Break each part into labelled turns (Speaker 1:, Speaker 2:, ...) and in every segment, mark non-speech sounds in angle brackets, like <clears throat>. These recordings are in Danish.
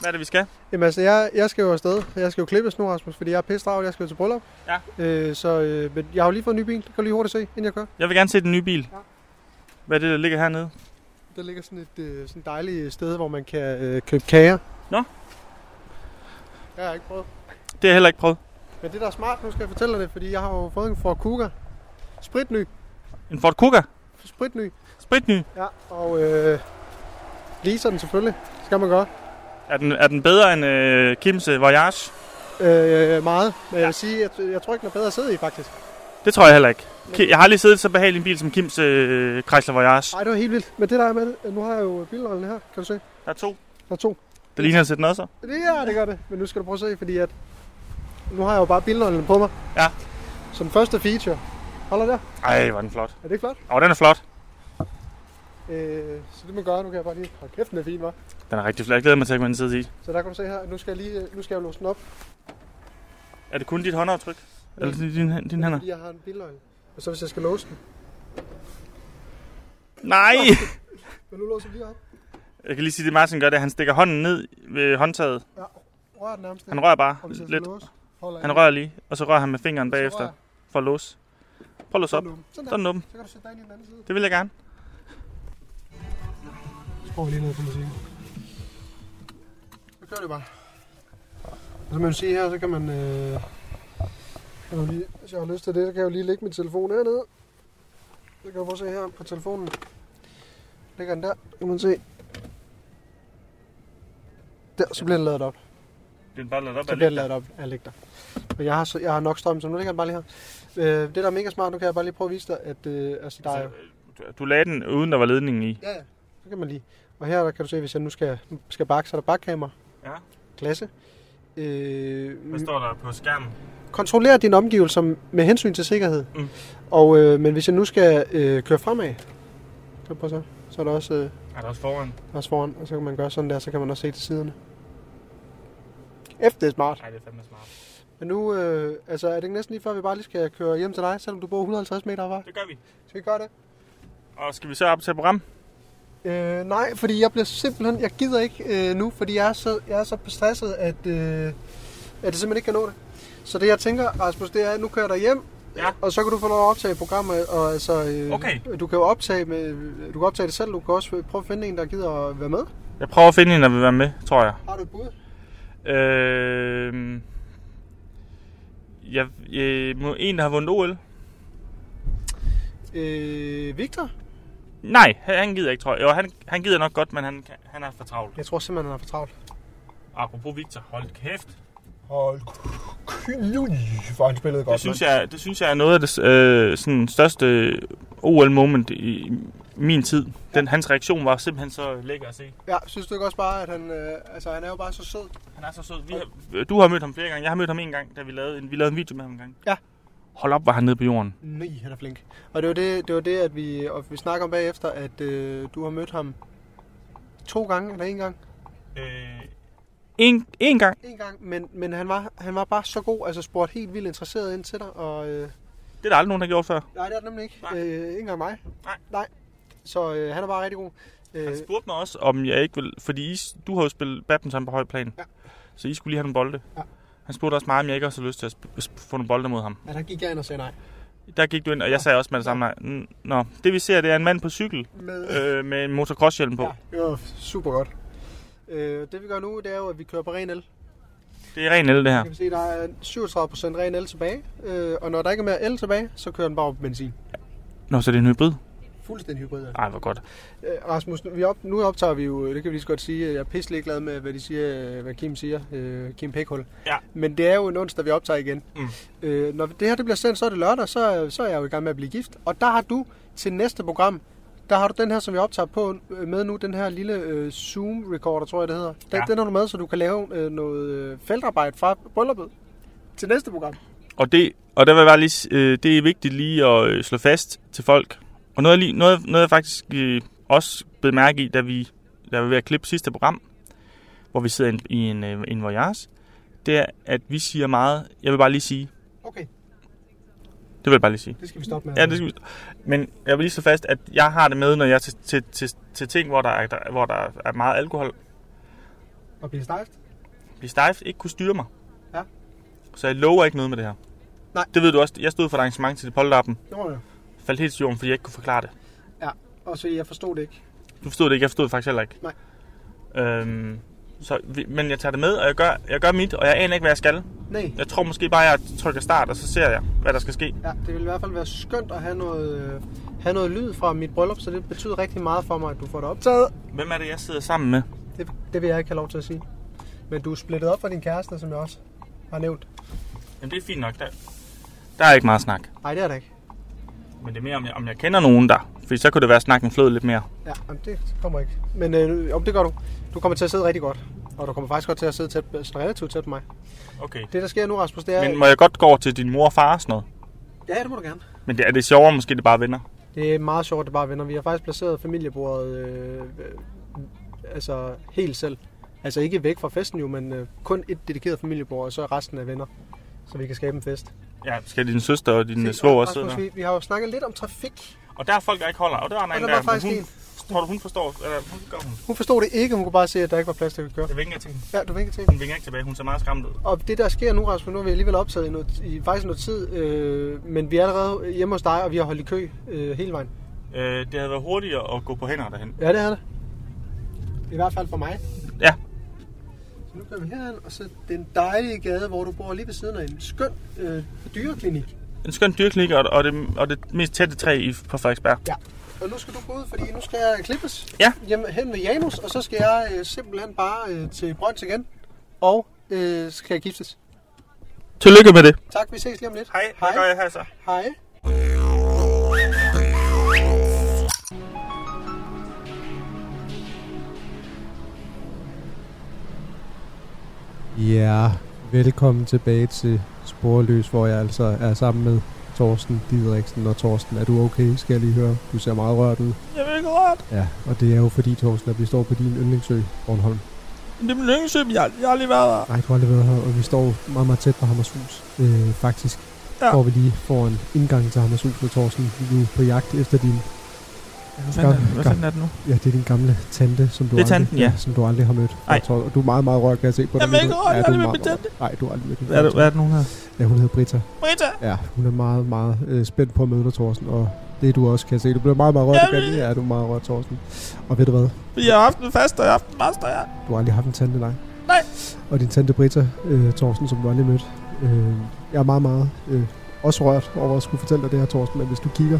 Speaker 1: Hvad er det, vi skal?
Speaker 2: Jamen altså, jeg, jeg skal jo afsted. Jeg skal jo klippes nu, Rasmus, fordi jeg er pisse travlt. Jeg skal jo til bryllup.
Speaker 1: Ja.
Speaker 2: Øh, så, øh, men jeg har jo lige fået en ny bil. Det kan du lige hurtigt se, inden jeg kører.
Speaker 1: Jeg vil gerne se den nye bil.
Speaker 2: Ja.
Speaker 1: Hvad er det, der ligger hernede?
Speaker 2: Der ligger sådan et øh, sådan dejligt sted, hvor man kan øh, købe kager.
Speaker 1: Nå.
Speaker 2: Jeg har ikke prøvet.
Speaker 1: Det har jeg heller ikke prøvet.
Speaker 2: Men det, der er smart, nu skal jeg fortælle dig det, fordi jeg har jo fået en Ford Kuga. Spritny.
Speaker 1: En Ford Kuga?
Speaker 2: Spritny.
Speaker 1: Spritny.
Speaker 2: Ja, og øh, leaser den selvfølgelig. Skal man gøre.
Speaker 1: Er den, er den bedre end øh, Kims øh, Voyage?
Speaker 2: Øh, meget. Men jeg vil sige, at øh, jeg, jeg tror ikke, den er bedre at sidde i, faktisk.
Speaker 1: Det tror jeg heller ikke. Ki- Jeg har aldrig siddet i så behagelig en bil som Kims øh, Chrysler Voyage.
Speaker 2: Nej, det var helt vildt. Men det der er med det, nu har jeg jo bilrollen her, kan du se.
Speaker 1: Der er to.
Speaker 2: Der er to.
Speaker 1: Det ligner at sætte noget så.
Speaker 2: Det, ja, det gør det. Men nu skal du prøve at se, fordi at nu har jeg jo bare bilnøglen på mig.
Speaker 1: Ja.
Speaker 2: Så den første feature. Holder der.
Speaker 1: Ej, hvor er den flot.
Speaker 2: Er det ikke flot?
Speaker 1: Åh, den er flot.
Speaker 2: Øh, så det man gør, nu kan jeg bare lige... Hold kæft, den er fin, hva'?
Speaker 1: Den er rigtig flot. Jeg glæder mig til at komme ind og sidde i.
Speaker 2: Så der kan du se her, nu skal jeg lige... Nu skal jeg jo låse den op,
Speaker 1: Er det kun dit håndaftryk? Eller din, din, din hænder?
Speaker 2: fordi jeg har en bilnøgle. Og så hvis jeg skal låse den.
Speaker 1: <laughs> Nej!
Speaker 2: Men nu låser vi lige op.
Speaker 1: Jeg kan lige sige, det Martin gør, det er, at han stikker hånden ned ved håndtaget.
Speaker 2: Ja, rør den nærmest.
Speaker 1: Han rører bare
Speaker 2: og hvis jeg skal
Speaker 1: lidt.
Speaker 2: låse, holder
Speaker 1: Han
Speaker 2: jeg.
Speaker 1: rører lige, og så rører han med fingeren
Speaker 2: Så rører
Speaker 1: bagefter
Speaker 2: jeg.
Speaker 1: for at låse. Prøv at låse op.
Speaker 2: Sådan åben.
Speaker 1: Så
Speaker 2: Sådan
Speaker 1: er
Speaker 2: der.
Speaker 1: den åben.
Speaker 2: Så kan du sætte dig ind i den anden side.
Speaker 1: Det vil jeg gerne.
Speaker 2: Så prøver vi lige noget på musikken. Så kører det bare. Og som man kan se her, så kan man... Øh, kan man lige, hvis jeg har lyst til det, så kan jeg jo lige lægge min telefon hernede. Så kan jeg prøve at se her på telefonen. Ligger den der, kan man se. Der, så bliver den ladet op.
Speaker 1: Det er bare lavet op.
Speaker 2: Så bliver den ladet op af lægter. Men jeg har, så, jeg har nok strøm, så nu ligger den bare lige her. Øh, det, der er mega smart, nu kan jeg bare lige prøve at vise dig, at øh, altså, der er...
Speaker 1: øh, Du lagde den, uden der var ledningen i.
Speaker 2: Ja, ja. Så kan man lige. Og her der kan du se, hvis jeg nu skal, nu skal bakke, så er der bakkamera.
Speaker 1: Ja.
Speaker 2: Klasse. Øh,
Speaker 1: Hvad står der på skærmen?
Speaker 2: kontroller dine omgivelser med hensyn til sikkerhed.
Speaker 1: Mm.
Speaker 2: Og, øh, men hvis jeg nu skal øh, køre fremad, så, prøv så, så er der også, øh,
Speaker 1: Er der også foran?
Speaker 2: også foran, og så kan man gøre sådan der, så kan man også se til siderne. Efter det er smart.
Speaker 1: Nej, det er fandme smart.
Speaker 2: Men nu, øh, altså er det ikke næsten lige før, vi bare lige skal køre hjem til dig, selvom du bor 150 meter herfra?
Speaker 1: Det gør vi.
Speaker 2: Skal vi gøre det?
Speaker 1: Og skal vi så op til program?
Speaker 2: Øh, nej, fordi jeg bliver simpelthen, jeg gider ikke øh, nu, fordi jeg er så, jeg er så stresset, at, øh, at jeg simpelthen ikke kan nå det. Så det jeg tænker, Rasmus, det er, at nu kører jeg dig hjem,
Speaker 1: Ja.
Speaker 2: og så kan du få lov at optage programmet, og altså, øh,
Speaker 1: Okay.
Speaker 2: du kan jo optage, med, du kan optage det selv, du kan også prøve at finde en, der gider at være med.
Speaker 1: Jeg prøver at finde en, der vil være med, tror jeg.
Speaker 2: Har du et bud?
Speaker 1: Øh, jeg, øh, må en, der har vundet OL?
Speaker 2: Øh, Victor?
Speaker 1: Nej, han gider ikke, tror jeg. Jo, han, han gider nok godt, men han, kan- han er for travlt.
Speaker 2: Jeg tror simpelthen, han er for travlt.
Speaker 1: Apropos Victor, hold kæft.
Speaker 2: Hold kæft, hvor han spillede godt.
Speaker 1: Det synes, jeg, det synes jeg er noget af det øh, sådan, største OL-moment i min tid. Den, hans reaktion var simpelthen så lækker at se.
Speaker 2: Ja, synes du ikke også bare, at han, øh, altså, han er jo bare så sød?
Speaker 1: Han er så sød. Vi har, Øh, du har mødt ham flere gange. Jeg har mødt ham en gang, da vi lavede en, vi lavede en video med ham en gang.
Speaker 2: Ja.
Speaker 1: Hold op, var han nede på jorden.
Speaker 2: Nej, han er flink. Og det var det, det, var det at vi, og vi snakker om bagefter, at øh, du har mødt ham to gange eller en gang.
Speaker 1: Øh, en, en gang.
Speaker 2: En gang, men, men han, var, han var bare så god, altså spurgte helt vildt interesseret ind til dig. Og, øh,
Speaker 1: Det er der aldrig nogen, der har gjort før.
Speaker 2: nej, det er det nemlig ikke.
Speaker 1: Nej.
Speaker 2: Øh, ikke engang mig.
Speaker 1: Nej.
Speaker 2: nej. Så øh, han er bare rigtig god. Øh,
Speaker 1: Han spurgte mig også, om jeg ikke ville... Fordi I, du har jo spillet badminton på høj plan.
Speaker 2: Ja.
Speaker 1: Så I skulle lige have nogle bolde.
Speaker 2: Ja.
Speaker 1: Han spurgte også mig, om jeg ikke også havde lyst til at sp- sp- få nogle bolde mod ham.
Speaker 2: ja, der gik jeg ind og sagde nej.
Speaker 1: Der gik du ind, og jeg sagde også med det samme. nej. N- Nå, det vi ser, det er en mand på cykel
Speaker 2: Med,
Speaker 1: øh, med en motocrosshjelm på.
Speaker 2: ja, det var super godt. Øh, det vi gør nu, det er jo, at vi kører på ren el.
Speaker 1: Det er ren el, det her.
Speaker 2: Kan vi se, der er 37% ren el tilbage. Øh, og når der ikke er mere el tilbage, så kører den bare på benzin.
Speaker 1: Nå, så det er en hybrid?
Speaker 2: Fuldstændig hybrid. altså. er det.
Speaker 1: Ej, hvor godt.
Speaker 2: Øh, Rasmus, nu- vi op, nu optager vi jo, det kan vi lige så godt sige, øh, jeg er pisselig glad med, hvad de siger, øh, hvad Kim siger, øh, Kim Pækhul.
Speaker 1: Ja.
Speaker 2: Men det er jo en onsdag, vi optager igen.
Speaker 1: Mm.
Speaker 2: Øh, når det her det bliver sendt, så er det lørdag, så, så er jeg jo i gang med at blive gift. Og der har du til næste program, der har du den her, som vi optager på øh, med nu, den her lille øh, Zoom-recorder, tror jeg det hedder. Den,
Speaker 1: Ja.
Speaker 2: den har du med, så du kan lave øh, noget øh, feltarbejde fra brylluppet til næste program.
Speaker 1: Og det, og der vil jeg bare lige, s- øh, det er vigtigt lige at øh, slå fast til folk. Og noget, jeg lige, noget, noget jeg faktisk øh, også blev mærke i, da vi, da vi var ved at klippe sidste program, hvor vi sidder i en, i en, øh, en voyage, det er, at vi siger meget, jeg vil bare lige sige,
Speaker 2: Okay,
Speaker 1: det vil jeg bare lige sige.
Speaker 2: det skal vi stoppe med.
Speaker 1: Ja, det skal vi. Men jeg vil lige slå fast, at jeg har det med, når jeg er til, til, til, til ting, hvor der, er, der, hvor der er meget alkohol.
Speaker 2: Og blive stejft?
Speaker 1: Blive stejf, ikke kunne styre mig.
Speaker 2: Ja.
Speaker 1: Så jeg lover ikke noget med det her.
Speaker 2: Nej.
Speaker 1: Det ved du også. Jeg stod for et arrangement til polterappen.
Speaker 2: Nå ja.
Speaker 1: Faldt helt til jorden, fordi jeg ikke kunne forklare det.
Speaker 2: Og så jeg forstod det ikke.
Speaker 1: Du forstod det ikke. Jeg forstod det faktisk heller ikke.
Speaker 2: Nej.
Speaker 1: Øhm, så, vi- men jeg tager det med, og jeg gør, jeg gør mit, og jeg aner ikke, hvad jeg skal.
Speaker 2: Nej.
Speaker 1: Jeg tror måske bare, jeg trykker start, og så ser jeg, hvad der skal ske.
Speaker 2: Ja, det ville i hvert fald være skønt at have noget, øh, have noget lyd fra mit bryllup, så det betyder rigtig meget for mig, at du får det optaget.
Speaker 1: Hvem er det, jeg sidder sammen med?
Speaker 2: Det, det vil jeg ikke have lov til at sige. Men du er splittet op fra din kæreste, som jeg også har nævnt.
Speaker 1: Jamen, det er fint nok. Der, der er ikke meget snak.
Speaker 2: Nej, det er det ikke.
Speaker 1: Men det er mere, om jeg, om jeg kender nogen der. Fordi så kunne det være, at snakken flød lidt mere.
Speaker 2: Ja, jamen, det kommer ikke. Men øh, om det gør du. Du kommer til at sidde rigtig godt. Og du kommer faktisk godt til at sidde tæt, sådan relativt tæt på mig.
Speaker 1: Okay.
Speaker 2: Det, der sker nu, Rasmus, det er...
Speaker 1: Men må jeg godt gå over til din mor og far og sådan noget?
Speaker 2: Ja, det må du gerne.
Speaker 1: Men det, er det sjovere, måske det bare venner?
Speaker 2: Det er meget sjovt, det er bare venner. Vi har faktisk placeret familiebordet øh, øh, altså helt selv. Altså ikke væk fra festen jo, men øh, kun et dedikeret familiebord, og så resten af venner, så vi kan skabe en fest.
Speaker 1: Ja, skal din søster og din
Speaker 2: Se,
Speaker 1: Se, svoger øh, også
Speaker 2: Rasmus,
Speaker 1: sidde der?
Speaker 2: vi, vi har jo snakket lidt om trafik,
Speaker 1: Og der er folk, der ikke holder. Og der er en,
Speaker 2: og der
Speaker 1: der,
Speaker 2: var
Speaker 1: men
Speaker 2: faktisk
Speaker 1: hun,
Speaker 2: en.
Speaker 1: Tror du, hun forstår? Eller, hun gør hun.
Speaker 2: Hun forstod det ikke, hun kunne bare se, at der ikke var plads til at køre.
Speaker 1: Jeg vinker til hende.
Speaker 2: Ja, du vinker til.
Speaker 1: Hun vinker ikke tilbage. Hun ser meget skræmt ud.
Speaker 2: Og det der sker nu, Rasmus, nu er vi alligevel optaget i, noget, i faktisk noget tid, øh, men vi er allerede hjemme hos dig, og vi har holdt i kø øh, hele vejen.
Speaker 1: Øh, det havde været hurtigere at gå på hænder derhen.
Speaker 2: Ja, det er det. I hvert fald for mig.
Speaker 1: Ja.
Speaker 2: Så nu kører vi herhen, og så den dejlige gade, hvor du bor lige ved siden af en skøn øh, dyreklinik.
Speaker 1: En skøn dyrklinik og, og, det, og det mest tætte træ i, på Frederiksberg.
Speaker 2: Ja. Og nu skal du gå ud, fordi nu skal jeg klippes
Speaker 1: Ja.
Speaker 2: hjemme hen ved Janus, og så skal jeg øh, simpelthen bare øh, til Brøns igen, og øh, skal jeg giftes.
Speaker 1: Tillykke med det.
Speaker 2: Tak, vi ses lige om lidt.
Speaker 1: Hej, hvad gør
Speaker 2: Hej.
Speaker 1: jeg her så?
Speaker 2: Hej.
Speaker 3: Ja, velkommen tilbage til Sporløs, hvor jeg altså er sammen med Torsten Didriksen. Og Torsten, er du okay, skal jeg lige høre? Du ser meget rørt ud.
Speaker 1: Jeg vil ikke rørt.
Speaker 3: Ja, og det er jo fordi, Torsten, at vi står på din yndlingsø, Bornholm.
Speaker 1: Det er min yndlingsø, jeg, jeg har lige været der.
Speaker 3: Nej, du har aldrig været her, og vi står meget, meget tæt på Hammershus, øh, faktisk.
Speaker 1: Ja.
Speaker 3: Ja. Hvor vi lige får en indgang til Hammershus, og Torsten, vi er jo på jagt efter din...
Speaker 1: Hvad
Speaker 3: fanden er-
Speaker 1: hvad
Speaker 3: hvad
Speaker 1: fanden
Speaker 3: fanden
Speaker 1: er det nu?
Speaker 3: Ja, det er din gamle tante, som du,
Speaker 1: Det er
Speaker 3: aldrig,
Speaker 1: tanten, ja.
Speaker 3: som du aldrig har mødt.
Speaker 1: Nej.
Speaker 3: Tor- og du er meget, meget rørt, kan jeg se på dig.
Speaker 1: Jamen, ikke rørt, jeg har aldrig mødt min
Speaker 3: Nej, du har aldrig mødt din
Speaker 1: Hvad er det, hvad er det nu her?
Speaker 3: Ja, hun hedder Britta.
Speaker 1: Rita!
Speaker 3: Ja, hun er meget, meget øh, spændt på at møde dig, Thorsten, og det er du også, kan jeg se. Du bliver meget, meget rørt
Speaker 1: Jamen.
Speaker 3: igen. Ja, du er meget rørt, Thorsten. Og ved du hvad?
Speaker 1: Vi har haft en fast, og jeg har haft en master, ja.
Speaker 3: Du har aldrig haft en tante, nej.
Speaker 1: Nej.
Speaker 3: Og din tante Britta, øh, Thorsten, som du aldrig mødte. Øh, jeg er meget, meget øh, også rørt over at skulle fortælle dig det her, Thorsten, men hvis du kigger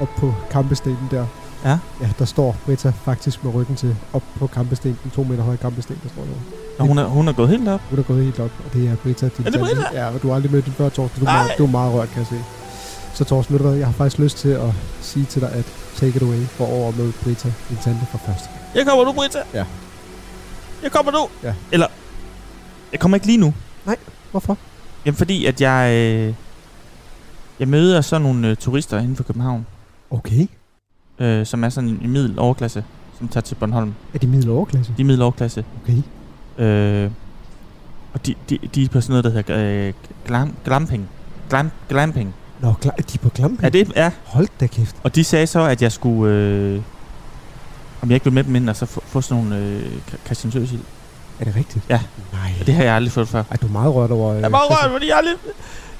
Speaker 3: op på kampestenen der,
Speaker 1: Ja.
Speaker 3: ja, der står Britta faktisk med ryggen til op på kampestenen, den to meter høje kampesten, der står derovre.
Speaker 1: Og hun er, hun er gået helt op.
Speaker 3: Hun er gået helt op, og det er Britta, din
Speaker 1: Er det
Speaker 3: tante.
Speaker 1: Britta?
Speaker 3: Ja, og du har aldrig mødt hende før, Torsten. Du er,
Speaker 1: Nej.
Speaker 3: meget, du er meget rørt, kan jeg se. Så Torsten, ved du hvad, jeg har faktisk lyst til at sige til dig, at take it away for over med Britta, din tante, for første gang.
Speaker 1: Jeg kommer nu, Britta.
Speaker 3: Ja.
Speaker 1: Jeg kommer nu.
Speaker 3: Ja.
Speaker 1: Eller, jeg kommer ikke lige nu.
Speaker 3: Hvorfor?
Speaker 1: Jamen fordi, at jeg, øh, jeg møder sådan nogle øh, turister inden for København,
Speaker 3: Okay.
Speaker 1: øh, som er sådan en middel overklasse, som tager til Bornholm.
Speaker 3: Er det middel overklasse?
Speaker 1: De er middel overklasse.
Speaker 3: Okay.
Speaker 1: Øh, og de, de, de er på sådan noget, der hedder øh, glam, glamping. Glam, glamping.
Speaker 3: Nå, klar, de er på glamping.
Speaker 1: Er det? Ja.
Speaker 3: Hold da kæft.
Speaker 1: Og de sagde så, at jeg skulle... Øh, om jeg ikke blev med dem ind, og så få, få sådan nogle øh, Christian Søsild.
Speaker 3: Er det rigtigt?
Speaker 1: Ja.
Speaker 3: Nej.
Speaker 1: Og det har jeg aldrig fået før.
Speaker 3: Ej, du er meget rørt over... øh,
Speaker 1: Jeg er meget rørt, fordi jeg har, lidt,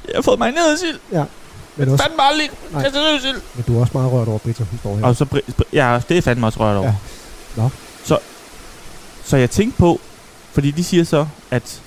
Speaker 1: jeg har fået mig ned sild.
Speaker 3: Men, også,
Speaker 1: Fandme aldrig
Speaker 3: Nej.
Speaker 1: Christian Søsild.
Speaker 3: men du er også meget rørt over Britta, hun står her.
Speaker 1: Og så, br- br- ja, det er fandme også rørt over.
Speaker 3: Ja. Nå.
Speaker 1: Så, så jeg tænkte på, fordi de siger så, at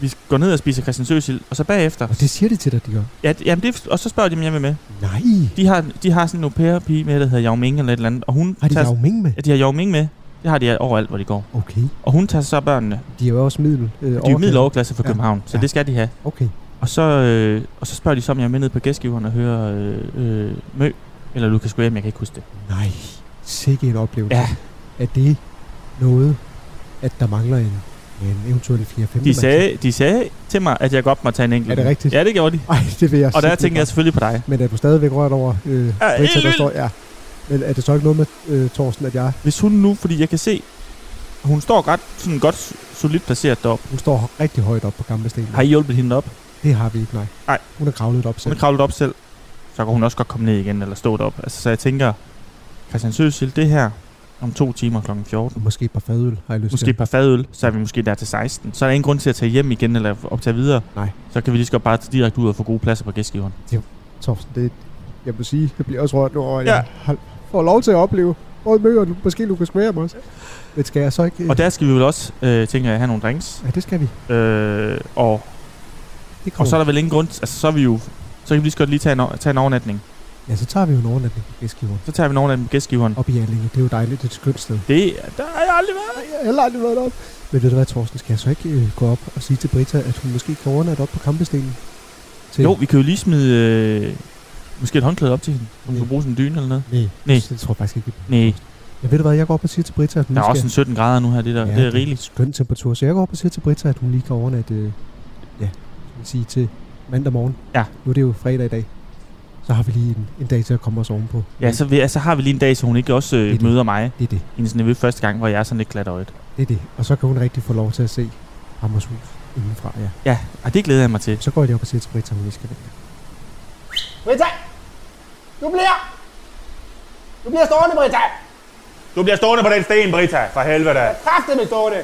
Speaker 1: vi går ned og spiser Christian Søsild, og så bagefter...
Speaker 3: Og det siger de til dig, de gør.
Speaker 1: Ja, d- jamen det, og så spørger de, om jeg vil med.
Speaker 3: Nej.
Speaker 1: De har, de har sådan en au pair pige med, der hedder Yao Ming eller et eller andet, og hun
Speaker 3: Har de
Speaker 1: tager...
Speaker 3: Yao Ming med?
Speaker 1: Ja, de har Yao Ming med. Det har de overalt, hvor de går.
Speaker 3: Okay.
Speaker 1: Og hun tager så børnene.
Speaker 3: De er jo også middel. Øh,
Speaker 1: De er jo middeloverklasse fra
Speaker 3: Ja.
Speaker 1: København, så
Speaker 3: Ja.
Speaker 1: det skal de have.
Speaker 3: Okay.
Speaker 1: Og så, øh, og så spørger de så, om jeg er med ned på gæstgiveren og hører øh, øh, Mø eller Lucas Graham, jeg kan ikke huske det.
Speaker 3: Nej, sikke en oplevelse.
Speaker 1: Ja.
Speaker 3: Er det noget, at der mangler en, en eventuel 4-5
Speaker 1: De sagde, de sagde til mig, at jeg godt må tage en enkelt.
Speaker 3: Er det rigtigt?
Speaker 1: Ja, det gjorde de.
Speaker 3: Ej, det vil jeg
Speaker 1: Og der
Speaker 3: simpelthen
Speaker 1: tænker jeg
Speaker 3: godt.
Speaker 1: selvfølgelig på dig.
Speaker 3: Men er du stadigvæk rørt over øh, ja,
Speaker 1: helt
Speaker 3: Britta, der
Speaker 1: vildt.
Speaker 3: står... Ja. Men er det så ikke noget med, øh, Thorsten, at jeg...
Speaker 1: Hvis hun nu, fordi jeg kan se, hun står ret, sådan godt solidt placeret deroppe.
Speaker 3: Hun står rigtig højt op på gamle sten.
Speaker 1: Har I hjulpet hende op?
Speaker 3: Det har vi ikke, nej.
Speaker 1: Nej.
Speaker 3: Hun er kravlet op
Speaker 1: Hun
Speaker 3: selv.
Speaker 1: er kravlet op selv. Så kan hun også godt komme ned igen, eller stå deroppe. Altså, så jeg tænker, Christian Søsild, det her, om to timer kl. 14.
Speaker 4: Og måske et par fadøl, har jeg lyst
Speaker 1: Måske
Speaker 4: til.
Speaker 1: et par fadøl, så er vi måske der til 16. Så er der ingen grund til at tage hjem igen eller optage videre.
Speaker 4: Nej.
Speaker 1: Så kan vi lige så godt bare tage direkte ud og få gode pladser på gæstgiveren.
Speaker 3: Torsten, det, jeg vil sige, jeg bliver også rørt nu, og
Speaker 1: Ja.
Speaker 3: jeg har, får lov til at opleve Røde Mø, og du- måske Lukas Mærum også.
Speaker 4: Men skal jeg så ikke... øh,
Speaker 1: Og der skal vi vel også, øh, tænker jeg, have nogle drinks.
Speaker 4: Ja, det skal vi.
Speaker 1: Øh, og,
Speaker 4: Det kommer.
Speaker 1: og så er der vel ingen grund... Altså, så er vi jo... Så kan vi lige så godt lige tage en, o- tage en overnatning.
Speaker 4: Ja, så tager vi jo en overnatning på Gæstgiveren.
Speaker 1: Så tager vi en overnatning på gæstgiveren.
Speaker 4: Op i Erlinge, det er jo dejligt, det er et skønt sted.
Speaker 1: Det, der har jeg aldrig været.
Speaker 3: Ej, Jeg har heller aldrig været op.
Speaker 4: Men ved du hvad, Thorsten, skal jeg så ikke øh, gå op og sige til Britta, at hun måske kan overnatte op på kampestenen? Til...
Speaker 1: Jo, vi kan jo lige smide... Øh, måske et håndklæde op til hende. Hun
Speaker 4: Ja.
Speaker 1: kan bruge sådan en dyne eller noget.
Speaker 4: Nej,
Speaker 1: Nej.
Speaker 4: det tror jeg faktisk ikke. vi-
Speaker 1: Nej,
Speaker 4: Men ved du hvad, jeg går op og siger til Britta, at hun
Speaker 1: der er
Speaker 4: skal...
Speaker 1: også en 17 grader nu her. Det, der, ja, det er rigeligt.
Speaker 4: skøn temperatur, så jeg går op og siger til Britta, at hun lige kan overnatte, øh, ja, skal vi sige til mandag morgen.
Speaker 1: Ja.
Speaker 4: Nu er det jo fredag i dag. Så har vi lige en, en dag til at komme os ovenpå.
Speaker 1: Ja, så, vi, så har vi lige en dag, så hun ikke også
Speaker 4: er det.
Speaker 1: øh, møder mig.
Speaker 4: Det er det,
Speaker 1: Hendes nevø første gang, hvor jeg er sådan lidt glatøjet.
Speaker 4: det er det. Og så kan hun rigtig få lov til at se Hammershus indenfra, ja.
Speaker 1: Ja, og det glæder jeg mig til.
Speaker 4: Så går jeg lige op og siger til Britta, at hun lige skal væk.
Speaker 5: Britta! Du bliver! Du bliver stående, Britta!
Speaker 6: Du bliver stående på den sten, Brita, for helvede.
Speaker 5: Kræftet med stående!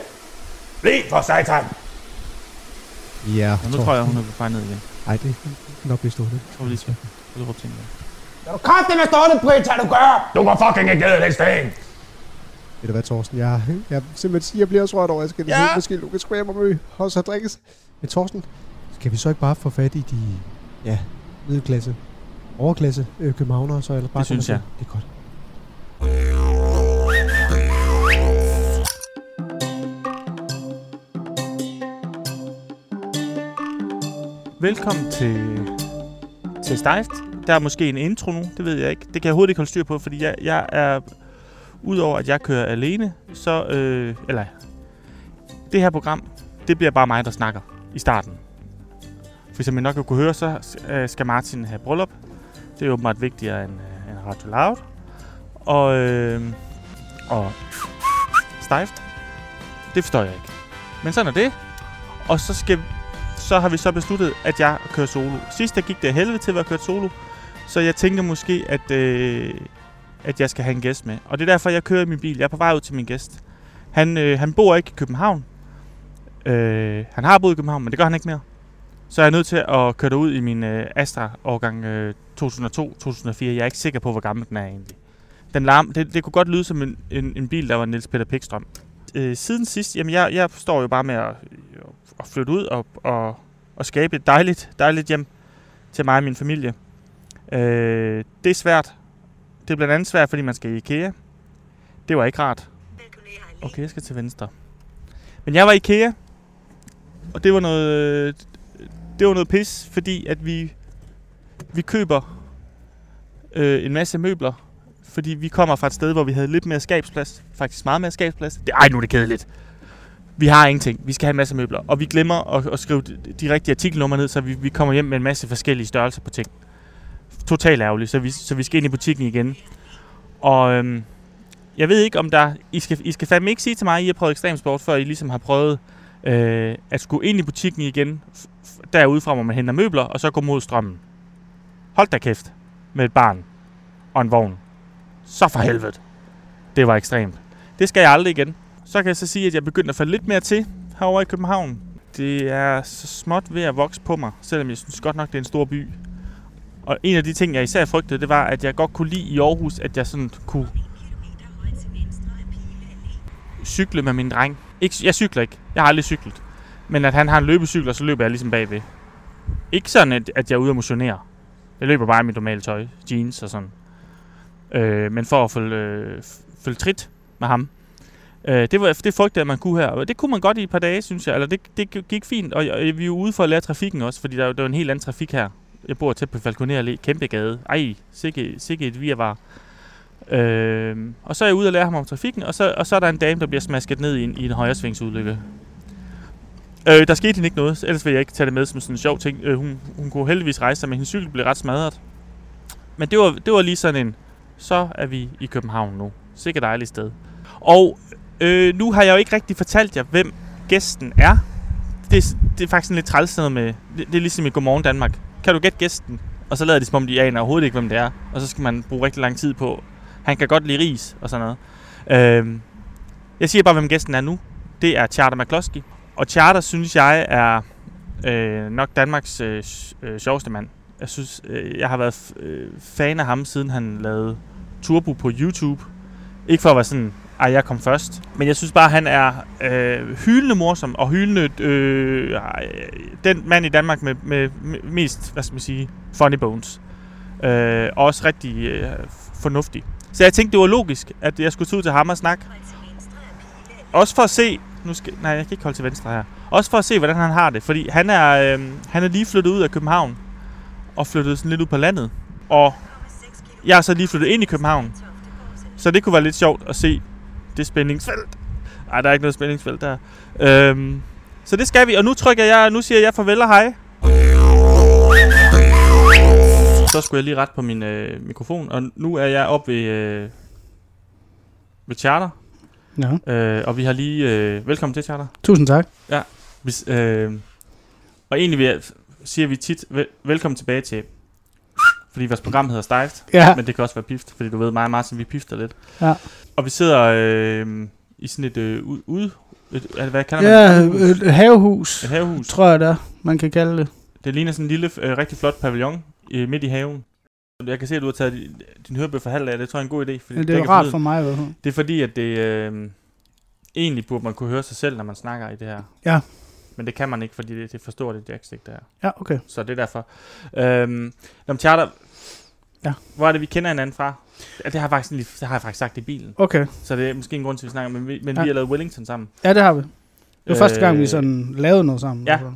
Speaker 6: Bliv for satan.
Speaker 4: Ja,
Speaker 1: Og nu tror jeg, hun er på vej ned igen. Jeg
Speaker 4: Ej, det kan nok blive stående.
Speaker 1: tror, vi lige skal prøve at råbe til hende.
Speaker 5: Er du kræftet med stående, Britta, du gør!
Speaker 6: Du går fucking ikke ned ad den sten.
Speaker 3: Ved du hvad, Torsten, jeg, jeg simpelthen siger, jeg bliver også rørt over, at jeg skal ja. måske Lukas Mærum og Mø også har drikkes.
Speaker 4: Men Thorsten, skal vi så ikke bare få fat i de, ja, middelklasse, overklasse øh, københavnere så? Eller bare
Speaker 1: Det synes
Speaker 4: komme
Speaker 1: jeg.
Speaker 4: afsted? Det er godt.
Speaker 1: Velkommen til, til Steift. Der er måske en intro nu, det ved jeg ikke. Det kan jeg overhovedet ikke holde styr på, fordi jeg, jeg er... Udover at jeg kører alene, så... Øh, eller... Det her program, det bliver bare mig, der snakker i starten. For som I nok har kunne høre, så øh, skal Martin have bryllup. Det er åbenbart vigtigere end, øh, end Radio Loud. Og... Øh, og... Steift. Det forstår jeg ikke. Men sådan er det. Og så skal så har vi så besluttet, at jeg kører solo. Sidst der gik det af helvede til, at jeg kørte solo. Så jeg tænker måske, at, øh, at jeg skal have en gæst med. Og det er derfor, jeg kører i min bil. Jeg er på vej ud til min gæst. Han, øh, han bor ikke i København. Øh, han har boet i København, men det gør han ikke mere. Så jeg er nødt til at køre derud i min øh, Astra årgang øh, 2002-2004. Jeg er ikke sikker på, hvor gammel den er egentlig. Den larm, det, det kunne godt lyde som en, en, en bil, der var Niels Peter Pikstrøm. Øh, siden sidst, jamen jeg, jeg står jo bare med at, at flytte ud og, og, og skabe et dejligt, dejligt hjem til mig og min familie. Øh, det er svært. Det er blandt andet svært, fordi man skal i IKEA. Det var ikke rart. Okay, jeg skal til venstre. Men jeg var i IKEA, og det var noget, øh, det var noget pis, fordi at vi, vi køber øh, en masse møbler, fordi vi kommer fra et sted, hvor vi havde lidt mere skabsplads. Faktisk meget mere skabsplads. Det, ej, nu er det kedeligt vi har ingenting, vi skal have en masse møbler, og vi glemmer at, at skrive de, de rigtige artikelnumre ned, så vi, vi kommer hjem med en masse forskellige størrelser på ting. Totalt ærgerligt, så vi, så vi skal ind i butikken igen. Og øhm, jeg ved ikke, om der... I skal, I skal fandme ikke sige til mig, at I har prøvet ekstremsport, før I ligesom har prøvet øh, at skulle ind i butikken igen, f- f- derudefra, hvor man henter møbler, og så gå mod strømmen. Hold da kæft med et barn og en vogn. Så for helvede. Det var ekstremt. Det skal jeg aldrig igen så kan jeg så sige, at jeg begynder at falde lidt mere til herovre i København. Det er så småt ved at vokse på mig, selvom jeg synes godt nok, det er en stor by. Og en af de ting, jeg især frygtede, det var, at jeg godt kunne lide i Aarhus, at jeg sådan kunne cykle med min dreng. Ikke, jeg cykler ikke. Jeg har aldrig cyklet. Men at han har en løbecykel, og så løber jeg ligesom bagved. Ikke sådan, at, at jeg er ude og motionere. Jeg løber bare i mit normale tøj. Jeans og sådan. Øh, men for at følge, øh, følge trit med ham. Øh, det, var, det frygtede jeg, man kunne her. Og Det kunne man godt i et par dage, synes jeg. Eller det, det gik fint. Og, og vi er jo ude for at lære trafikken også, fordi der, er jo- der er jo en helt anden trafik her. Jeg bor tæt på Falconer Allé, kæmpe gade. Ej, sikke, sikke et virvar. Øh, og så er jeg ude og lære ham om trafikken, og så, og så er der en dame, der bliver smasket ned i en, i en højresvingsulykke. Øh, der skete hende ikke noget, ellers vil jeg ikke tage det med som sådan en sjov ting. Øh, hun, hun kunne heldigvis rejse sig, men hendes cykel blev ret smadret. Men det var, det var lige sådan en, så er vi i København nu. Sikkert dejligt sted. Og Øh, nu har jeg jo ikke rigtig fortalt jer, hvem gæsten er. Det, er- det er faktisk sådan lidt træls noget med... Det, det er ligesom i Godmorgen Danmark. Kan du gætte gæsten? Og så lader de som om, de aner overhovedet ikke, hvem det er. Og så skal man bruge rigtig lang tid på... Han kan godt lide ris og sådan noget. Øhm, jeg siger bare, hvem gæsten er nu. Det er Charter McCloskey. Og Charter, synes jeg, er øh, nok Danmarks øh, s- øh, sjoveste mand. Jeg synes, øh, jeg har været f- øh, fan af ham, siden han lavede Turbo på YouTube. Ikke for at være sådan, ej, jeg kom først. Men jeg synes bare, han er øh, hyldende morsom, og hyldende øh, ej, den mand i Danmark med, med, med mest, hvad skal man sige, funny bones. Øh, og også rigtig øh, fornuftig. Så jeg tænkte, det var logisk, at jeg skulle tage ud til ham og snakke. Også for at se... Nu skal, nej, jeg kan ikke holde til venstre her. Også for at se, hvordan han har det. Fordi han er, øh, han er lige flyttet ud af København. Og flyttet sådan lidt ud på landet. Og jeg er så lige flyttet ind i København. Så det kunne være lidt sjovt at se det spændingsfelt. Nej, der er ikke noget spændingsfelt der. Øhm, så det skal vi. Og nu trykker jeg, nu siger jeg farvel og hej. Så skulle jeg lige ret på min øh, mikrofon, og nu er jeg oppe ved, øh, ved Charter,
Speaker 7: Ja.
Speaker 1: øh, og vi har lige... Øh, velkommen til, Charter.
Speaker 7: Tusind tak.
Speaker 1: Hvis, øh, og egentlig vil jeg, siger vi tit, vel, velkommen tilbage til... Fordi vores program hedder Stejft.
Speaker 7: Ja.
Speaker 1: Men det kan også være pift, fordi du ved mig og Martin, vi pifter lidt.
Speaker 7: Ja.
Speaker 1: Og vi sidder øh, i sådan et øh, u- ude... Et, er det- hvad kalder man
Speaker 7: Ja,
Speaker 1: det?
Speaker 7: øh,
Speaker 1: Havehus?
Speaker 7: et havehus,
Speaker 1: Et havehus.
Speaker 7: tror jeg der, man kan kalde det.
Speaker 1: Det ligner sådan en lille, øh, rigtig flot pavillon øh, midt i haven. Jeg kan se, at du har taget din, din hørbøf halv af. Det tror jeg er en god idé. Fordi
Speaker 7: Ja, det
Speaker 1: dækker
Speaker 7: er rart
Speaker 1: lyden.
Speaker 7: for mig. i hvert fald.
Speaker 1: Det er fordi, at det... Øh, egentlig burde man kunne høre sig selv, når man snakker i det her.
Speaker 7: Ja.
Speaker 1: Men det kan man ikke, fordi det, det forstår det jackstik, der.
Speaker 7: Ja, okay.
Speaker 1: Så det er derfor. Øhm, nå, men Charter,
Speaker 7: Ja.
Speaker 1: hvor er det, vi kender hinanden fra? Ja, Det har, jeg faktisk, lige, det har jeg faktisk sagt i bilen,
Speaker 7: Okay.
Speaker 1: så det er måske en grund til, at vi snakker, men vi, men
Speaker 7: Ja.
Speaker 1: ja. vi har lavet Wellington sammen.
Speaker 7: Ja, det har vi. Det var øh, første gang, vi
Speaker 1: Øh,
Speaker 7: sådan lavede noget sammen.
Speaker 1: ja.
Speaker 7: altså.
Speaker 1: Øh,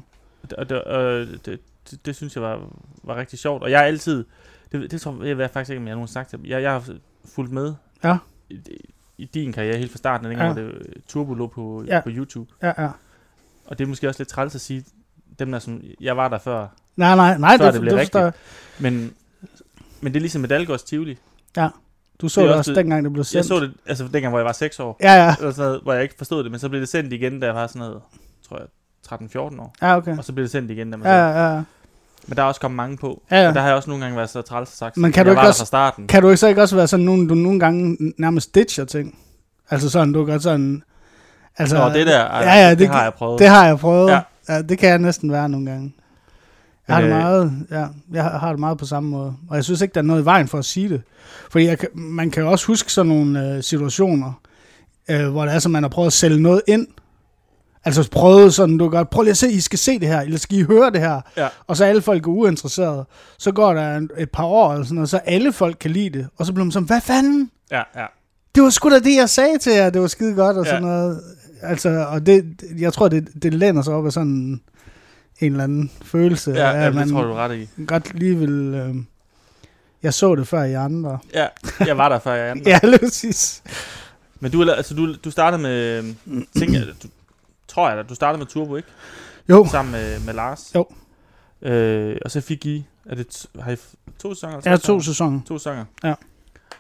Speaker 1: Og det, og det, det, det synes jeg var, var rigtig sjovt. Og jeg er altid... Det, det tror jeg, jeg faktisk ikke, om jeg nogensinde har sagt det. Jeg, jeg har fulgt med
Speaker 7: Ja.
Speaker 1: i, i din karriere helt fra starten, dengang
Speaker 7: Ja.
Speaker 1: ja. det øh, Turbo lå på,
Speaker 7: Ja.
Speaker 1: ja. på YouTube.
Speaker 7: Ja, ja.
Speaker 1: Og det er måske også lidt træls at sige, dem der som... Jeg var der før.
Speaker 7: Nej, nej, nej,
Speaker 1: Før
Speaker 7: det,
Speaker 1: det
Speaker 7: det,
Speaker 1: blev
Speaker 7: det forstår jeg.
Speaker 1: Men, men det er ligesom med Dalgårds Tivoli.
Speaker 7: Du så
Speaker 1: Det er også
Speaker 7: det også,
Speaker 1: det-
Speaker 7: dengang, det blev sendt.
Speaker 1: Jeg så det, altså dengang, hvor jeg var 6 år.
Speaker 7: Ja, ja.
Speaker 1: eller sådan noget, hvor jeg ikke forstod det, men så blev det sendt igen, da jeg var sådan noget, tror jeg, 13-14 år.
Speaker 7: Ja, okay.
Speaker 1: Og så blev det sendt igen, da man ja.
Speaker 7: Ja, ja, ja.
Speaker 1: Men der er også kommet mange på.
Speaker 7: Ja, ja.
Speaker 1: Og der har jeg også nogle gange været så træls og sagt,
Speaker 7: Men kan
Speaker 1: jeg
Speaker 7: du ikke
Speaker 1: var der
Speaker 7: også-
Speaker 1: fra starten.
Speaker 7: Kan du ikke så ikke også være sådan, nogen, du nogle gange nærmest ditcher ting? Altså sådan, du gør sådan... Altså,
Speaker 1: Nå, det der, ej,
Speaker 7: ja, ja,
Speaker 1: det,
Speaker 7: det,
Speaker 1: har jeg prøvet.
Speaker 7: Det har jeg prøvet. Ja.
Speaker 1: Ja.
Speaker 7: ja. det kan jeg næsten være nogle gange. Jeg har, det
Speaker 1: Øh.
Speaker 7: meget, ja, jeg har- har det meget på samme måde. Og jeg synes ikke, der er noget i vejen for at sige det. Fordi jeg, kan- man kan jo også huske sådan nogle øh, situationer, øh, hvor det er, som man har prøvet at sælge noget ind. Altså prøvet sådan, du godt, prøv lige at se, I skal se det her, eller skal I høre det her?
Speaker 1: Ja.
Speaker 7: Og så er alle folk er uinteresserede. Så går der en- et par år, eller sådan noget, så alle folk kan lide det. Og så bliver man sådan, hvad fanden?
Speaker 1: Ja, ja.
Speaker 7: det var sgu da det, jeg sagde til jer, det var skide godt og ja.
Speaker 1: Ja.
Speaker 7: sådan noget. Altså, og det, det- jeg tror, det, det læner sig op af sådan en eller anden følelse,
Speaker 1: Ja,
Speaker 7: af,
Speaker 1: ja,
Speaker 7: at
Speaker 1: det
Speaker 7: man
Speaker 1: tror du er ret i.
Speaker 7: godt lige vil... Øh, jeg så det før i andre. <laughs>
Speaker 1: Ja, jeg var der før jeg andet.
Speaker 7: Ja, lige præcis.
Speaker 1: Men du, er la- altså, du, du startede med, øhm,
Speaker 7: <clears throat>
Speaker 1: tænker, jeg, du, tror jeg da, du startede med Turbo, ikke?
Speaker 7: Jo,
Speaker 1: Sammen med, med Lars.
Speaker 7: Jo.
Speaker 1: Øh, og så fik I, er det, t- har I f- to sæsoner? eller tre
Speaker 7: jeg
Speaker 1: sæsoner?
Speaker 7: har to sæsoner.
Speaker 1: To sanger.
Speaker 7: Ja.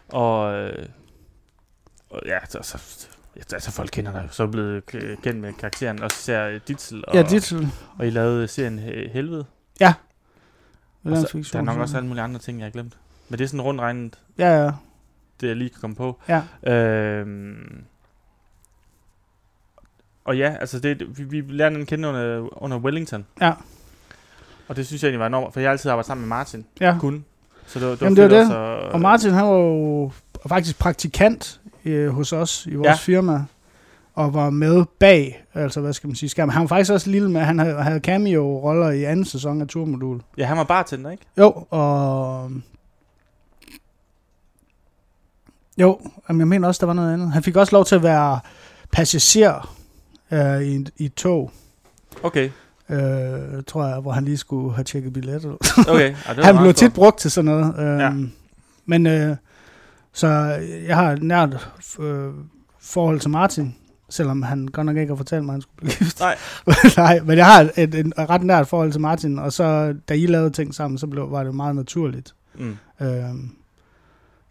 Speaker 1: Og, øh, og ja, så, så, ja, altså folk kender dig jo. Så er du blevet k- kendt med karakteren, også især øh, Ditzel, og,
Speaker 7: Ja, dit vil
Speaker 1: og I lavede serien He- Helvede. Og
Speaker 7: lave en
Speaker 1: så, der er
Speaker 7: fiktion.
Speaker 1: nok også alle mulige andre ting, jeg har glemt. Men det er sådan rundt regnet,
Speaker 7: Ja, ja.
Speaker 1: det jeg lige kan komme på.
Speaker 7: Ja.
Speaker 1: Øhm, og ja, altså det, vi, vi lærte den at kende under, under Wellington.
Speaker 7: Ja.
Speaker 1: Og det synes jeg egentlig var enormt, for jeg har altid arbejdet sammen med Martin.
Speaker 7: Ja.
Speaker 1: Kun. Så det, var- det var
Speaker 7: Jamen, det var
Speaker 1: fedt
Speaker 7: det.
Speaker 1: også at-
Speaker 7: Og Martin, han var jo faktisk praktikant øh, hos os i vores ja.
Speaker 1: Ja.
Speaker 7: firma, og var med bag, altså hvad skal man sige, skærmen. Han var faktisk også lille med, han havde, havde cameo-roller i anden sæson af Turmodul.
Speaker 1: Ja, han var bartender, ikke?
Speaker 7: Jo, og... Jo, jamen, jeg mener også, der var noget andet. Han fik også lov til at være passager øh, i, i et tog,
Speaker 1: Okay,
Speaker 7: øh, tror jeg, hvor han lige skulle have tjekket billetter. <laughs>
Speaker 1: okay. Ej, det var meget
Speaker 7: Han blev
Speaker 1: sjovt.
Speaker 7: tit brugt til sådan noget. Øh, ja.
Speaker 1: Ja.
Speaker 7: Men øh, så jeg har et nært øh, forhold til Martin, selvom han godt nok ikke har fortalt mig, at han skulle blive gift.
Speaker 1: Nej.
Speaker 7: <laughs> Nej, men jeg har et, et, et ret nært forhold til Martin, og så da I lavede ting sammen, så blev, var det meget naturligt.
Speaker 1: Mm.
Speaker 7: Øh,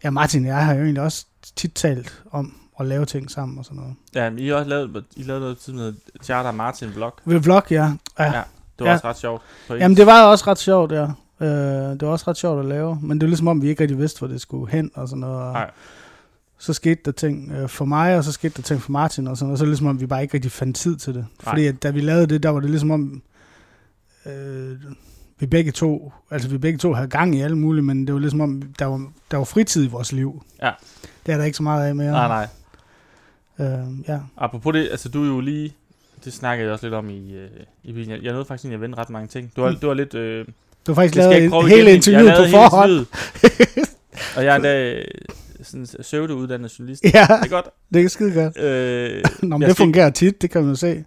Speaker 7: ja, Martin og jeg har jo egentlig også tit talt om at lave ting sammen og sådan noget.
Speaker 1: Ja, men I har også lavet, I lavede noget tid med Charter Martin Vlog.
Speaker 7: Ved vlog, ja. ja.
Speaker 1: Ja. Det var
Speaker 7: Ja.
Speaker 1: ja. også ret sjovt. På
Speaker 7: Jamen, det var også ret sjovt, ja. Øh, det var også ret sjovt at lave, men det var ligesom om, vi ikke rigtig vidste, hvor det skulle hen og sådan noget. Og,
Speaker 1: Nej.
Speaker 7: så skete der ting øh, for mig, og så skete der ting for Martin, og, sådan, og så er det ligesom om, vi bare ikke rigtig fandt tid til det.
Speaker 1: Nej.
Speaker 7: Fordi at, da vi lavede det, der var det ligesom om, øh, vi begge to, altså vi begge to havde gang i alt muligt, men det var ligesom om, der var, der var fritid i vores liv.
Speaker 1: Ja.
Speaker 7: Det er der ikke så meget af mere.
Speaker 1: Nej, nej.
Speaker 7: Øh, ja.
Speaker 1: Apropos det, altså du er jo lige, det snakkede jeg også lidt om i, øh, i bilen. Jeg, jeg nåede faktisk egentlig at vende ret mange ting. Du var,
Speaker 7: Mm.
Speaker 1: du var lidt... Øh, det
Speaker 7: Du har faktisk
Speaker 1: skal jeg
Speaker 7: lavet
Speaker 1: ikke prøve
Speaker 7: en,
Speaker 1: igen.
Speaker 7: hele
Speaker 1: Jeg
Speaker 7: interviewet
Speaker 1: lavede
Speaker 7: på
Speaker 1: hele
Speaker 7: forhånd. <laughs>
Speaker 1: interviewet. Og jeg er endda øh, sådan en pseudouddannet journalist.
Speaker 7: <laughs> Ja,
Speaker 1: Det er godt.
Speaker 7: det er skide godt.
Speaker 1: Øh,
Speaker 7: Nå, men
Speaker 1: Jeg
Speaker 7: det
Speaker 1: skal-
Speaker 7: fungerer tit, det kan man jo se.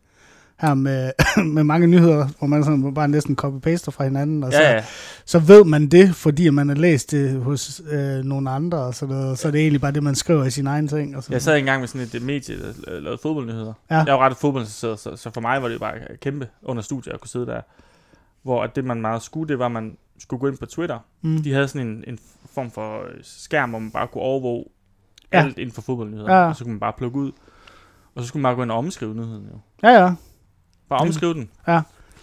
Speaker 7: Her med, <coughs> med mange nyheder, hvor man sådan bare næsten copy-paster fra hinanden. Og så,
Speaker 1: ja, ja.
Speaker 7: så ved man det, fordi man har læst det hos øh, nogle andre og sådan noget. Så er det egentlig bare det, man skriver i sin egen ting. Og sådan
Speaker 1: Jeg sad engang med sådan et øh, medie, der øh, lavede fodboldnyheder.
Speaker 7: Ja.
Speaker 1: Ja. Jeg var ret fodboldinteresseret, så, så for mig var det jo bare kæmpe under studiet at kunne sidde der. Hvor at det, man meget skulle, det var, at man skulle gå ind på Twitter.
Speaker 7: Mm.
Speaker 1: De havde sådan en, en form for øh, skærm, hvor man bare kunne overvåge
Speaker 7: Ja.
Speaker 1: ja. alt inden for fodboldnyheder.
Speaker 7: Ja.
Speaker 1: Ja. Og så kunne man bare plukke ud. Og så skulle man bare gå ind og omskrive nyheden jo.
Speaker 7: Ja, ja.
Speaker 1: Bare omskrive den.
Speaker 7: Ja.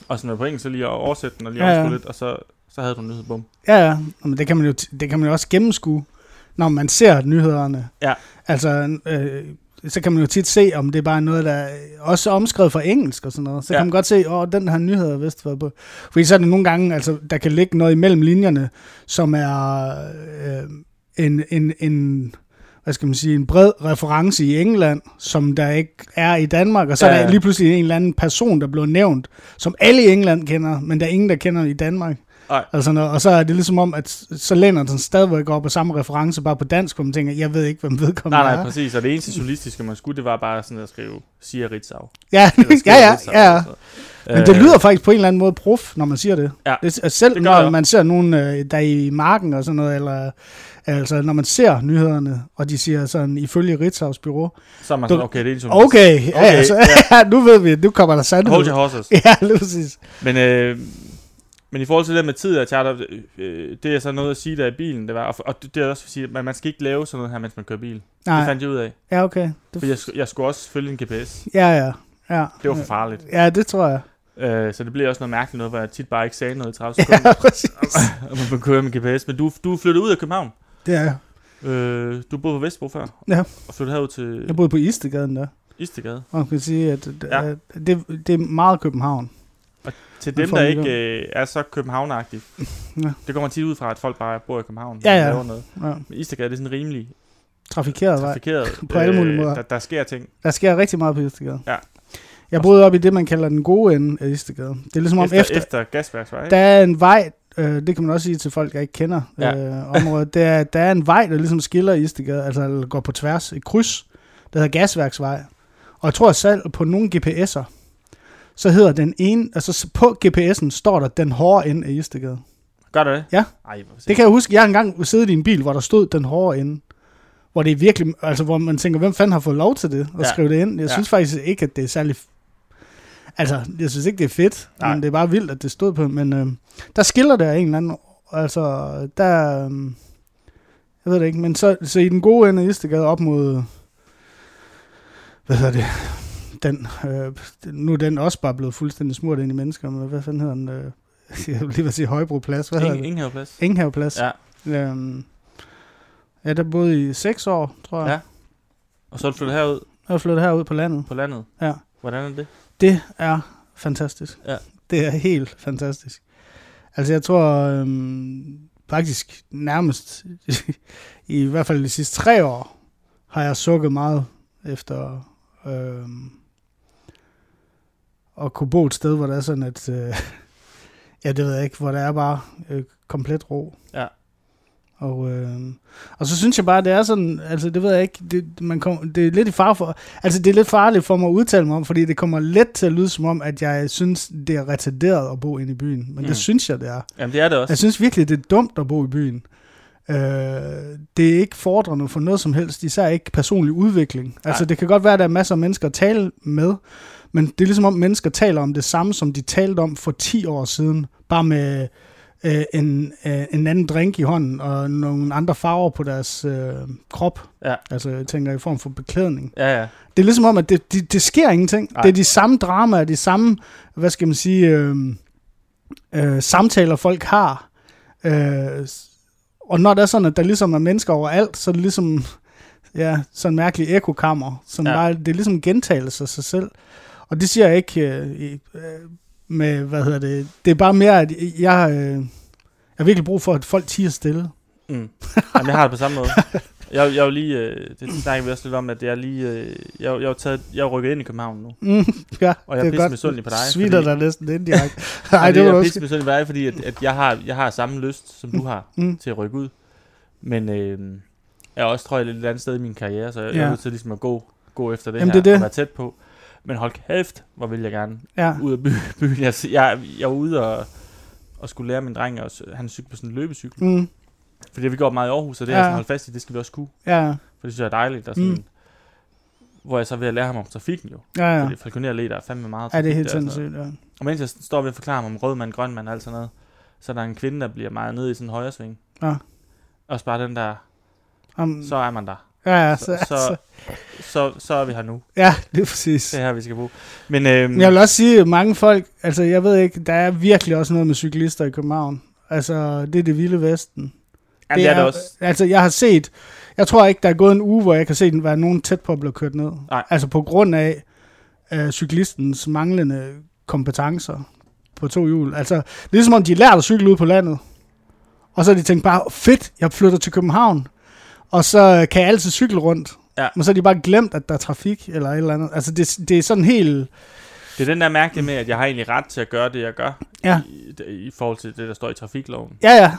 Speaker 1: Og sådan på engelsk, så lige at oversætte den og lige
Speaker 7: Ja, ja.
Speaker 1: ja, ja. lidt, og så, så havde du en nyhed. Bum.
Speaker 7: Ja, ja. Nå, Men det kan man jo, det kan man jo også gennemskue, når man ser nyhederne.
Speaker 1: Ja.
Speaker 7: Altså, øh, så kan man jo tit se, om det er bare noget, der er også er omskrevet fra engelsk og sådan noget. Så ja.
Speaker 1: Ja.
Speaker 7: kan man godt se, at den her nyhed har vist været på. Fordi så er det nogle gange, altså, der kan ligge noget imellem linjerne, som er øh, en, en, en, hvad skal man sige, en bred reference i England, som der ikke er i Danmark, og så ja,
Speaker 1: Ja,
Speaker 7: er der
Speaker 1: ja.
Speaker 7: lige pludselig en eller anden person, der blev nævnt, som alle i England kender, men der er ingen, der kender i Danmark.
Speaker 1: Nej.
Speaker 7: Og, sådan noget. og så er det ligesom om, at så læner den stadigvæk op på samme reference, bare på dansk, hvor man tænker, jeg ved ikke, hvem vedkommende
Speaker 1: Nej,
Speaker 7: er.
Speaker 1: nej, præcis. Og det eneste journalistiske, man skulle, det var bare sådan at skrive, siger Ritzau.
Speaker 7: <laughs> Ja,
Speaker 1: Eller
Speaker 7: ja,
Speaker 1: skriver
Speaker 7: ja,
Speaker 1: Ritzau,
Speaker 7: ja.
Speaker 1: eller sådan noget.
Speaker 7: Men det
Speaker 1: altså. Øh,
Speaker 7: lyder faktisk på en eller anden måde prof, når man siger det.
Speaker 1: Ja,
Speaker 7: det og selv
Speaker 1: det gør
Speaker 7: når
Speaker 1: jeg.
Speaker 7: man ser nogen, øh, der er i marken og sådan noget, eller altså når man ser nyhederne, og de siger sådan, ifølge Ritzau's bureau,
Speaker 1: Så er man
Speaker 7: Du-
Speaker 1: sådan, okay, det er en journalist.
Speaker 7: okay, okay ja,
Speaker 1: Okay,
Speaker 7: altså, ja. nu ved vi, nu kommer der sandhed.
Speaker 1: Hold your horses.
Speaker 7: <laughs> ja, lige præcis.
Speaker 1: Men, øh, men i forhold til det med tid og charter, øh, det er så noget at sige der i bilen, det var, og, og det det er også at sige, at man, man skal ikke lave sådan noget her, mens man kører bil. Det
Speaker 7: Nej,
Speaker 1: fandt jeg ud af.
Speaker 7: ja, okay. Det,
Speaker 1: For jeg, sk- jeg skulle også følge en GPS.
Speaker 7: ja, ja, ja.
Speaker 1: Det var for farligt.
Speaker 7: Ja, det tror jeg.
Speaker 1: Øh, så det blev også noget mærkeligt noget, hvor jeg tit bare ikke sagde noget i 30
Speaker 7: Ja,
Speaker 1: sekunder, <laughs>
Speaker 7: <laughs> præcis.
Speaker 1: og man kunne køre med GPS. Men du, du er flyttet ud af København.
Speaker 7: Det er jeg.
Speaker 1: Øh, du boede på Vestbro før.
Speaker 7: Ja.
Speaker 1: Og flyttede herud til
Speaker 7: Jeg boede på Istergaden der,
Speaker 1: Istegade.
Speaker 7: og man kan sige, at at-
Speaker 1: Ja.
Speaker 7: at det, det er meget København.
Speaker 1: Til
Speaker 7: Hvad
Speaker 1: dem,
Speaker 7: får
Speaker 1: der
Speaker 7: man
Speaker 1: ikke øh, er så københavnagtige.
Speaker 7: Ja.
Speaker 1: Det kommer tit ud fra, at folk bare bor i København.
Speaker 7: Ja,
Speaker 1: og
Speaker 7: ja.
Speaker 1: laver noget.
Speaker 7: Ja.
Speaker 1: Men Istegade, det er sådan rimelig
Speaker 7: Trafikeret vej.
Speaker 1: trafikeret. øh,
Speaker 7: På alle mulige måder.
Speaker 1: Der, der sker ting.
Speaker 7: Der sker rigtig meget på Østergade.
Speaker 1: Ja.
Speaker 7: Jeg boede op i det, man kalder den gode ende af Østergade. Det er ligesom om
Speaker 1: efter,
Speaker 7: efter, efter,
Speaker 1: efter gasværksvej, ikke?
Speaker 7: der er en vej, øh, det kan man også sige til folk, der ikke kender
Speaker 1: Ja.
Speaker 7: øh, området, det er, der er en vej, der ligesom skiller Østergade, altså eller går på tværs, et kryds, der hedder Gasværksvej. Og jeg tror selv på nogle GPS'er, så hedder den ene, altså s- på GPS'en står der den hårde ende af Østergade.
Speaker 1: Gør det det?
Speaker 7: Ja.
Speaker 1: Ej, hvor
Speaker 7: Det kan jeg huske, jeg har engang siddet i en bil, hvor der stod den hårde ende. Hvor det er virkelig, altså hvor man tænker, hvem fanden har fået lov til det, at ja.
Speaker 1: Ja.
Speaker 7: skrive det ind. Jeg
Speaker 1: Ja.
Speaker 7: synes faktisk ikke, at det er særlig, altså jeg synes ikke, det er fedt, Nej.
Speaker 1: Nej.
Speaker 7: men det er bare vildt, at det stod på. Men øh, der skiller der en eller anden, altså der, øh, jeg ved det ikke, men så, så i den gode ende af Istegade op mod, hvad hedder det, den, øh, nu er den også bare blevet fuldstændig smurt ind i mennesker, men hvad fanden hedder den, øh, <laughs> jeg vil lige ved at sige Højbro Plads, hvad hedder
Speaker 1: Ingen,
Speaker 7: det?
Speaker 1: ingen plads.
Speaker 7: Enghaveplads.
Speaker 1: Ja.
Speaker 7: Øhm, ja, der boede i seks år, tror jeg. Ja.
Speaker 1: Ja. Og så er du flyttet herud
Speaker 7: Jeg er flyttet herud på landet.
Speaker 1: på landet.
Speaker 7: Ja.
Speaker 1: Hvordan er det?
Speaker 7: Det er fantastisk.
Speaker 1: Ja.
Speaker 7: Det er helt fantastisk. Altså, jeg tror øhm, faktisk nærmest, <laughs> i hvert fald de sidste tre år, har jeg sukket meget efter øhm, at kunne bo et sted, hvor det er sådan, at øh, <laughs> ja, det ved jeg ikke, hvor der er bare øh, komplet ro.
Speaker 1: Ja.
Speaker 7: Og, øh, og så synes jeg bare, det er sådan, altså det ved jeg ikke, det, man kom, det er lidt i far for, altså det er lidt farligt for mig at udtale mig om, fordi det kommer let til at lyde som om, at jeg synes, det er retarderet at bo inde i byen. Men mm.
Speaker 1: Mm.
Speaker 7: det synes jeg, det er.
Speaker 1: Jamen, det er det også.
Speaker 7: Jeg synes virkelig, det er dumt at bo i byen. Øh, det er ikke fordrende for noget som helst, især ikke personlig udvikling. Altså,
Speaker 1: Nej.
Speaker 7: det kan godt være, at der er masser af mennesker at tale med, men det er ligesom om mennesker taler om det samme, som de talte om for 10 år siden, bare med øh, en, øh, en anden drink i hånden og nogle andre farver på deres øh, krop.
Speaker 1: Ja.
Speaker 7: Altså, jeg tænker i form for beklædning.
Speaker 1: Ja, ja.
Speaker 7: Det er ligesom om, at det, det, det sker ingenting. Nej.
Speaker 1: Nej.
Speaker 7: Det er de samme dramaer, de samme, hvad skal man sige, øh, øh, samtaler folk har. Øh, s- og når det er sådan, at der ligesom er mennesker overalt, så er det ligesom ja, sådan en mærkelig ekokammer. Som
Speaker 1: Ja.
Speaker 7: ja. bare, det er ligesom en gentagelse af sig selv. Og det siger jeg ikke øh, i- øh, med, hvad hedder det, det er bare mere, at jeg, øh, jeg har virkelig brug for, at folk tiger stille.
Speaker 1: Mm. Jamen, jeg har det på samme
Speaker 7: <laughs>
Speaker 1: måde. Jeg, jeg er jo lige, øh, det snakker vi også lidt om, at jeg er lige, øh, jeg, jeg, er jo taget, jeg er rykket ind i København nu.
Speaker 7: Mm, <laughs> ja,
Speaker 1: Og jeg er
Speaker 7: det
Speaker 1: pisse misundelig på dig,
Speaker 7: Sviner
Speaker 1: fordi-
Speaker 7: dig næsten
Speaker 1: <laughs>
Speaker 7: indirekte.
Speaker 1: Ej,
Speaker 7: Nej, det var
Speaker 1: jeg
Speaker 7: du
Speaker 1: er
Speaker 7: også.
Speaker 1: pisse misundelig med dig, fordi at, at jeg, har, jeg har samme lyst, som du har,
Speaker 7: Mm.
Speaker 1: til at rykke ud. Men øh, jeg er også, tror jeg, lidt et andet sted i min karriere, så jeg ja. er
Speaker 7: Ja.
Speaker 1: nødt til ligesom at gå, gå efter det
Speaker 7: Jamen,
Speaker 1: her
Speaker 7: det er det.
Speaker 1: og være tæt på. Men hold kæft, hvor vil jeg gerne
Speaker 7: Ja.
Speaker 1: ud af by, <laughs> byen. Jeg, jeg, jeg var ude og, og skulle lære min dreng, og han cyklede på sådan en løbecykel.
Speaker 7: Mm,
Speaker 1: Fordi det har vi gjort meget i Aarhus, og det har
Speaker 7: Ja.
Speaker 1: jeg sådan holdt fast i, det skal vi også kunne.
Speaker 7: ja,
Speaker 1: For det synes jeg er dejligt. Og sådan,
Speaker 7: Mm.
Speaker 1: mm. Hvor jeg så er ved at lære ham om trafikken jo.
Speaker 7: ja,
Speaker 1: Ja.
Speaker 7: ja.
Speaker 1: Fordi falconer der er fandme meget
Speaker 7: Ja, det er helt
Speaker 1: der og sådan noget.
Speaker 7: sindssygt, ja.
Speaker 1: Og mens jeg står ved at forklare ham om rødmand, grønmand og alt sådan noget, så er der en kvinde, der bliver meget nede i sådan en højre sving.
Speaker 7: Ja.
Speaker 1: Og bare den der,
Speaker 7: Um,
Speaker 1: så er man der.
Speaker 7: ja, ja,
Speaker 1: Så,
Speaker 7: så,
Speaker 1: så, Øhm. så, så, så er vi her nu.
Speaker 7: ja, <laughs> det er præcis.
Speaker 1: Det er her, vi skal bruge. Men, øhm,
Speaker 7: Men jeg vil også sige, at mange folk, altså jeg ved ikke, der er virkelig også noget med cyklister i København. Altså, det er det vilde vesten.
Speaker 1: jamen, det er det også.
Speaker 7: Altså, jeg har set, jeg tror ikke, der er gået en uge, hvor jeg kan se, at være nogen tæt på at blive kørt ned.
Speaker 1: Nej.
Speaker 7: Altså på grund af øh, cyklistens manglende kompetencer på to hjul. Altså, ligesom om de lærte at cykle ud på landet. Og så har de tænkt bare, fedt, jeg flytter til København. Og så kan jeg altid cykle rundt.
Speaker 1: Ja.
Speaker 7: Men så har de bare glemt, at der er trafik eller et eller andet. Altså, det, det er sådan helt...
Speaker 1: Det er den der mærke med, at jeg har egentlig ret til at gøre det, jeg gør.
Speaker 7: Ja.
Speaker 1: I, I forhold til det, der står i trafikloven.
Speaker 7: Ja, ja,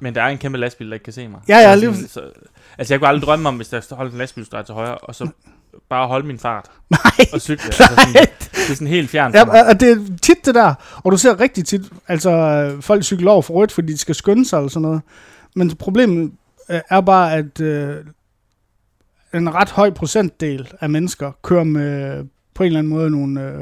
Speaker 1: Men der er en kæmpe lastbil, der ikke kan se mig.
Speaker 7: Ja, ja,
Speaker 1: Jeg er
Speaker 7: lige
Speaker 1: sådan- så, altså, jeg kunne aldrig drømme om, hvis der holdt en lastbil, der er til højre, og så bare holde min fart
Speaker 7: <laughs> Nej,
Speaker 1: og cykle. altså, sådan, det er sådan helt fjernt
Speaker 7: Ja,
Speaker 1: for mig.
Speaker 7: og- og det er tit det der, og du ser rigtig tit, altså øh, folk cykler over for rødt, fordi de skal skynde sig eller sådan noget. Men problemet øh, er bare, at øh, en ret høj procentdel af mennesker kører med på en eller anden måde nogle øh,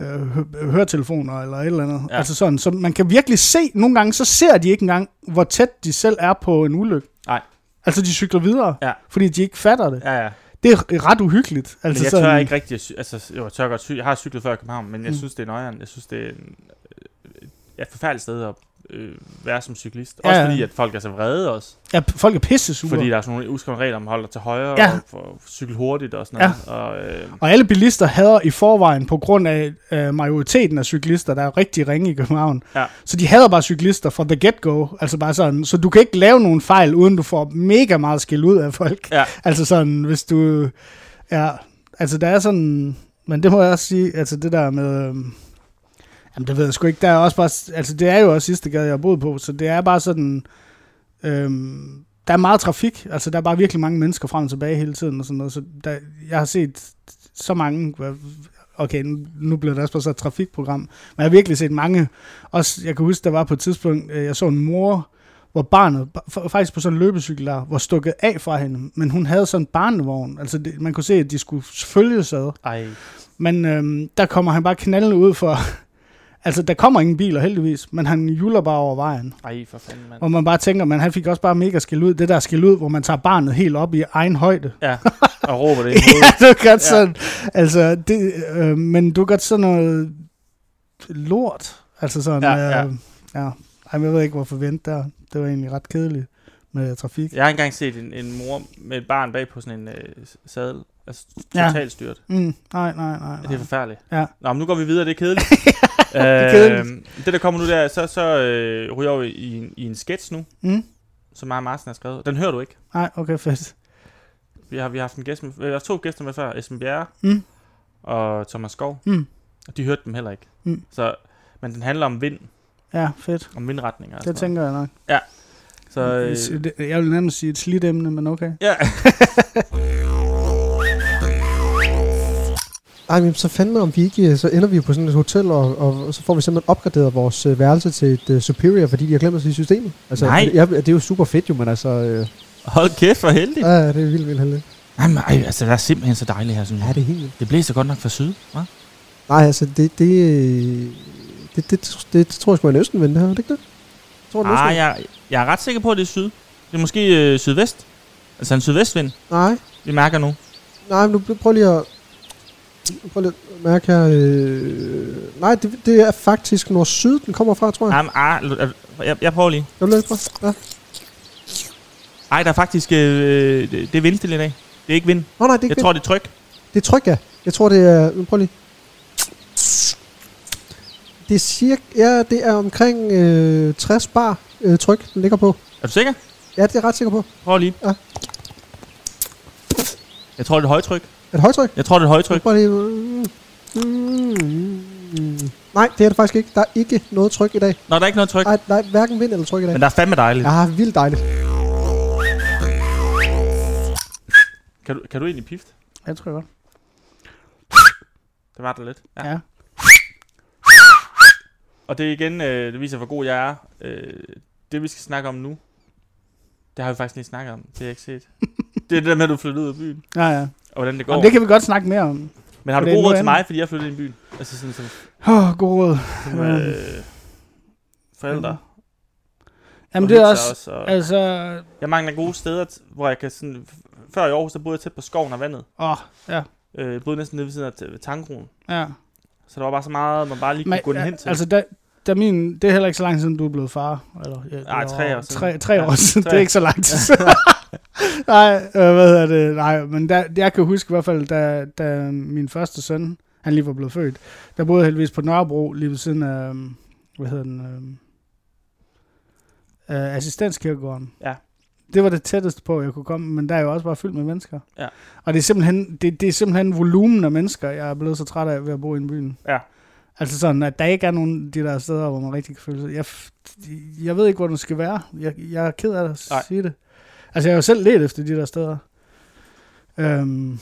Speaker 7: øh, hø- høretelefoner eller et eller andet.
Speaker 1: Ja.
Speaker 7: Ja. Altså sådan, så man kan virkelig se, nogle gange så ser de ikke engang, hvor tæt de selv er på en ulykke.
Speaker 1: Nej.
Speaker 7: Altså de cykler videre,
Speaker 1: Ja.
Speaker 7: fordi de ikke fatter det.
Speaker 1: Ja, ja.
Speaker 7: Det er ret uhyggeligt.
Speaker 1: Men
Speaker 7: Altså
Speaker 1: jeg
Speaker 7: sådan,
Speaker 1: tør ikke rigtig, at cy- altså jo, jeg tør godt cy- jeg har cyklet før i København, men jeg
Speaker 7: Mm.
Speaker 1: synes, det er nøjeren. Jeg synes, det er en, øh, ja, et forfærdeligt sted at øh, være som cyklist.
Speaker 7: Ja,
Speaker 1: Også
Speaker 7: ja.
Speaker 1: fordi, at folk er så vrede også.
Speaker 7: Ja, folk er pisse sure.
Speaker 1: Fordi der er sådan nogle uskrevne regler om at holde dig til højre
Speaker 7: Ja.
Speaker 1: og for, cykle hurtigt og sådan noget. Og, øh,
Speaker 7: Mm. Og alle bilister hader i forvejen på grund af øh, majoriteten af cyklister, der er rigtig ringe i København.
Speaker 1: Ja.
Speaker 7: Så de hader bare cyklister fra the get-go. Altså bare sådan, så du kan ikke lave nogen fejl, uden du får mega meget skæld ud af folk.
Speaker 1: Ja.
Speaker 7: <laughs> Altså sådan, hvis du... Ja, altså der er sådan... Men det må jeg også sige, altså det der med... Øh, jamen det ved jeg sgu ikke. Der er også bare... Altså det er jo også sidste gade, jeg har boet på, så det er bare sådan... Øhm, der er meget trafik, altså der er bare virkelig mange mennesker frem og tilbage hele tiden og sådan noget, så der, jeg har set så mange, hvad- okay, nu, nu bliver det også bare så et trafikprogram, men jeg har virkelig set mange, også, jeg kan huske, der var på et tidspunkt, øh, jeg så en mor, hvor barnet, ba- fa- faktisk på sådan en løbecykel der, var stukket af fra hende, men hun havde sådan en barnevogn, altså det, man kunne se, at de skulle følges ad,
Speaker 1: ej,
Speaker 7: men øhm, der kommer han bare knaldende ud for, <laughs> altså der kommer ingen biler heldigvis, men han juller bare over vejen.
Speaker 1: ej, for fanden, mand.
Speaker 7: Og man bare tænker, man han fik også bare mega skæld ud. Det der skæld ud, hvor man tager barnet helt op i egen højde.
Speaker 1: Ja, og råber det i
Speaker 7: <laughs> ja,
Speaker 1: hovedet.
Speaker 7: det er godt
Speaker 1: Ja.
Speaker 7: ja. sådan. Altså, det, øh, men du er godt sådan noget lort. Altså sådan,
Speaker 1: Ja, ja.
Speaker 7: Øh, ja. Ej, men jeg ved ikke, hvorfor vente der. Det var egentlig ret kedeligt med trafik.
Speaker 1: Jeg har engang set en, en mor med et barn bag på sådan en øh, sadel. Altså
Speaker 7: Ja.
Speaker 1: totalt styrt.
Speaker 7: Mm, nej, nej, nej.
Speaker 1: Ja, det
Speaker 7: nej.
Speaker 1: er forfærdeligt.
Speaker 7: Ja.
Speaker 1: Nå, men nu går vi videre, det er
Speaker 7: <laughs>
Speaker 1: kedeligt. det,
Speaker 7: er kedeligt.
Speaker 1: Øh, det, der kommer nu, der, så, så øh, ryger jeg jo i, en, i en sketch nu,
Speaker 7: Mm?
Speaker 1: som mig og Martin har skrevet. Den hører du ikke.
Speaker 7: Nej, okay, fedt.
Speaker 1: Vi har, vi har haft en gæst med, vi har haft to gæster med før, Esben Bjerre
Speaker 7: Mm.
Speaker 1: og Thomas Skov.
Speaker 7: Mm.
Speaker 1: Og de hørte dem heller ikke.
Speaker 7: Mm.
Speaker 1: Så, men den handler om vind,
Speaker 7: Ja, fedt.
Speaker 1: om vindretninger. og
Speaker 7: Det
Speaker 1: sådan
Speaker 7: tænker jeg nok.
Speaker 1: noget. Så, øh,
Speaker 7: Øh... Jeg vil nærmest sige et slidt emne, men okay.
Speaker 1: ja.
Speaker 3: Ej, men så fandme om vi ikke, øh, så ender vi jo på sådan et hotel, og, og så får vi simpelthen opgraderet vores øh, værelse til et uh, superior, fordi de har glemt os i systemet. Altså,
Speaker 1: Nej.
Speaker 3: Ja, det er jo super fedt jo, men altså, øh,
Speaker 1: Hold kæft, hvor heldig.
Speaker 3: ja, ja, det er vildt, vildt heldigt.
Speaker 1: Jamen, ej, altså, det er simpelthen så dejligt her, synes
Speaker 3: Ja, det er helt vildt.
Speaker 1: Det blæser godt nok fra syd, hva'?
Speaker 3: Nej, altså, det, det, øh, det, det, det, tror jeg sgu er en østenvind, det her, er det ikke det? Jeg tror, det er en
Speaker 1: Ah,
Speaker 3: østenvind.
Speaker 1: jeg, jeg er ret sikker på, at det er syd. Det er måske øh, sydvest. Altså en sydvestvind,
Speaker 3: Nej,
Speaker 1: vi mærker nu.
Speaker 3: nej, men nu prøv lige at... Prøv lige at mærke her... Øh, nej, det, det er faktisk nord-syd, den kommer fra, tror jeg.
Speaker 1: Jamen, ah, l- øh, jeg, jeg prøver lige.
Speaker 3: Jeg vil lige prøve. Ja.
Speaker 1: Ej, der er faktisk... Øh, det det er vindstil i dag. Det er ikke vind.
Speaker 4: Nå nej, det er
Speaker 1: Jeg
Speaker 4: ikke
Speaker 1: tror, det er tryk.
Speaker 4: Det er tryk, ja. Jeg tror, det er... nu Prøv lige. Det er cirka... Ja, det er omkring øh, 60 bar øh, tryk, den ligger på.
Speaker 1: Er du sikker?
Speaker 4: Ja, det er jeg ret sikker på.
Speaker 1: Prøv lige.
Speaker 4: Ja.
Speaker 1: Jeg tror, det er højtryk.
Speaker 4: Er det højtryk?
Speaker 1: Jeg tror, det er højtryk.
Speaker 4: Prøv lige. Mm, mm, nej, det er det faktisk ikke. Der er ikke noget tryk i dag.
Speaker 1: Nå, der er ikke noget tryk.
Speaker 4: Nej, nej hverken vind eller tryk i dag.
Speaker 1: Men der er fandme dejligt.
Speaker 4: Ja, vildt dejligt.
Speaker 1: Kan, du, kan du egentlig pift?
Speaker 7: Ja, det tror jeg godt.
Speaker 1: Det var der lidt.
Speaker 7: Ja. ja.
Speaker 1: Og det er igen, øh, det viser, hvor god jeg er. Øh, det, vi skal snakke om nu, det har vi faktisk lige snakket om. Det har jeg ikke set. det er det der med, at du flyttede ud af byen.
Speaker 7: Ja, ja.
Speaker 1: Og hvordan det går.
Speaker 7: Jamen, det kan vi godt snakke mere om.
Speaker 1: Men har du
Speaker 7: det er
Speaker 1: god
Speaker 7: nu
Speaker 1: råd til
Speaker 7: andet.
Speaker 1: mig, fordi jeg flyttede ind i byen? Altså sådan som
Speaker 7: Åh, oh, god råd.
Speaker 1: som, øh, forældre.
Speaker 7: Jamen,
Speaker 1: og
Speaker 7: det er
Speaker 1: hygge
Speaker 7: også...
Speaker 1: sig og
Speaker 7: Altså...
Speaker 1: Jeg mangler gode steder, t- hvor jeg kan sådan... Før i Aarhus, der boede jeg tæt på skoven og vandet.
Speaker 7: Åh, oh, ja.
Speaker 1: Øh, jeg boede næsten nede ved siden af t- ved Tangkronen.
Speaker 7: Ja.
Speaker 1: Så der var bare så meget, man bare lige kunne gå den hen til.
Speaker 7: altså, da, da min, det er heller ikke så lang tid siden, du er blevet far. Eller, ja, det
Speaker 1: Ej,
Speaker 7: var-
Speaker 1: tre år siden.
Speaker 7: Tre, tre
Speaker 1: Ja,
Speaker 7: år siden,
Speaker 1: tre.
Speaker 7: det er ikke så lang tid siden. <laughs> Nej, øh, hvad hedder det? Nej, men da, jeg kan huske i hvert fald, da, da min første søn, han lige var blevet født, der boede jeg heldigvis på Nørrebro, lige ved siden af, øhm, hvad hedder den, øh, øh, assistenskirkegården.
Speaker 1: Ja.
Speaker 7: Det var det tætteste på, jeg kunne komme, men der er jo også bare fyldt med mennesker.
Speaker 1: Ja.
Speaker 7: Og det er simpelthen, det, det er simpelthen volumen af mennesker, jeg er blevet så træt af ved at bo i en byen.
Speaker 1: Ja.
Speaker 7: Altså sådan, at der ikke er nogen af de der steder, hvor man rigtig kan føle sig. Jeg, f- jeg ved ikke, hvor den skal være. Jeg, jeg er ked af at
Speaker 1: Nej.
Speaker 7: sige det. Altså, jeg har jo selv let efter de der steder. Øhm,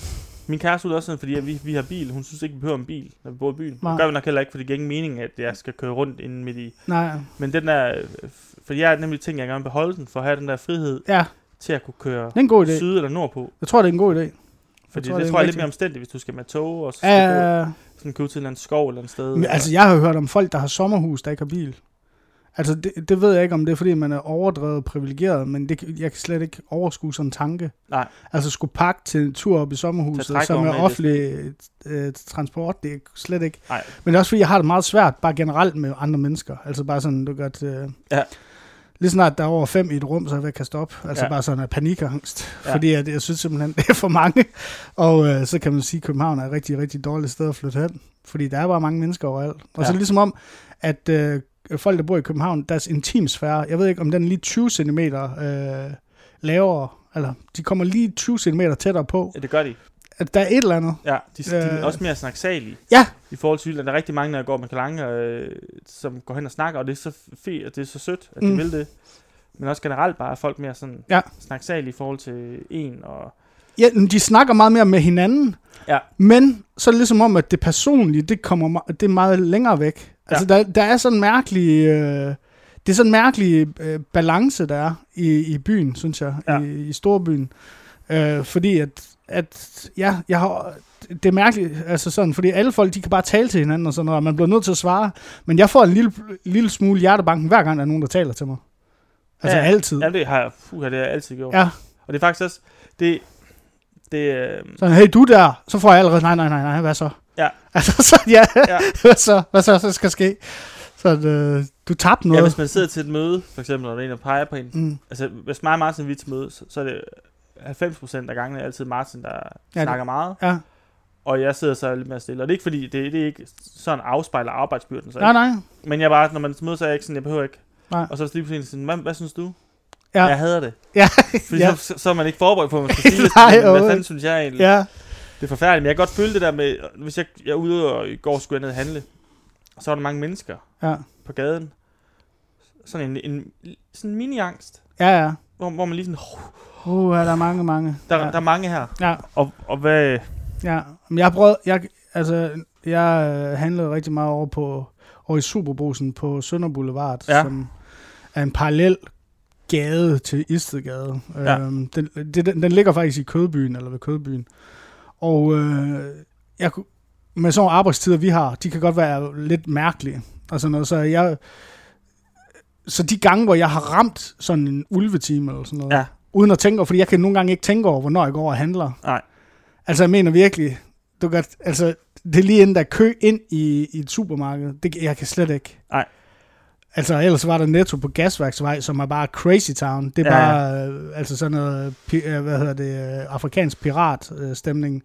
Speaker 1: Min kæreste er også sådan, fordi at vi, vi har bil. Hun synes ikke, vi behøver en bil, når vi bor i byen.
Speaker 7: Nej.
Speaker 1: Det gør vi nok heller ikke, fordi det giver ingen mening, at jeg skal køre rundt inden midt i.
Speaker 7: nej,
Speaker 1: Men den der... øh, f- Fordi jeg er nemlig ting, jeg gerne vil beholde den, for at have den der frihed
Speaker 7: ja,
Speaker 1: til at kunne køre
Speaker 7: det er en god idé.
Speaker 1: syd eller nordpå.
Speaker 7: Jeg tror, det er en god idé.
Speaker 1: Fordi
Speaker 7: tror,
Speaker 1: det,
Speaker 7: det er
Speaker 1: det tror jeg er lidt
Speaker 7: rigtig-
Speaker 1: mere omstændigt, hvis du skal med tog, og så skal du gå-
Speaker 7: Ja,
Speaker 1: sådan køre ud til en eller anden skov eller et sted.
Speaker 7: men
Speaker 1: eller-
Speaker 7: altså, jeg har jo hørt om folk, der har sommerhus, der ikke har bil. Altså, det, det ved jeg ikke, om det er, fordi man er overdrevet privilegeret, men det, kan- jeg kan slet ikke overskue sådan en tanke.
Speaker 1: Nej.
Speaker 7: Altså, skulle pakke til en tur op i sommerhuset,
Speaker 1: trækvogn
Speaker 7: som er
Speaker 1: med, det-
Speaker 7: offentlig øh, transport, det er slet ikke
Speaker 1: Nej,
Speaker 7: Men det er også fordi, jeg har det meget svært, bare generelt med andre mennesker. Altså bare sådan, du godt... Øh,
Speaker 1: Ja.
Speaker 7: Lige snart der er over fem i et rum, så er jeg ved at kaste op. Altså
Speaker 1: Ja.
Speaker 7: ja. bare sådan af panikangst.
Speaker 1: Ja.
Speaker 7: Ja. Fordi jeg, jeg synes simpelthen, <laughs> det er for mange. Og øh, så kan man sige, at København er et rigtig, rigtig dårligt sted at flytte hen. Fordi der er bare mange mennesker overalt. Og ja. så
Speaker 1: Ja.
Speaker 7: ligesom om, at øh, folk, der bor i København, deres intimsfære, jeg ved ikke, om den er lige 20 cm øh, lavere, eller de kommer lige 20 cm tættere på,
Speaker 1: ja, det gør de.
Speaker 7: at der er et eller andet.
Speaker 1: Ja, de, de er
Speaker 7: Øh.
Speaker 1: også mere snaksalige.
Speaker 7: Ja.
Speaker 1: I forhold til Jylland, der er rigtig mange, der går med kalange, øh, som går hen og snakker, og det er så fedt, og det er så sødt, at de
Speaker 7: Mm.
Speaker 1: vil det. Men også generelt bare er folk mere sådan
Speaker 7: Ja.
Speaker 1: snaksalige i forhold til en, og
Speaker 7: Ja, men de snakker meget mere med hinanden.
Speaker 1: Ja.
Speaker 7: Men så er det ligesom om, at det personlige, det kommer me- det er meget længere væk. Altså, der, der er sådan en mærkelig... Øh, det er sådan en mærkelig øh, balance, der er i, i byen, synes jeg.
Speaker 1: Ja.
Speaker 7: Ja. I, i storbyen. Øh, fordi at, at... Ja, jeg har... Det er mærkeligt, altså sådan, fordi alle folk, de kan bare tale til hinanden og sådan noget, og man bliver nødt til at svare. Men jeg får en lille, lille smule hjertebanken, hver gang der er nogen, der taler til mig. Altså
Speaker 1: Ja,
Speaker 7: altid.
Speaker 1: ja, det har jeg, puh, det har jeg altid gjort.
Speaker 7: Ja.
Speaker 1: Og det er faktisk også, det, det, øh,
Speaker 7: Sådan, hey, du der, så får jeg allerede, nej, nej, nej, nej, hvad så?
Speaker 1: Ja.
Speaker 7: <laughs> Altså, så, ja,
Speaker 1: Ja.
Speaker 7: ja. <laughs> hvad så, hvad så, så skal ske? Så øh, du tabte
Speaker 1: ja,
Speaker 7: noget.
Speaker 1: hvis man sidder til et møde, for eksempel, og der er en, der peger på en,
Speaker 7: mm.
Speaker 1: altså hvis mig og Martin vi er til møde, så, så er det 90% af gangene altid Martin, der ja,
Speaker 7: det-
Speaker 1: snakker meget.
Speaker 7: Ja,
Speaker 1: Og jeg sidder så lidt mere stille. Og det er ikke fordi, det, det er ikke sådan afspejler arbejdsbyrden. Så
Speaker 7: nej, nej.
Speaker 1: ikke. Men jeg er bare, når man møder, så er jeg ikke sådan, jeg behøver ikke.
Speaker 7: Nej.
Speaker 1: Og så er det lige pludselig sådan, hvad, hvad synes du?
Speaker 7: Ja.
Speaker 1: Jeg hader det.
Speaker 7: Ja,
Speaker 1: <laughs> Fordi
Speaker 7: ja.
Speaker 1: så, så, er man ikke forberedt på, at
Speaker 7: <laughs>
Speaker 1: man skal sige det.
Speaker 7: Nej,
Speaker 1: sådan, hvad
Speaker 7: overhovedet
Speaker 1: fanden
Speaker 7: ikke.
Speaker 1: synes jeg egentlig?
Speaker 7: Ja,
Speaker 1: Det er forfærdeligt, men jeg kan godt føle det der med, hvis jeg, jeg er ude og i går skulle jeg ned og handle, og så var der mange mennesker
Speaker 7: ja,
Speaker 1: på gaden. Sådan en, en sådan en mini-angst,
Speaker 7: ja, ja.
Speaker 1: hvor, hvor man lige sådan, oh,
Speaker 7: Uh, der er mange, mange.
Speaker 1: der,
Speaker 7: ja.
Speaker 1: der er mange her.
Speaker 7: ja.
Speaker 1: Og, og
Speaker 7: <laughs>
Speaker 1: hvad,
Speaker 7: Ja, men jeg har prøvet, jeg, altså, jeg øh, handlede rigtig meget over på, over i Superbrusen på Sønder Boulevard,
Speaker 1: Ja.
Speaker 7: som er en parallel gade til Istedgade.
Speaker 1: Ja.
Speaker 7: Øhm, den, det, den, den ligger faktisk i Kødbyen, eller ved Kødbyen. Og øh, jeg, kunne- med sådan nogle arbejdstider, vi har, de kan godt være lidt mærkelige. Og sådan noget, så jeg... Så de gange, hvor jeg har ramt sådan en ulvetime eller sådan noget,
Speaker 1: Ja.
Speaker 7: uden at tænke over, fordi jeg kan nogle gange ikke tænke over, hvornår jeg går og handler.
Speaker 1: Nej.
Speaker 7: Altså, jeg mener virkelig, du kan, altså, det er lige inden der er kø ind i, i et supermarked. Det, kan- jeg kan slet ikke.
Speaker 1: Nej.
Speaker 7: Altså, ellers var der netto på Gasværksvej, som er bare crazy town. Det er
Speaker 1: Ja,
Speaker 7: ja,
Speaker 1: ja.
Speaker 7: bare, øh, altså sådan noget, pi- øh, hvad hedder det, øh, afrikansk
Speaker 1: <laughs>
Speaker 7: pirat-stemning.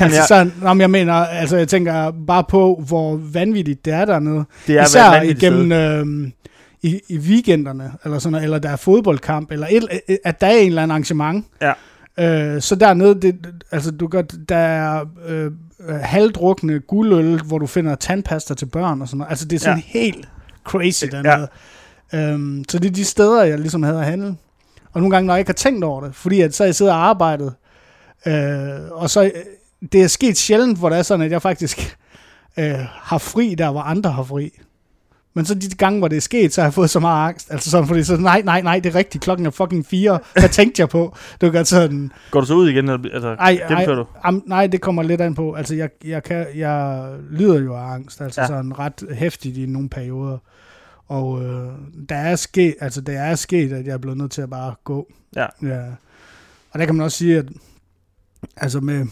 Speaker 7: altså,
Speaker 1: ja.
Speaker 7: sådan, nå, men jeg mener, altså, jeg tænker bare på, hvor vanvittigt det er dernede.
Speaker 1: Det er
Speaker 7: Især
Speaker 1: vanvittigt
Speaker 7: igennem øh, i, i weekenderne, eller, sådan, noget, eller der er fodboldkamp, eller et, øh, at der er en eller anden arrangement.
Speaker 1: Ja.
Speaker 7: Øh, så dernede, det, altså, du gør, der er øh, øh, halvdrukne guldøl, hvor du finder tandpasta til børn og sådan noget. Altså, det er sådan ja. helt crazy dernede. Ja. Øhm, så det er de steder, jeg ligesom havde at handle. Og nogle gange, når jeg ikke har tænkt over det, fordi at så jeg sidder og arbejdet, øh, og så øh, det er sket sjældent, hvor det er sådan, at jeg faktisk øh, har fri der, hvor andre har fri. Men så de gange, hvor det er sket, så har jeg fået så meget angst. Altså sådan, fordi så, nej, nej, nej, det er rigtigt, klokken er fucking fire. Hvad tænkte jeg på? Du gør sådan,
Speaker 1: Går du så ud igen, eller bl- altså,
Speaker 7: ej, ej,
Speaker 1: gennemfører du?
Speaker 7: am, nej, det kommer lidt an på. Altså, jeg, jeg, kan, jeg lider jo af angst, altså
Speaker 1: Ja.
Speaker 7: ja. sådan ret hæftigt i nogle perioder. Og øh, der er sket, altså det er sket, at jeg er blevet nødt til at bare gå.
Speaker 1: Ja.
Speaker 7: ja. Og der kan man også sige, at altså med,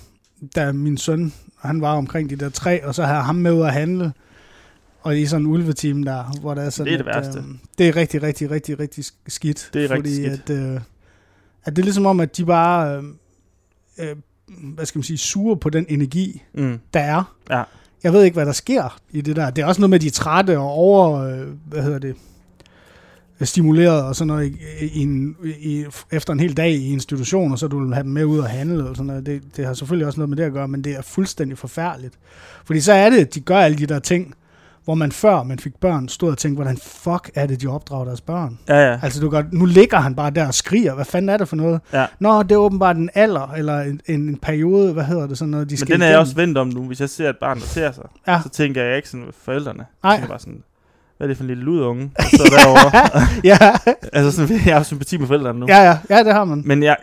Speaker 7: da min søn, han var omkring de der tre, og så havde jeg ham med ud at handle, og i sådan en ulveteam der, hvor der er sådan...
Speaker 1: Det er det
Speaker 7: at,
Speaker 1: værste.
Speaker 7: Øh, det er rigtig, rigtig, rigtig, rigtig sk- skidt.
Speaker 1: Det er rigtig skidt.
Speaker 7: At, øh, at det er ligesom om, at de bare, øh, øh, hvad skal man sige, suger på den energi,
Speaker 1: Mm.
Speaker 7: der er.
Speaker 1: Ja.
Speaker 7: Jeg ved ikke, hvad der sker i det der. Det er også noget med, at de er trætte og over, øh, hvad hedder det, stimuleret og sådan noget i, i en, i, efter en hel dag i institution, og så du vil have dem med ud og handle og sådan noget. Det, det har selvfølgelig også noget med det at gøre, men det er fuldstændig forfærdeligt. Fordi så er det, at de gør alle de der ting, hvor man før man fik børn, stod og tænkte, hvordan fuck er det, de opdrager deres børn?
Speaker 1: Ja, ja.
Speaker 7: Altså, du godt, nu ligger han bare der og skriger. Hvad fanden er det for noget?
Speaker 1: Ja.
Speaker 7: Nå, det er åbenbart en alder, eller en, en, en periode, hvad hedder det sådan noget, de
Speaker 1: Men
Speaker 7: skal
Speaker 1: den er jeg
Speaker 7: igennem.
Speaker 1: også vendt om nu. Hvis jeg ser et barn, der ser sig,
Speaker 7: Ja.
Speaker 1: så tænker jeg ikke sådan ved forældrene.
Speaker 7: Nej.
Speaker 1: Jeg tænker bare sådan, hvad er det for en lille ludunge, der sidder
Speaker 7: <laughs>
Speaker 1: derovre?
Speaker 7: <laughs> ja,
Speaker 1: altså sådan, jeg har sympati med forældrene nu.
Speaker 7: ja, ja, ja, det har man.
Speaker 1: Men jeg,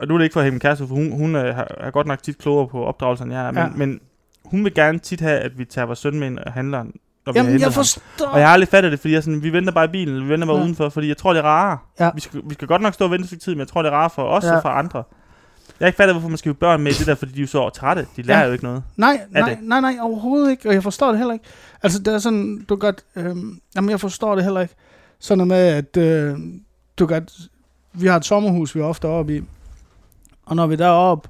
Speaker 1: og nu er det ikke for at hænge min kæreste, for hun, hun er, har- er godt nok tit klogere på opdragelsen, end jeg er. Men,
Speaker 7: Ja.
Speaker 1: men hun vil gerne tit have, at vi tager vores søn med ind og handler, når vi
Speaker 7: Jamen,
Speaker 1: henter
Speaker 7: jeg
Speaker 1: ham.
Speaker 7: forstår.
Speaker 1: Og jeg har aldrig fattet det, fordi jeg er sådan, vi venter bare i bilen, eller vi venter bare ja.
Speaker 7: Ja.
Speaker 1: udenfor, fordi jeg tror, det er rarere.
Speaker 7: Ja.
Speaker 1: Vi, skal, vi skal godt nok stå og vente et stykke tid, men jeg tror, det er rarere for os ja.
Speaker 7: Ja.
Speaker 1: og for andre. Jeg har ikke fattet, hvorfor man skal have børn med i det der, fordi de er jo så trætte. De lærer ja.
Speaker 7: Ja.
Speaker 1: jo ikke noget.
Speaker 7: Nej,
Speaker 1: Er
Speaker 7: nej,
Speaker 1: det?
Speaker 7: nej, nej, overhovedet ikke, og jeg forstår det heller ikke. Altså, det er sådan, du godt, øhm, jamen, jeg forstår det heller ikke. Sådan noget med, at øh, du godt, vi har et sommerhus, vi er ofte oppe i, og når vi er deroppe,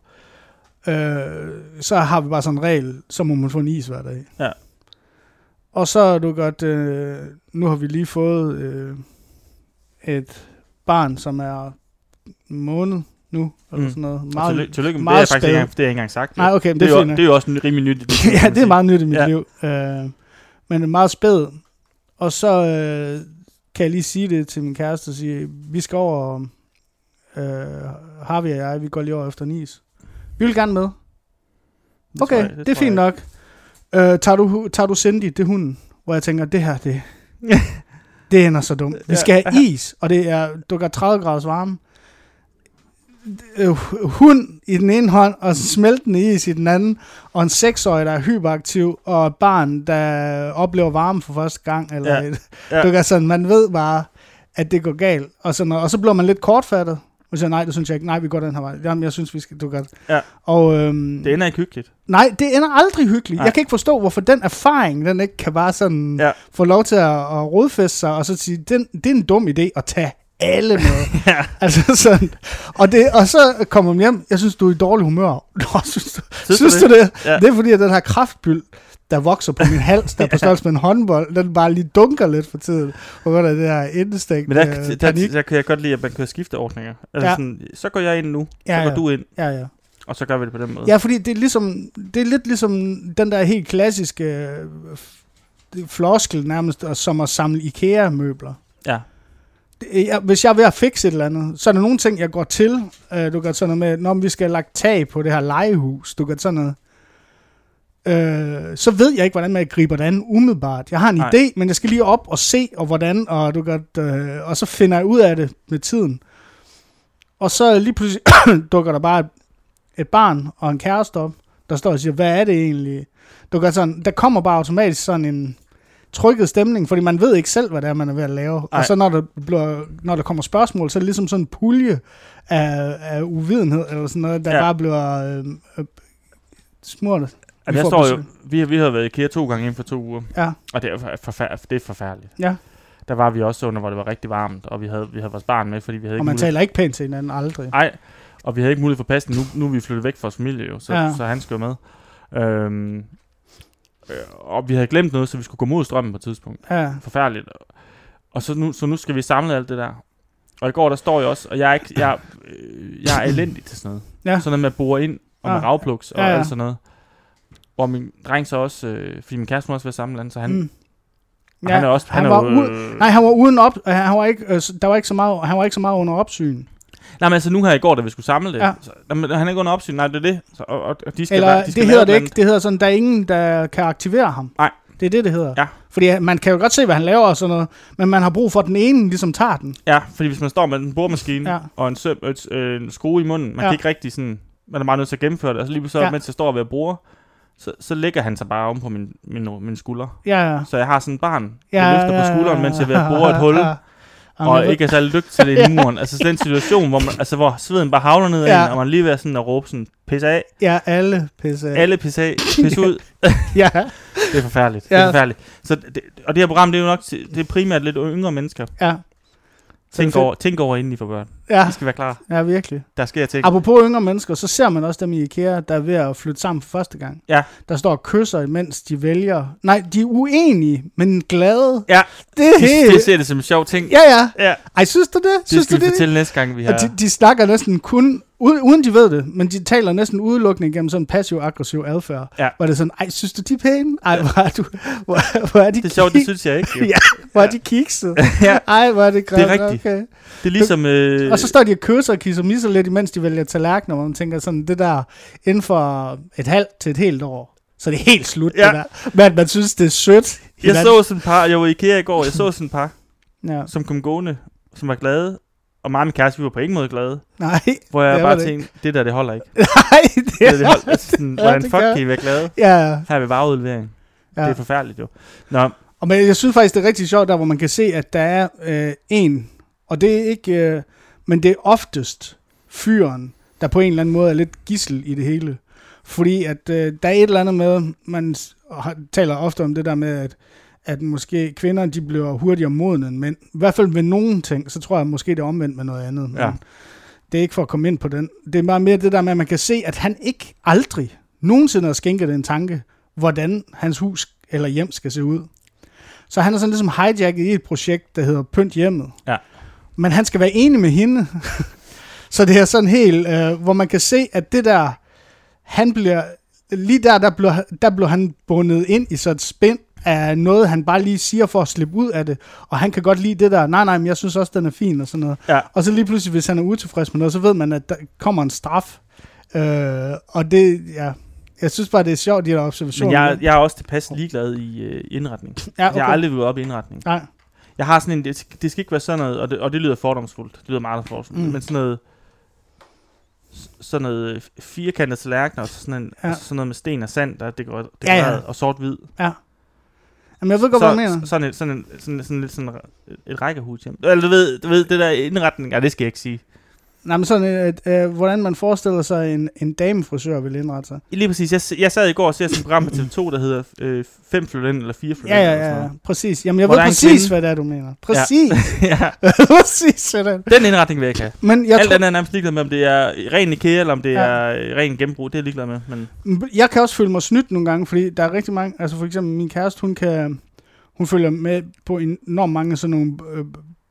Speaker 7: øh, så har vi bare sådan en regel, så må man få en is hver dag.
Speaker 1: Ja.
Speaker 7: Og så er du godt, øh, nu har vi lige fået øh, et barn, som er en måned nu, eller
Speaker 1: Mm.
Speaker 7: sådan noget.
Speaker 1: Meget, tillykke, tillykke med det,
Speaker 7: meget
Speaker 1: har jeg faktisk
Speaker 7: spæd.
Speaker 1: ikke engang, det har jeg ikke engang sagt.
Speaker 7: Nej, okay, men
Speaker 1: det, er
Speaker 7: det er
Speaker 1: jo,
Speaker 7: fint nok.
Speaker 1: det er jo også en rimelig
Speaker 7: <laughs>
Speaker 1: nyt. i det, kan
Speaker 7: ja,
Speaker 1: man
Speaker 7: det er
Speaker 1: sige.
Speaker 7: meget nyt i mit
Speaker 1: Ja.
Speaker 7: ja. liv. Øh, men er meget spæd. Og så øh, kan jeg lige sige det til min kæreste og sige, vi skal over, øh, Harvey og jeg, vi går lige over efter Nis. Vi vil gerne med.
Speaker 1: Det tror
Speaker 7: Okay,
Speaker 1: jeg-
Speaker 7: det, det er
Speaker 1: tror jeg
Speaker 7: fint nok. Øh, tager, du, hu- tager du Cindy, det er hunden, hvor jeg tænker, det her,
Speaker 1: <laughs>
Speaker 7: det, det ender så dumt. Vi skal have is, og det er, du gør 30 graders varme. Øh, hu- hund i den ene hånd, og smeltende is i den anden, og en seksårig, der er hyperaktiv, og et barn, der oplever varme for første gang. Eller
Speaker 1: Ja,
Speaker 7: ja. Et,
Speaker 1: ja.
Speaker 7: Du gør sådan, man ved bare, at det går galt. Og, sådan, noget. og så bliver man lidt kortfattet. Og siger, nej, det synes jeg ikke. Nej, vi går den her vej. Jamen, jeg synes, vi skal, du gør det.
Speaker 1: Ja.
Speaker 7: Og, øhm,
Speaker 1: Det ender ikke
Speaker 7: <laughs>
Speaker 1: hyggeligt.
Speaker 7: Nej, det ender aldrig hyggeligt.
Speaker 1: Nej.
Speaker 7: Nej. Jeg kan ikke forstå, hvorfor den erfaring, den ikke kan bare sådan
Speaker 1: Ja.
Speaker 7: ja. få lov til at, at rodfæste sig, og så sige, den, det er en dum idé at tage alle
Speaker 1: <laughs>
Speaker 7: med.
Speaker 1: Ja.
Speaker 7: altså sådan. Og, det, og så kommer de hjem, jeg synes, du er i dårlig humør. <laughs> Nå, synes du,
Speaker 1: du
Speaker 7: synes, synes du
Speaker 1: det?
Speaker 7: det? det?
Speaker 1: Ja.
Speaker 7: Ja. Det er fordi, at den her kraftbyld, der vokser på min hals, der er
Speaker 1: <laughs>
Speaker 7: på størrelse med en håndbold, den bare lige dunker lidt for tiden, på grund af det her indestængt
Speaker 1: Men der,
Speaker 7: øh,
Speaker 1: der, der,
Speaker 7: panik.
Speaker 1: der, kan jeg godt lide, at man kan skifte ordninger. Altså ja.
Speaker 7: Ja.
Speaker 1: sådan, så går jeg ind nu, så
Speaker 7: Ja,
Speaker 1: går
Speaker 7: ja.
Speaker 1: du ind,
Speaker 7: Ja, ja.
Speaker 1: og så gør vi det på den måde.
Speaker 7: Ja, fordi det er, ligesom, det er lidt ligesom den der helt klassiske øh, f- floskel nærmest, og som at samle IKEA-møbler.
Speaker 1: Ja.
Speaker 7: Det- Jeg, hvis jeg er ved at fikse et eller andet, så er der nogle ting, jeg går til. Øh, du gør sådan noget med, når vi skal have lagt tag på det her legehus, du gør sådan noget. Øh, så ved jeg ikke, hvordan man griber det an umiddelbart. Jeg har en
Speaker 1: Nej.
Speaker 7: Nej. idé, men jeg skal lige op og se, og hvordan, og, du gør, øh, og så finder jeg ud af det med tiden. Og så lige pludselig <coughs> dukker der bare et, et barn og en kæreste op, der står og siger, hvad er det egentlig? Du gør sådan, der kommer bare automatisk sådan en trykket stemning, fordi man ved ikke selv, hvad det er, man er ved at lave. Ej.
Speaker 1: Ej.
Speaker 7: Og så når der, bliver, når der kommer spørgsmål, så er det ligesom sådan en pulje af, af uvidenhed, eller sådan noget, der
Speaker 1: Ja.
Speaker 7: ja. bare bliver øh, øh, smurt.
Speaker 1: Jamen,
Speaker 7: Vi
Speaker 1: jeg
Speaker 7: får
Speaker 1: står jo,
Speaker 7: besøg.
Speaker 1: vi, har, vi har været i IKEA to gange inden for to uger,
Speaker 7: Ja,
Speaker 1: og det er, forfær- det er forfærdeligt.
Speaker 7: ja.
Speaker 1: der var vi også under, hvor det var rigtig varmt, og vi havde, vi havde vores barn med, fordi vi havde
Speaker 7: Og
Speaker 1: ikke
Speaker 7: man taler ikke pænt til hinanden aldrig.
Speaker 1: Nej, og vi havde ikke mulighed for pasning. Nu, nu er vi flyttet væk fra vores familie, jo, så,
Speaker 7: Ja.
Speaker 1: ja. så han skal jo med. Øhm, øh, og vi havde glemt noget, så vi skulle gå mod strømmen på et tidspunkt.
Speaker 7: Ja.
Speaker 1: Forfærdeligt. Og så nu, så nu skal vi samle alt det der. Og i går, der står jeg også, og jeg er, ikke, jeg, øh, jeg er elendig til sådan noget.
Speaker 7: Ja.
Speaker 1: Sådan noget med at bore ind, og med
Speaker 7: Ja.
Speaker 1: ravpluks og
Speaker 7: Ja,
Speaker 1: ja,
Speaker 7: ja.
Speaker 1: alt sådan noget. Hvor min dreng så også, øh, fordi min kæreste må også være sammen andet, så han, mm. ja, han er også...
Speaker 7: han,
Speaker 1: er
Speaker 7: var
Speaker 1: jo, øh,
Speaker 7: ude, nej, han var uden op, han var ikke, øh, der var ikke så meget, han var ikke så meget under opsyn.
Speaker 1: Nej, men altså nu her i går, da vi skulle samle det.
Speaker 7: Ja.
Speaker 1: Ja. Så, jamen, han er ikke under opsyn, nej, det er det. Så, og, og, og de skal
Speaker 7: Eller
Speaker 1: være, de skal
Speaker 7: det
Speaker 1: lave
Speaker 7: hedder
Speaker 1: et
Speaker 7: det
Speaker 1: eller
Speaker 7: ikke, det hedder sådan, der er ingen, der kan aktivere ham.
Speaker 1: Nej.
Speaker 7: Det er det, det hedder.
Speaker 1: Ja.
Speaker 7: Fordi øh, man kan jo godt se, hvad han laver og sådan noget, men man har brug for, at den ene ligesom tager den.
Speaker 1: andet. Ja, fordi hvis man står med en boremaskine
Speaker 7: Ja.
Speaker 1: ja. og en, søm, et, øh, en skrue i munden, man
Speaker 7: Ja.
Speaker 1: kan ikke rigtig sådan... Man er meget nødt til at gennemføre det, og så lige så,
Speaker 7: Ja.
Speaker 1: ja. mens jeg står ved at bruge, så, så ligger han sig bare oven på min, min, min skulder.
Speaker 7: Ja, ja.
Speaker 1: Så jeg har sådan en barn, der løfter på skulderen, mens jeg er ved at bore et hul,
Speaker 7: Ja. Jamen, jeg
Speaker 1: og
Speaker 7: ved-
Speaker 1: ikke er særlig dygtig til
Speaker 7: <laughs>
Speaker 1: det i muren. Altså den situation, hvor, man, altså, hvor sveden bare havler ned ad
Speaker 7: Ja.
Speaker 1: ja. en, og man er lige ved at sådan at råbe sådan, pis af,
Speaker 7: Ja, alle pisse af.
Speaker 1: alle pis af, pis ud,
Speaker 7: Ja,
Speaker 1: Det er forfærdeligt. Ja. Det
Speaker 7: Ja.
Speaker 1: er forfærdeligt. Så det, og det her program, det er jo nok til, det er primært lidt yngre mennesker.
Speaker 7: ja. Så det er
Speaker 1: Tænk
Speaker 7: fedt.
Speaker 1: over, tænk over, inden I får børn.
Speaker 7: Ja,
Speaker 1: I skal være klar.
Speaker 7: ja, virkelig.
Speaker 1: Der sker ting.
Speaker 7: Apropos yngre mennesker, så ser man også dem i IKEA, der er ved at flytte sammen for første gang.
Speaker 1: Ja.
Speaker 7: Der står og kysser, imens de vælger... Nej, de er uenige, men glade.
Speaker 1: Ja,
Speaker 7: Det er
Speaker 1: de, de
Speaker 7: helt...
Speaker 1: ser det som en sjov ting.
Speaker 7: Ja, ja.
Speaker 1: ja
Speaker 7: Ej, synes du det?
Speaker 1: det
Speaker 7: Synes
Speaker 1: skal
Speaker 7: du
Speaker 1: vi
Speaker 7: det?
Speaker 1: fortælle næste gang, vi har...
Speaker 7: Og de, de snakker næsten kun, uden, uden de ved det, men de taler næsten udelukkende gennem sådan passiv-aggressiv adfærd.
Speaker 1: Ja.
Speaker 7: Hvor det er sådan, ej, synes du de er pæne? Ej, hvor er, du, hvor, hvor er de
Speaker 1: Det er sjovt,
Speaker 7: <laughs>
Speaker 1: det
Speaker 7: kik-
Speaker 1: synes jeg ikke. Jo.
Speaker 7: Ja. Hvor er de
Speaker 1: <laughs>
Speaker 7: kikset? ja. Ej, hvor er det grimt.
Speaker 1: Det er rigtigt.
Speaker 7: Okay.
Speaker 1: Det er ligesom... Øh,
Speaker 7: Og så står de og kysser og kisser misser lidt, imens de vælger tallerkener, hvor man tænker sådan, det der inden for et halvt til et helt år, så er det helt slut, ja.
Speaker 1: Ja.
Speaker 7: det der. Men man synes, det er sødt.
Speaker 1: jeg så sådan et par, jeg var i IKEA i går, jeg så sådan et par,
Speaker 7: Ja. <laughs>
Speaker 1: som kom gående, som var glade. Og mig og min kæreste, vi var på ingen måde glade.
Speaker 7: Nej,
Speaker 1: Hvor jeg
Speaker 7: Det var
Speaker 1: bare
Speaker 7: det
Speaker 1: tænkte, det der, det holder
Speaker 7: <laughs>
Speaker 1: ikke. Det
Speaker 7: nej, det
Speaker 1: der, det
Speaker 7: er...
Speaker 1: holder, altså, sådan,
Speaker 7: Ja,
Speaker 1: hvordan
Speaker 7: det
Speaker 1: fuck
Speaker 7: gør-
Speaker 1: kan I være glade?
Speaker 7: <laughs> Ja,
Speaker 1: Her er vi bare udlevering. Ja. Det
Speaker 7: ja.
Speaker 1: er forfærdeligt jo. Nå,
Speaker 7: Og men jeg synes faktisk, det er rigtig sjovt, der hvor man kan se, at der er øh, en, og det er ikke, øh, men det er oftest fyren, der på en eller anden måde er lidt gissel i det hele. Fordi at øh, der er et eller andet med, man s- har- taler ofte om det der med, at, at måske kvinder, de bliver hurtigere modne end mænd. I hvert fald ved nogle ting, så tror jeg måske det er omvendt med noget andet. Men
Speaker 1: Ja.
Speaker 7: Det er ikke for at komme ind på den. Det er bare mere det der med, at man kan se, at han ikke aldrig nogensinde har skænket en tanke, hvordan hans hus eller hjem skal se ud. Så han er sådan ligesom hijacket i et projekt, der hedder Pynt Hjemmet.
Speaker 1: Ja.
Speaker 7: Men han skal være enig med hende. <laughs> så det er sådan helt, øh, hvor man kan se, at det der, han bliver, lige der, der blev, der blev han bundet ind i sådan et spind af noget, han bare lige siger for at slippe ud af det. Og han kan godt lide det der, nej, nej, men jeg synes også, den er fin og sådan noget.
Speaker 1: Ja.
Speaker 7: Og så lige pludselig, hvis han er utilfreds med noget, så ved man, at der kommer en straf. Øh, og det, ja, jeg synes bare, det er sjovt, de der
Speaker 1: Men
Speaker 7: observationer.
Speaker 1: jeg, jeg er også tilpas ligeglad i øh, indretning.
Speaker 7: ja,
Speaker 1: Jeg har aldrig været op i indretning.
Speaker 7: Nej.
Speaker 1: Jeg har sådan en, det, det skal ikke være sådan noget, og det, og det lyder fordomsfuldt, det lyder meget fordomsfuldt,
Speaker 7: Mm.
Speaker 1: mm. men sådan noget, s- sådan noget øh, firkantede tallerkener, og så sådan, en,
Speaker 7: Ja.
Speaker 1: ja. sådan noget med sten og sand, der er dekoreret,
Speaker 7: Ja, ja.
Speaker 1: dekoreret og sort-hvid.
Speaker 7: Jamen, jeg ved godt, hvad du mener.
Speaker 1: Så, sådan, et, sådan, en, sådan, sådan lidt sådan et- et rækkehus hjem. Eller du ved, du ved, det der indretning, ja, det skal jeg ikke sige.
Speaker 7: Nej, men sådan, øh, øh, hvordan man forestiller sig, en, en damefrisør vil indrette sig.
Speaker 1: Lige præcis, jeg, s- jeg sad i går og ser sådan et program på TV2, der hedder 5 øh, Fem flytter ind, eller 4 flytter
Speaker 7: Ja,
Speaker 1: ind,
Speaker 7: ja,
Speaker 1: eller sådan
Speaker 7: ja, ja,
Speaker 1: noget.
Speaker 7: præcis. Jamen, jeg
Speaker 1: Hvor
Speaker 7: ved
Speaker 1: der er en
Speaker 7: præcis,
Speaker 1: kvinde.
Speaker 7: hvad det er, du mener. Præcis. <laughs>
Speaker 1: ja. <laughs>
Speaker 7: præcis, hvad det er.
Speaker 1: Den indretning vil jeg ikke have.
Speaker 7: Men jeg,
Speaker 1: Jeg Alt
Speaker 7: tror,
Speaker 1: andet er nærmest ligeglad med, om det er ren IKEA, eller om det
Speaker 7: Ja.
Speaker 1: ja. er øh, ren genbrug. Det er jeg ligeglad med. Men
Speaker 7: jeg kan også føle mig snydt nogle gange, fordi der er rigtig mange, altså for eksempel min kæreste, hun kan, hun følger med på enormt mange sådan nogle øh,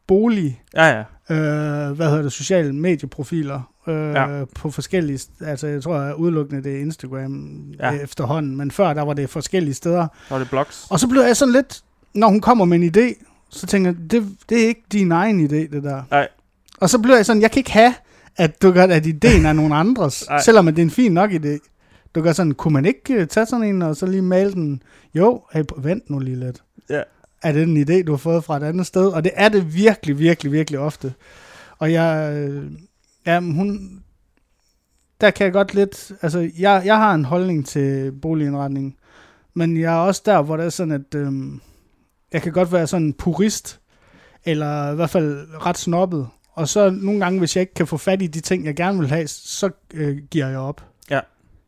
Speaker 7: bolig,
Speaker 1: ja, ja.
Speaker 7: øh, hvad hedder det, sociale medieprofiler øh, ja.
Speaker 1: Ja.
Speaker 7: på forskellige, st- altså jeg tror jeg udelukkende det er Instagram ja.
Speaker 1: Ja.
Speaker 7: efterhånden, men før der var det forskellige steder,
Speaker 1: Så er det blogs.
Speaker 7: Og så blev jeg sådan lidt, når hun kommer med en idé, så tænker jeg, det, det er ikke din egen idé, det der.
Speaker 1: Nej.
Speaker 7: Og så blev jeg sådan, jeg kan ikke have, at du gør, at ideen er nogen andres,
Speaker 1: <laughs> Nej.
Speaker 7: selvom at det er en fin nok idé. Du gør sådan, kunne man ikke øh, tage sådan en, og så lige male den? Jo, hey, p- vent nu lige lidt.
Speaker 1: Ja.
Speaker 7: Er det en idé, du har fået fra et andet sted? Og det er det virkelig, virkelig, virkelig ofte. Og jeg, øh, jamen hun, der kan jeg godt lidt, altså jeg, jeg har en holdning til boligindretning, men jeg er også der, hvor det er sådan, at øhm, jeg kan godt være sådan en purist, eller i hvert fald ret snobbet. Og så nogle gange, hvis jeg ikke kan få fat i de ting, jeg gerne vil have, så øh, giver jeg op.
Speaker 1: Ja.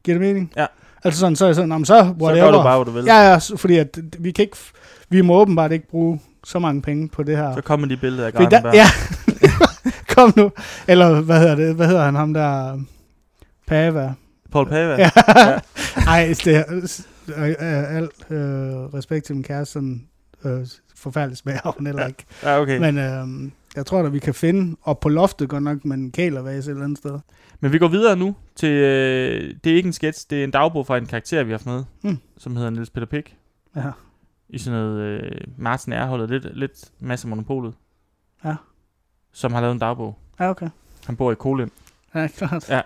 Speaker 7: Giver det mening?
Speaker 1: Ja.
Speaker 7: Altså sådan, så er jeg sådan, "Nå, men så
Speaker 1: Så
Speaker 7: whatever.
Speaker 1: gør du bare, hvad du vil.
Speaker 7: Ja, ja, s- fordi at, d- vi kan ikke, f- vi må åbenbart ikke bruge så mange penge på det her.
Speaker 1: Så kommer de billeder af
Speaker 7: Fordi der,
Speaker 1: Gardenberg.
Speaker 7: ja, <laughs> kom nu. Eller hvad hedder det? Hvad hedder han ham der? Pava.
Speaker 1: Paul Pava.
Speaker 7: Ja.
Speaker 1: Ja.
Speaker 7: <laughs> Ej, det er s- øh, øh, alt øh, respekt til min kæreste, sådan øh, forfærdelig smag har hun heller ikke.
Speaker 1: ja okay. Men.
Speaker 7: Men øh, jeg tror da, vi kan finde, og på loftet godt nok, men kælervase et eller andet sted.
Speaker 1: Men vi går videre nu til... Øh, det er ikke en sketch, det er en dagbog fra en karakter, vi har haft med,
Speaker 7: Hmm.
Speaker 1: hmm. som hedder Niels Peter Pick.
Speaker 7: Ja.
Speaker 1: I sådan noget øh, Martin Erholdet, lidt, lidt masse monopolet.
Speaker 7: Ja.
Speaker 1: Som har lavet en dagbog.
Speaker 7: Ja, okay.
Speaker 1: Han bor i Kolind.
Speaker 7: Ja, klart.
Speaker 1: Ja.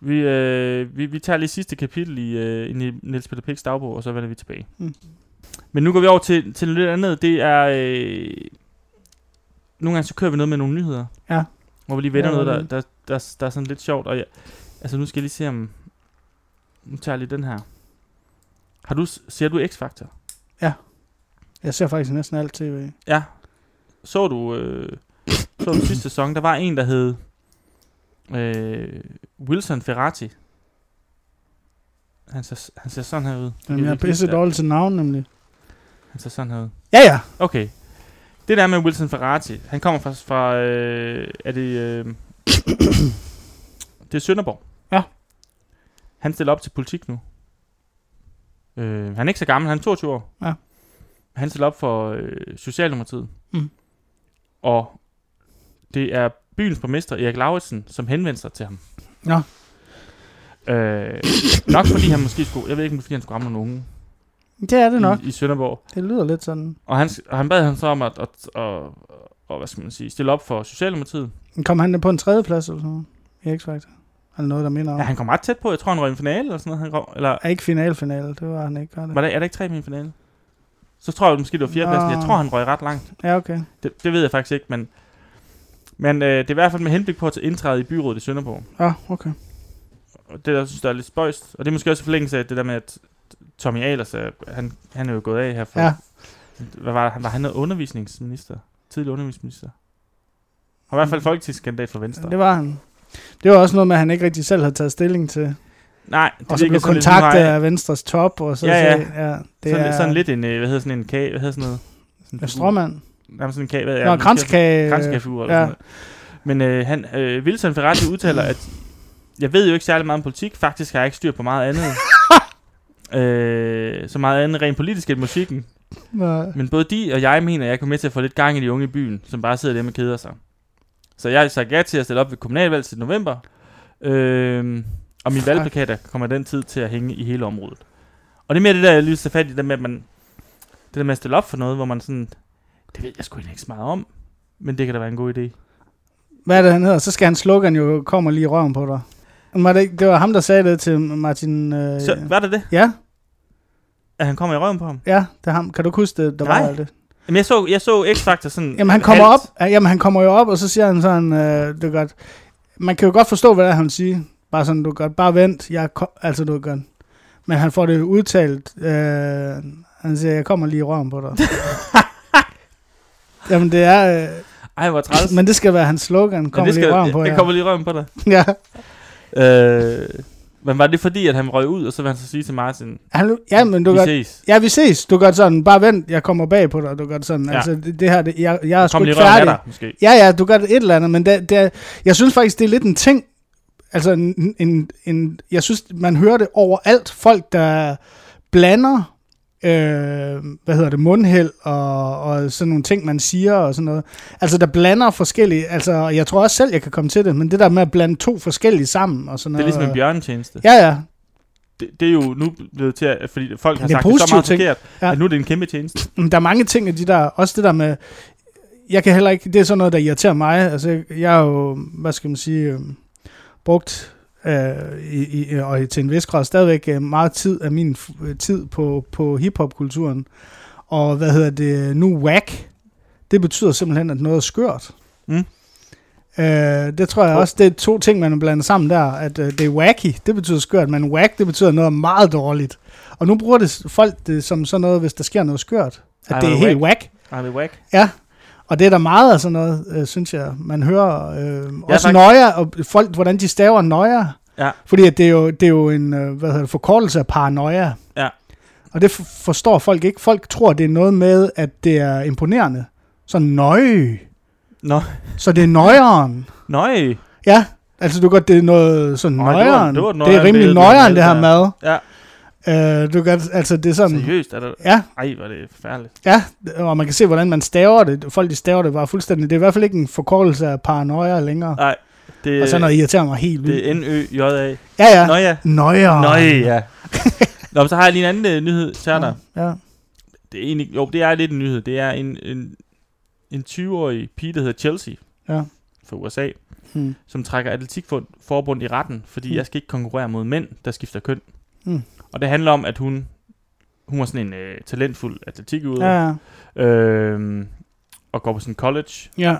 Speaker 1: Vi, øh, vi, vi tager lige sidste kapitel i, øh, i Ni- Niels Peter Piks dagbog, og så vender vi tilbage.
Speaker 7: Mm.
Speaker 1: Mm. Men nu går vi over til, til noget lidt andet. Det er... Øh, nogle gange så kører vi noget med nogle nyheder.
Speaker 7: Ja.
Speaker 1: Hvor vi lige vender
Speaker 7: Ja,
Speaker 1: ja, noget, der,
Speaker 7: det.
Speaker 1: der, der, der er sådan lidt sjovt. Og jeg, altså nu skal jeg lige se om... Nu tager jeg lige den her. Har du, s- ser du X-Factor?
Speaker 7: Jeg ser faktisk næsten alt tv.
Speaker 1: Ja. Så du, øh, så du sidste sæson, der var en, der hed øh, Wilson Ferrati. Han ser, han ser sådan her ud.
Speaker 7: Jamen, jeg er pisse dårlig til navn, nemlig.
Speaker 1: Han ser sådan her ud.
Speaker 7: Ja, ja.
Speaker 1: Okay. Det der med Wilson Ferrati, han kommer fra, fra øh, er det, øh, <coughs> det er Sønderborg.
Speaker 7: Ja.
Speaker 1: Han stiller op til politik nu. Øh, han er ikke så gammel, han er 22 år.
Speaker 7: Ja.
Speaker 1: Han stiller op for øh, Socialdemokratiet.
Speaker 7: Mm.
Speaker 1: Og det er byens borgmester Erik Lauritsen, som henvender sig til ham.
Speaker 7: Nå.
Speaker 1: Øh, nok fordi han måske skulle, jeg ved ikke, om det er, fordi han skulle ramme nogle unge
Speaker 7: Det er det nok.
Speaker 1: i, i Sønderborg.
Speaker 7: Det lyder lidt sådan.
Speaker 1: Og han, og han bad ham så om at, at, at, at, at, hvad skal man sige, stille op for Socialdemokratiet.
Speaker 7: Men Kom han på en tredje plads eller sådan noget? I X-Factor? Eller noget, der minder om?
Speaker 1: Ja, han kom ret tæt på. Jeg tror, han røg i en finale eller sådan noget. Han røg, eller,
Speaker 7: Er ikke finalfinale, det var han ikke. Var det?
Speaker 1: var det, er der ikke tre i en finale? Så tror jeg måske, det var fjerdepladsen.
Speaker 7: Nå.
Speaker 1: Jeg tror, han røg ret langt.
Speaker 7: Ja, okay.
Speaker 1: Det, det ved jeg faktisk ikke, men... Men øh, det er i hvert fald med henblik på at indtræde i byrådet i Sønderborg.
Speaker 7: Ja, okay.
Speaker 1: Og det, der synes der er lidt spøjst, og det er måske også i forlængelse af det der med, at Tommy Ahlers, er- han, han er jo gået af her for...
Speaker 7: Ja.
Speaker 1: Hvad var det? Han var han noget undervisningsminister? Tidligere undervisningsminister? Og i hvert
Speaker 7: Mm.
Speaker 1: fald folketingskandidat for Venstre.
Speaker 7: Det var han. Det var også noget med, at han ikke rigtig selv havde taget stilling til.
Speaker 1: Nej, det
Speaker 7: Og så
Speaker 1: virker
Speaker 7: blev
Speaker 1: sådan lidt
Speaker 7: kontaktet
Speaker 1: umiddelbart.
Speaker 7: af Venstres top, og så
Speaker 1: Ja, ja.
Speaker 7: sagde, ja det
Speaker 1: sådan,
Speaker 7: er
Speaker 1: sådan lidt en, øh, hvad hedder sådan en kage, hvad hedder sådan noget? Sådan
Speaker 7: en strømmand.
Speaker 1: Jamen sådan en kage, hvad
Speaker 7: Ja, Nå, kranskage.
Speaker 1: Kranskagefigur eller
Speaker 7: Øh, ja.
Speaker 1: ja. sådan noget. Men øh, han, øh, Wilson Ferrati udtaler, at jeg ved jo ikke særlig meget om politik, faktisk har jeg ikke styr på meget andet. øh, så meget andet rent politisk end musikken.
Speaker 7: Nå.
Speaker 1: Men både de og jeg mener, at jeg kommer med til at få lidt gang i de unge i byen, som bare sidder hjemme og keder sig. Så jeg har sagt ja til at stille op ved kommunalvalg til november, øh, og mine valgplakater kommer den tid til at hænge i hele området. Og det er mere det der, jeg lige så fat i, det der med, at man, det der med at stille op for noget, hvor man sådan, det ved jeg sgu egentlig ikke så meget om, men det kan da være en god idé.
Speaker 7: Hvad er det, han hedder? Så skal han slukke, han jo kommer lige i røven på dig. Men Var det, ikke- det var ham, der sagde det til Martin... Øh,
Speaker 1: Så var det det,
Speaker 7: Ja,
Speaker 1: at han kommer i røven på ham?
Speaker 7: ja, det er ham. Kan du ikke huske det, der
Speaker 1: Nej.
Speaker 7: var alt det?
Speaker 1: Jamen, jeg så, jeg så X-Factor sådan...
Speaker 7: Jamen han kommer
Speaker 1: halvt.
Speaker 7: op, ja, jamen, han kommer jo op, og så siger han sådan, øh, det er godt. Man kan jo godt forstå, hvad det er, han siger. Bare sådan, du er godt, bare vent, jeg er ko- altså du er godt. Men han får det udtalt, øh, han siger, jeg kommer lige i røven på
Speaker 1: <laughs>
Speaker 7: dig. jamen det er, øh,
Speaker 1: Ej, hvor træls.
Speaker 7: men det skal være hans slogan, kommer
Speaker 1: det
Speaker 7: lige i røven på
Speaker 1: det,
Speaker 7: jer.
Speaker 1: det kommer lige i røven på dig.
Speaker 7: ja.
Speaker 1: Øh, men var det fordi, at han røg ud, og så vil han så sige til Martin,
Speaker 7: Han, ja, men du er
Speaker 1: vi
Speaker 7: godt,
Speaker 1: ses.
Speaker 7: ja, vi ses, du er godt sådan, bare vent, jeg kommer bag på dig, du er godt sådan. Ja.
Speaker 1: Ja.
Speaker 7: Altså det, det her, det, jeg, jeg er sgu
Speaker 1: Kom
Speaker 7: ikke
Speaker 1: lige røven af
Speaker 7: færdig.
Speaker 1: dig, måske.
Speaker 7: Ja, ja, du gør det et eller andet, men det, det er, jeg synes faktisk, det er lidt en ting. Altså, en, en, en, jeg synes, man hører det overalt. Folk, der blander, øh, hvad hedder det, mundhæld og, og sådan nogle ting, man siger og sådan noget. Altså, der blander forskellige, altså, og jeg tror også selv, jeg kan komme til det, men det der med at blande to forskellige sammen og sådan
Speaker 1: Det er
Speaker 7: noget.
Speaker 1: ligesom en bjørnetjeneste.
Speaker 7: Ja, ja,
Speaker 1: Det, det er jo nu blevet til, at, fordi folk har
Speaker 7: Det er
Speaker 1: sagt det så
Speaker 7: positive
Speaker 1: meget
Speaker 7: ting.
Speaker 1: forkert,
Speaker 7: Ja.
Speaker 1: at nu er det en kæmpe tjeneste.
Speaker 7: Men der er mange ting af de der, også det der med, jeg kan heller ikke, det er sådan noget, der irriterer mig. Altså, jeg- jeg har jo, hvad skal man sige, øh, brugt, øh, i, i, og til en vis grad stadigvæk øh, meget tid af min f- øh, tid på, på hiphop-kulturen. Og hvad hedder det, nu whack, det betyder simpelthen, at noget er skørt.
Speaker 1: Mm.
Speaker 7: Øh, det tror jeg også, det er to ting, man blander sammen der, at øh, det er wacky, det betyder skørt, men whack, det betyder noget meget dårligt. Og nu bruger det s- folk det som sådan noget, hvis der sker noget skørt, at
Speaker 1: Ej,
Speaker 7: det er
Speaker 1: hvor er
Speaker 7: helt whack.
Speaker 1: Ej, det er whack.
Speaker 7: Ja, og det er der meget af sådan noget, øh, synes jeg. Man hører øh, også
Speaker 1: tak.
Speaker 7: nøjer, og folk, hvordan de staver nøjer.
Speaker 1: Ja.
Speaker 7: Fordi at det er jo, det er jo en øh, hvad hedder det, forkortelse af paranoia.
Speaker 1: Ja.
Speaker 7: Og det f- forstår folk ikke. Folk tror, det er noget med, at det er imponerende. Så nøje.
Speaker 1: Nå.
Speaker 7: Så det er nøjeren.
Speaker 1: Nøj.
Speaker 7: Ja, altså du kan godt, det er noget sådan
Speaker 1: Ej, det var-
Speaker 7: nøjeren.
Speaker 1: det var et
Speaker 7: det er
Speaker 1: nøjeren
Speaker 7: rimelig
Speaker 1: billede, du
Speaker 7: nøjeren,
Speaker 1: havde
Speaker 7: det her
Speaker 1: der.
Speaker 7: mad.
Speaker 1: Ja,
Speaker 7: Øh, du kan, godt- altså det er sådan...
Speaker 1: seriøst er der...
Speaker 7: Ja,
Speaker 1: Ej, hvor er det forfærdeligt.
Speaker 7: ja, og man kan se, hvordan man staver det. Folk, de staver det bare fuldstændig. Det er i hvert fald ikke en forkortelse af paranoia længere.
Speaker 1: Nej, det,
Speaker 7: og sådan noget irriterer mig helt vildt.
Speaker 1: det er N-Ø-J-A.
Speaker 7: Ja, ja.
Speaker 1: Nå ja.
Speaker 7: Nøjeren.
Speaker 1: Nå ja. Nå, men så har jeg lige en anden øh, nyhed til dig.
Speaker 7: Ja.
Speaker 1: Det er egentlig, jo, det er lidt en nyhed. Det er en, en, en 20-årig pige, der hedder Chelsea
Speaker 7: Ja.
Speaker 1: fra USA,
Speaker 7: Hmm.
Speaker 1: som trækker atletikforbund i retten, fordi
Speaker 7: Mm.
Speaker 1: hmm. jeg skal ikke konkurrere mod mænd, der skifter køn.
Speaker 7: Mm.
Speaker 1: Og det handler om, at hun, hun var sådan en øh, talentfuld atletikudøver,
Speaker 7: Ja,
Speaker 1: ja. øhm, og går på sådan en college,
Speaker 7: ja.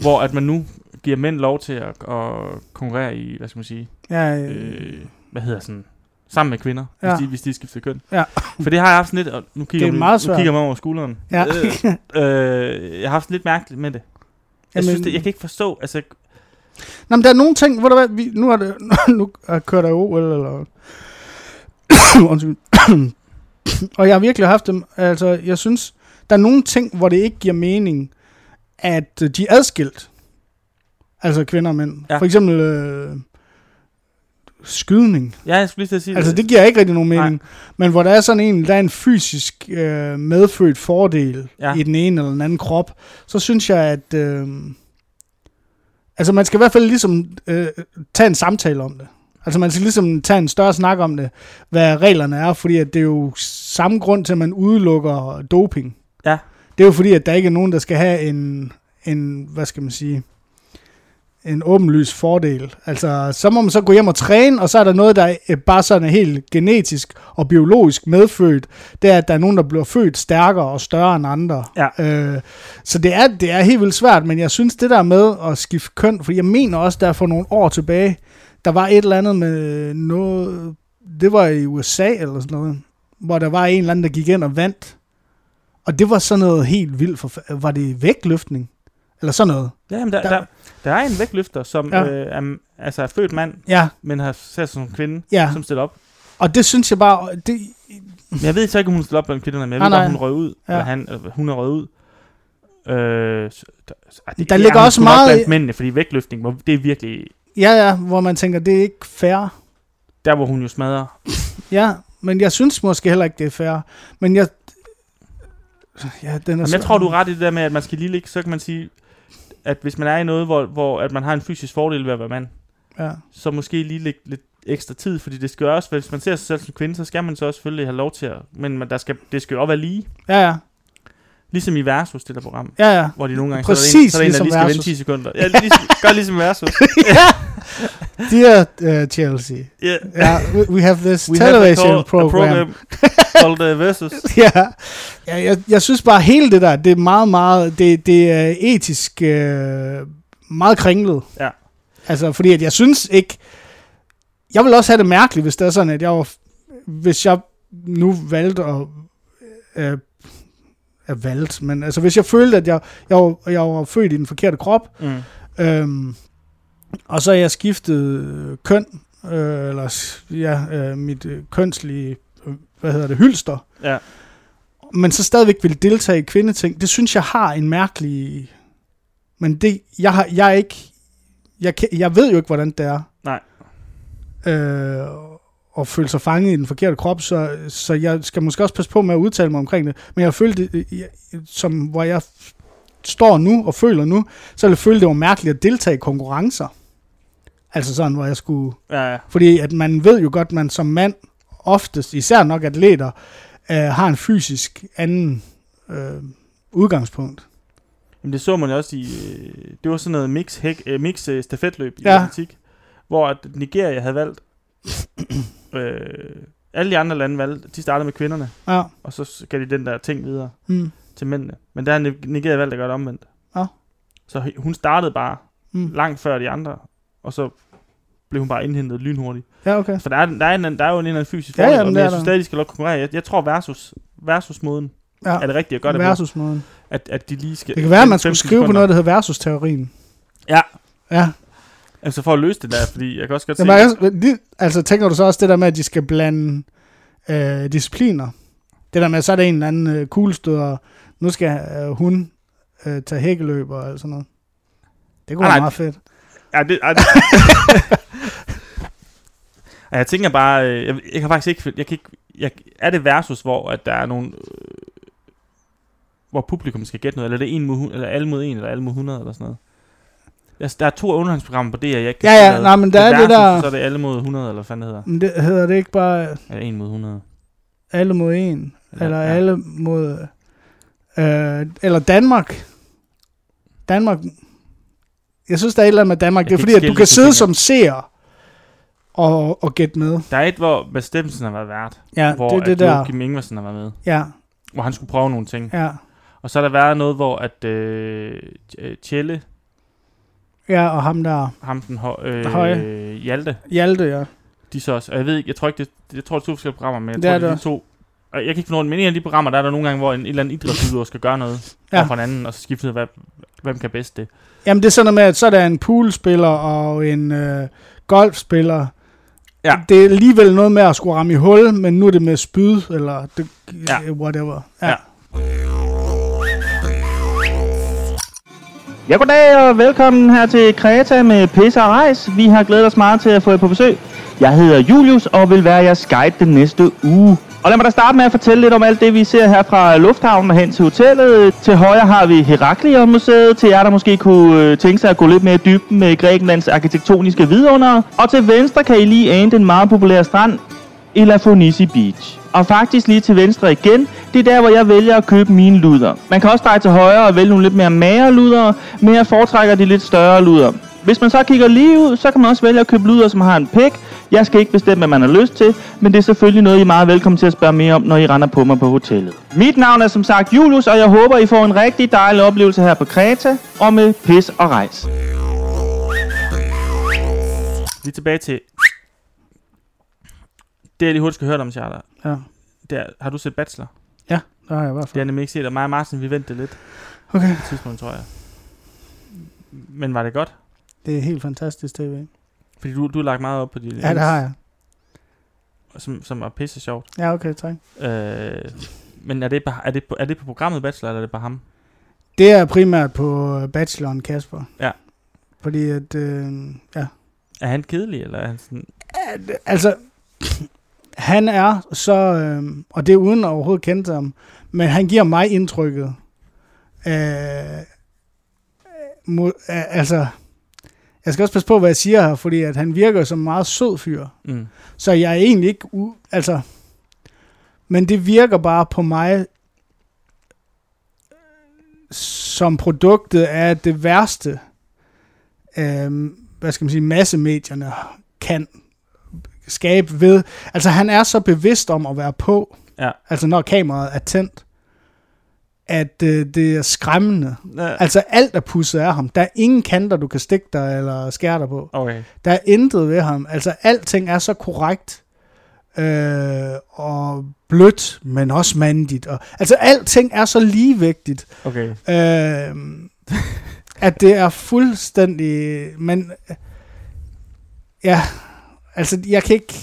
Speaker 1: hvor at man nu giver mænd lov til at, at konkurrere i, hvad skal man sige,
Speaker 7: ja,
Speaker 1: øh, hvad hedder sådan, sammen med kvinder, ja.
Speaker 7: Ja.
Speaker 1: hvis, de, hvis de skifter køn.
Speaker 7: Ja.
Speaker 1: For det har jeg haft sådan lidt, og nu kigger,
Speaker 7: Det er
Speaker 1: man-
Speaker 7: meget
Speaker 1: nu
Speaker 7: svært.
Speaker 1: kigger man over skulderen.
Speaker 7: Ja.
Speaker 1: Øh, øh, jeg har haft sådan lidt mærkeligt med det. Jeg, synes,
Speaker 7: Jamen-
Speaker 1: det, jeg kan ikke forstå, altså,
Speaker 7: Nå, men der er nogle ting, hvor der vi, nu er det, <laughs> nu er kørt der OL, eller... <coughs> Undskyld. <coughs> og jeg har virkelig haft dem, altså, jeg synes, der er nogle ting, hvor det ikke giver mening, at øh, de er adskilt. Altså kvinder og mænd.
Speaker 1: Ja.
Speaker 7: Ja. For eksempel øh, skydning.
Speaker 1: ja, jeg skulle lige til at sige
Speaker 7: Altså,
Speaker 1: det.
Speaker 7: det giver ikke rigtig nogen mening. Nej. Men hvor der er sådan en, der er en fysisk øh, medfødt fordel
Speaker 1: Ja.
Speaker 7: ja. i den ene eller den anden krop, så synes jeg, at... Øh, altså, man skal i hvert fald ligesom øh, tage en samtale om det. Altså, man skal ligesom tage en større snak om det, hvad reglerne er, fordi at det er jo samme grund til, at man udelukker doping.
Speaker 1: Ja.
Speaker 7: Det er jo fordi, at der ikke er nogen, der skal have en, en hvad skal man sige, en åbenlys fordel. Altså, så må man så gå hjem og træne, og så er der noget, der øh, bare sådan er helt genetisk og biologisk medfødt. Det er, at der er nogen, der bliver født stærkere og større end andre.
Speaker 1: Ja.
Speaker 7: Øh, så det er, det er helt vildt svært, men jeg synes, det der med at skifte køn, fordi jeg mener også, der for nogle år tilbage, der var et eller andet med noget, det var i USA eller sådan noget, hvor der var en eller anden, der gik ind og vandt. Og det var sådan noget helt vildt. For, var det vægtløftning? Eller sådan noget?
Speaker 1: Jamen, der,
Speaker 7: der-
Speaker 1: der, der er en vægtløfter, som ja.
Speaker 7: Ja.
Speaker 1: øh, er, altså er født mand,
Speaker 7: Ja,
Speaker 1: men har sat sig som kvinde,
Speaker 7: ja.
Speaker 1: som stiller op.
Speaker 7: Og det synes jeg bare, det,
Speaker 1: Men jeg ved så ikke, om hun stiller op blandt kvinderne, men jeg
Speaker 7: Nej,
Speaker 1: ved bare,
Speaker 7: nej.
Speaker 1: hun røg ud. Ja.
Speaker 7: Ja.
Speaker 1: Eller han, eller hun er røget ud. Øh, så- der, så- ej,
Speaker 7: Der
Speaker 1: er
Speaker 7: ligger
Speaker 1: hun
Speaker 7: også
Speaker 1: sgu nok
Speaker 7: meget i-
Speaker 1: Blandt mændene, fordi vægtløftning, hvor- det er virkelig...
Speaker 7: ja, ja, hvor man tænker, det er ikke fair.
Speaker 1: Der, hvor hun jo smadrer.
Speaker 7: Ja, men jeg synes måske heller ikke, det er fair. Men jeg... Ja, den er
Speaker 1: Jamen, jeg
Speaker 7: svær.
Speaker 1: tror, du er ret i det der med, at man skal lige ligge, så kan man sige, at hvis man er i noget, hvor, hvor at man har en fysisk fordel ved at være mand,
Speaker 7: Ja.
Speaker 1: så måske lige lægge lidt ekstra tid, fordi det skal jo også, hvis man ser sig selv som kvinde, så skal man så også selvfølgelig have lov til at, men man- der skal, det skal jo også være lige,
Speaker 7: ja, ja,
Speaker 1: ligesom i Versus, det der program,
Speaker 7: ja, ja.
Speaker 1: hvor de nogle gange,
Speaker 7: Præcis
Speaker 1: så er der en, så er der en der
Speaker 7: ligesom
Speaker 1: lige skal vente 10 sekunder.
Speaker 7: Versus.
Speaker 1: Ja, ligesom, gør ligesom
Speaker 7: <laughs>
Speaker 1: Versus.
Speaker 7: Dear uh, Chelsea,
Speaker 1: Yeah.
Speaker 7: ja, we, we have this
Speaker 1: We have a
Speaker 7: television
Speaker 1: call- a
Speaker 7: program.
Speaker 1: program called uh,
Speaker 7: <laughs>
Speaker 1: Versus.
Speaker 7: ja, ja jeg, jeg synes bare, hele det der, det er meget, meget... Det, det er etisk øh, meget kringlet.
Speaker 1: Ja.
Speaker 7: Altså, fordi at jeg synes ikke... Jeg ville også have det mærkeligt, hvis det er sådan, at jeg var... Hvis jeg nu valgte at... Øh, at valgt, men altså hvis jeg følte, at jeg, jeg, var, jeg var født i den forkerte krop,
Speaker 1: Mm.
Speaker 7: Øhm, og så er jeg skiftet øh, køn, øh, eller s- ja, øh, mit øh, kønslige, øh, hvad hedder det, hylster.
Speaker 1: Ja.
Speaker 7: Men så stadigvæk vil deltage i kvindeting. Det synes jeg har en mærkelig... Men det, jeg, har, jeg er ikke... Jeg, kan, jeg ved jo ikke, hvordan det er.
Speaker 1: Nej.
Speaker 7: Øh, og føle sig fanget i den forkerte krop, så, så jeg skal måske også passe på med at udtale mig omkring det. Men jeg følte, øh, jeg, som hvor jeg f- står nu og føler nu, så ville jeg føle, det var mærkeligt at deltage i konkurrencer. Altså sådan, hvor jeg skulle...
Speaker 1: Ja, ja.
Speaker 7: Fordi at man ved jo godt, at man som mand oftest, især nok atleter, øh, har en fysisk anden øh, udgangspunkt.
Speaker 1: Jamen, det så man jo også i, øh, det var sådan noget mix, hæk, øh, mix øh, stafetløb i
Speaker 7: Ja.
Speaker 1: ja. atletik, hvor at Nigeria havde valgt, <clears throat> øh, alle de andre lande valgte, de startede med kvinderne,
Speaker 7: Ja.
Speaker 1: og så skal de den der ting videre
Speaker 7: Mm.
Speaker 1: til mændene. Men der har Ni- Nigeria valgt at gøre det omvendt.
Speaker 7: Ja.
Speaker 1: Så he- hun startede bare
Speaker 7: Mm.
Speaker 1: langt før de andre, og så blev hun bare indhentet lynhurtigt.
Speaker 7: Ja, okay.
Speaker 1: For der er, der er, en, der er jo en eller anden fysisk
Speaker 7: Ja,
Speaker 1: fordel,
Speaker 7: ja,
Speaker 1: og
Speaker 7: men
Speaker 1: men
Speaker 7: det
Speaker 1: jeg
Speaker 7: er
Speaker 1: synes
Speaker 7: der.
Speaker 1: stadig, de skal nok konkurrere. Jeg, jeg tror versus, versus moden
Speaker 7: Ja.
Speaker 1: er det rigtige at gøre det på,
Speaker 7: versus måden.
Speaker 1: at, at de lige skal...
Speaker 7: Det kan være, at man
Speaker 1: 15
Speaker 7: skulle skrive på
Speaker 1: sekunder.
Speaker 7: noget, der hedder versus-teorien.
Speaker 1: Ja.
Speaker 7: Ja.
Speaker 1: Altså for at løse det der, fordi jeg kan også godt se...
Speaker 7: Jamen, altså, lige- altså, tænker du så også det der med, at de skal blande øh, discipliner. Det der med, så er det en eller anden øh, kuglestød, og nu skal øh, hun øh, tage hækkeløb og alt sådan noget. Det kunne
Speaker 1: Ah,
Speaker 7: være
Speaker 1: nej.
Speaker 7: meget fedt.
Speaker 1: Ja, det, ej, det. Ej, jeg tænker bare, øh, jeg, jeg kan faktisk ikke, jeg kan ikke, jeg, er det versus, hvor at der er nogle, øh, hvor publikum skal gætte noget, eller er det en mod, hun- eller alle mod en, eller alle mod 100, eller sådan noget? Altså, der er to underholdningsprogrammer på DR, jeg ikke kan
Speaker 7: Ja,
Speaker 1: se,
Speaker 7: ja,
Speaker 1: hvad-
Speaker 7: nej, men der er det
Speaker 1: versus,
Speaker 7: der-
Speaker 1: og Så er det alle mod 100, eller hvad fanden det hedder.
Speaker 7: Men det hedder det ikke bare øh,
Speaker 1: Eller en mod 100.
Speaker 7: alle mod en,
Speaker 1: Ja,
Speaker 7: ja, eller
Speaker 1: ja.
Speaker 7: ja. alle mod... Øh, eller Danmark. Danmark. Jeg synes, der er et eller andet med Danmark.
Speaker 1: Jeg
Speaker 7: det er
Speaker 1: kan
Speaker 7: fordi,
Speaker 1: ikke
Speaker 7: at du
Speaker 1: skille
Speaker 7: kan
Speaker 1: de to
Speaker 7: sidde
Speaker 1: ting
Speaker 7: som seer og, og gætte med.
Speaker 1: Der er et, hvor bestemmelsen har været vært,
Speaker 7: Ja,
Speaker 1: hvor
Speaker 7: det er
Speaker 1: at
Speaker 7: det der.
Speaker 1: Joachim Ingersen har været med,
Speaker 7: Ja,
Speaker 1: hvor han skulle prøve nogle ting.
Speaker 7: ja.
Speaker 1: Og så har der været noget, hvor at øh, Tjelle,
Speaker 7: Ja, og ham der.
Speaker 1: ham den hø- øh,
Speaker 7: Høje.
Speaker 1: Hjalte,
Speaker 7: Hjalte, ja.
Speaker 1: de så også. Og jeg ved ikke, jeg tror ikke, det, jeg tror, det er to forskellige programmer, men jeg
Speaker 7: Det
Speaker 1: tror,
Speaker 7: er
Speaker 1: det er
Speaker 7: det
Speaker 1: de to. Og jeg kan ikke finde rundt, men i en af de programmer, der er der nogle gange, hvor en et eller anden idrætsudøver skal gøre noget
Speaker 7: Ja.
Speaker 1: ja. for en anden, og så skifter det, hvad, hvem kan bedst det.
Speaker 7: Jamen, det er sådan noget med, at så er der en poolspiller og en øh, golfspiller.
Speaker 1: Ja.
Speaker 7: Det er alligevel noget med at skulle ramme i hul, men nu er det med spyd, eller det,
Speaker 1: Ja.
Speaker 7: ja. whatever.
Speaker 1: Ja.
Speaker 8: Ja, goddag og velkommen her til Kreta med Pisse og Rejs. Vi har glædet os meget til at få jer på besøg. Jeg hedder Julius og vil være jeres guide den næste uge. Og lad mig da starte med at fortælle lidt om alt det, vi ser her fra lufthavnen og hen til hotellet. Til højre har vi Heraklion-museet, til jer, der måske kunne øh, tænke sig at gå lidt mere i dybden med Grækenlands arkitektoniske vidunder. Og til venstre kan I lige ane den meget populære strand, Elafonisi Beach. Og faktisk lige til venstre igen, det er der, hvor jeg vælger at købe mine luder. Man kan også dreje til højre og vælge nogle lidt mere magre luder, men jeg foretrækker de lidt større luder. Hvis man så kigger lige ud, så kan man også vælge at købe luder, som har en pæk. Jeg skal ikke bestemme, hvad man har lyst til, men det er selvfølgelig noget, I er meget velkommen til at spørge mere om, når I render på mig på hotellet. Mit navn er som sagt Julius, og jeg håber, I får en rigtig dejlig oplevelse her på Kreta, og med pis og rejs.
Speaker 1: Vi er tilbage til... Det, jeg lige hurtigt skal høre dig om, Charter.
Speaker 7: Ja.
Speaker 1: Det er, har du set Bachelor?
Speaker 7: Ja, der har jeg i hvert
Speaker 1: Det har
Speaker 7: fald.
Speaker 1: jeg nemlig ikke set, og mig og Martin, vi ventede lidt
Speaker 7: Okay.
Speaker 1: på et tidspunkt, tror jeg. Men var det godt?
Speaker 7: Det er helt fantastisk tv.
Speaker 1: Fordi du, du har lagt meget op på de
Speaker 7: Ja, det har jeg.
Speaker 1: som, som er pisse sjovt.
Speaker 7: Ja, okay, tak.
Speaker 1: Øh, men er det, på, er, det på, er det på programmet Bachelor, eller er det på ham?
Speaker 7: Det er primært på øh, bacheloren Kasper.
Speaker 1: Ja.
Speaker 7: Fordi at, øh, ja.
Speaker 1: Er han kedelig, eller er han sådan...
Speaker 7: At, altså, han er så, øh, og det er uden at overhovedet kende ham, men han giver mig indtrykket. Øh, mo, øh, altså, jeg skal også passe på, hvad jeg siger her, fordi at han virker som en meget sød fyr.
Speaker 1: Mm.
Speaker 7: Så jeg er egentlig ikke... U- altså, men det virker bare på mig øh, som produktet af det værste, øh, hvad skal man sige, massemedierne kan skabe ved. Altså han er så bevidst om at være på,
Speaker 1: Ja.
Speaker 7: altså når kameraet er tændt, at øh, det er skræmmende.
Speaker 1: Ja.
Speaker 7: Altså alt er pusset af ham. Der er ingen kanter, du kan stikke dig eller skære dig på.
Speaker 1: Okay.
Speaker 7: Der er intet ved ham. Altså, alting er så korrekt øh, og blødt, men også mandigt. Og, altså, alting er så ligevægtigt,
Speaker 1: Okay.
Speaker 7: øh, at det er fuldstændig... Men, ja, altså, jeg kan ikke...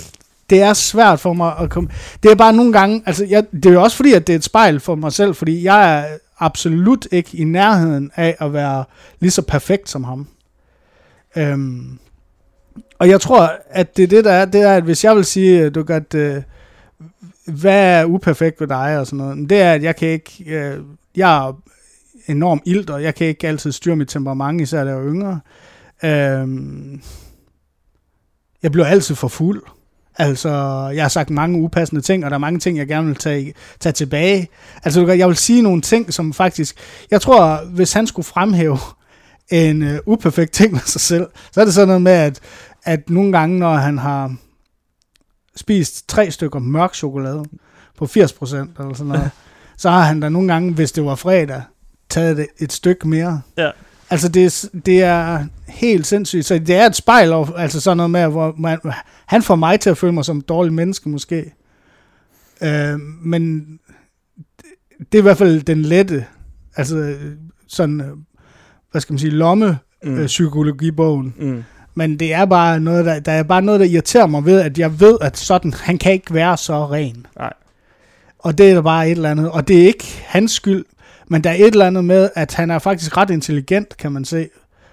Speaker 7: Det er svært for mig at komme... Det er bare nogle gange... Altså, jeg, det er jo også fordi, at det er et spejl for mig selv, fordi jeg er absolut ikke i nærheden af at være lige så perfekt som ham. Øhm, og jeg tror, at det er det, der er, det er, at hvis jeg vil sige, øh, du godt, øh, hvad er uperfekt ved dig og sådan noget, men det er, at jeg kan ikke, øh, jeg er enormt ild, og jeg kan ikke altid styre mit temperament, især da jeg var yngre. Øhm, jeg bliver altid for fuld. Altså, jeg har sagt mange upassende ting, og der er mange ting, jeg gerne vil tage, tage tilbage. Altså, du kan- jeg vil sige nogle ting, som faktisk... Jeg tror, hvis han skulle fremhæve en øh, uperfekt ting med sig selv, så er det sådan noget med, at, at nogle gange, når han har spist tre stykker mørk chokolade på 80% eller sådan noget, så har han da nogle gange, hvis det var fredag, taget det et stykke mere.
Speaker 1: Ja.
Speaker 7: Altså, det, er s- det er helt sindssygt. Så det er et spejl, og- altså sådan noget med, hvor man, han får mig til at føle mig som et dårligt menneske, måske. Øh, men det, det er i hvert fald den lette, altså øh, sådan, øh, hvad skal man sige, lomme
Speaker 1: Mm.
Speaker 7: øh, psykologibogen.
Speaker 1: Mm.
Speaker 7: Men det er bare noget, der, der er bare noget, der irriterer mig ved, at jeg ved, at sådan, han kan ikke være så ren.
Speaker 1: Nej.
Speaker 7: Og det er der bare et eller andet. Og det er ikke hans skyld, men der er et eller andet med, at han er faktisk ret intelligent, kan man se.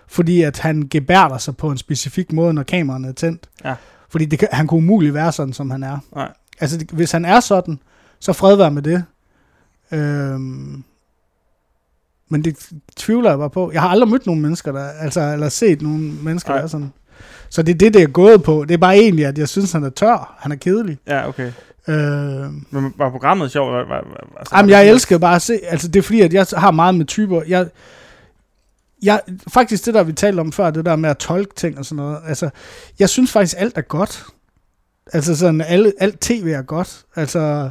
Speaker 7: Fordi at han gebærder sig på en specifik måde, når kameraerne er tændt.
Speaker 1: Ja.
Speaker 7: Fordi det, kan- han kunne umuligt være sådan, som han er.
Speaker 1: Nej.
Speaker 7: Altså, det- hvis han er sådan, så fred være med det. Øhm, men det tvivler jeg bare på. Jeg har aldrig mødt nogen mennesker, der, altså, eller set nogen mennesker,
Speaker 1: Nej.
Speaker 7: der er sådan. Så det er det, det er gået på. Det er bare egentlig, at jeg synes, han er tør. Han er kedelig.
Speaker 1: Ja, okay.
Speaker 7: Øh,
Speaker 1: Men var programmet sjovt? Var, var, var, altså,
Speaker 7: Jamen, jeg elsker bare at se, altså det er fordi, at jeg har meget med typer, jeg, jeg, faktisk det der, vi talte om før, det der med at tolke ting og sådan noget, altså, jeg synes faktisk, alt er godt. Altså sådan, alle, alt tv er godt. Altså,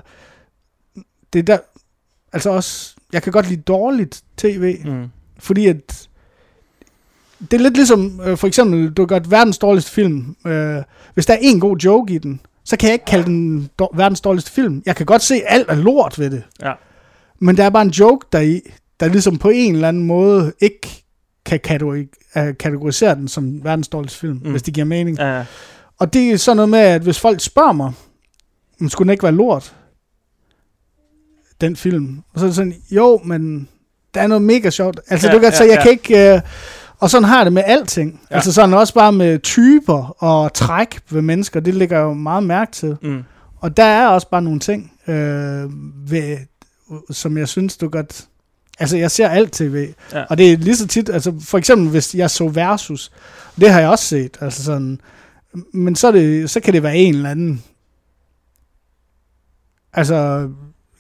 Speaker 7: det er der, altså også, jeg kan godt lide dårligt tv,
Speaker 1: Mm.
Speaker 7: fordi at det er lidt ligesom, øh, for eksempel, du har godt verdens dårligste film. Øh, hvis der er en god joke i den, så kan jeg ikke kalde den dår- verdens dårligste film. Jeg kan godt se alt er lort ved det.
Speaker 1: Ja.
Speaker 7: Men der er bare en joke deri, der ligesom på en eller anden måde ikke kan kategori- øh, kategorisere den som verdens dårligste film, mm. hvis det giver mening.
Speaker 1: Ja, ja.
Speaker 7: Og det er sådan noget med, at hvis folk spørger mig, "Men skulle den ikke være lort, den film? Og så er det sådan, jo, men der er noget mega sjovt. Altså,
Speaker 1: Ja,
Speaker 7: ja, du kan,
Speaker 1: ja,
Speaker 7: ja, så jeg
Speaker 1: ja.
Speaker 7: ja. kan ikke... Øh, og sådan har jeg det med alting.
Speaker 1: Ja.
Speaker 7: Ja. Altså sådan også bare med typer og træk ved mennesker. Det ligger jeg jo meget mærke til.
Speaker 1: Mm.
Speaker 7: Og der er også bare nogle ting, øh, ved, som jeg synes, du godt... Altså, jeg ser alt tv,
Speaker 1: Ja.
Speaker 7: ja. og det er lige så tit... Altså, for eksempel, hvis jeg så Versus, det har jeg også set. Altså sådan, men så, er det, så kan det være en eller anden... Altså,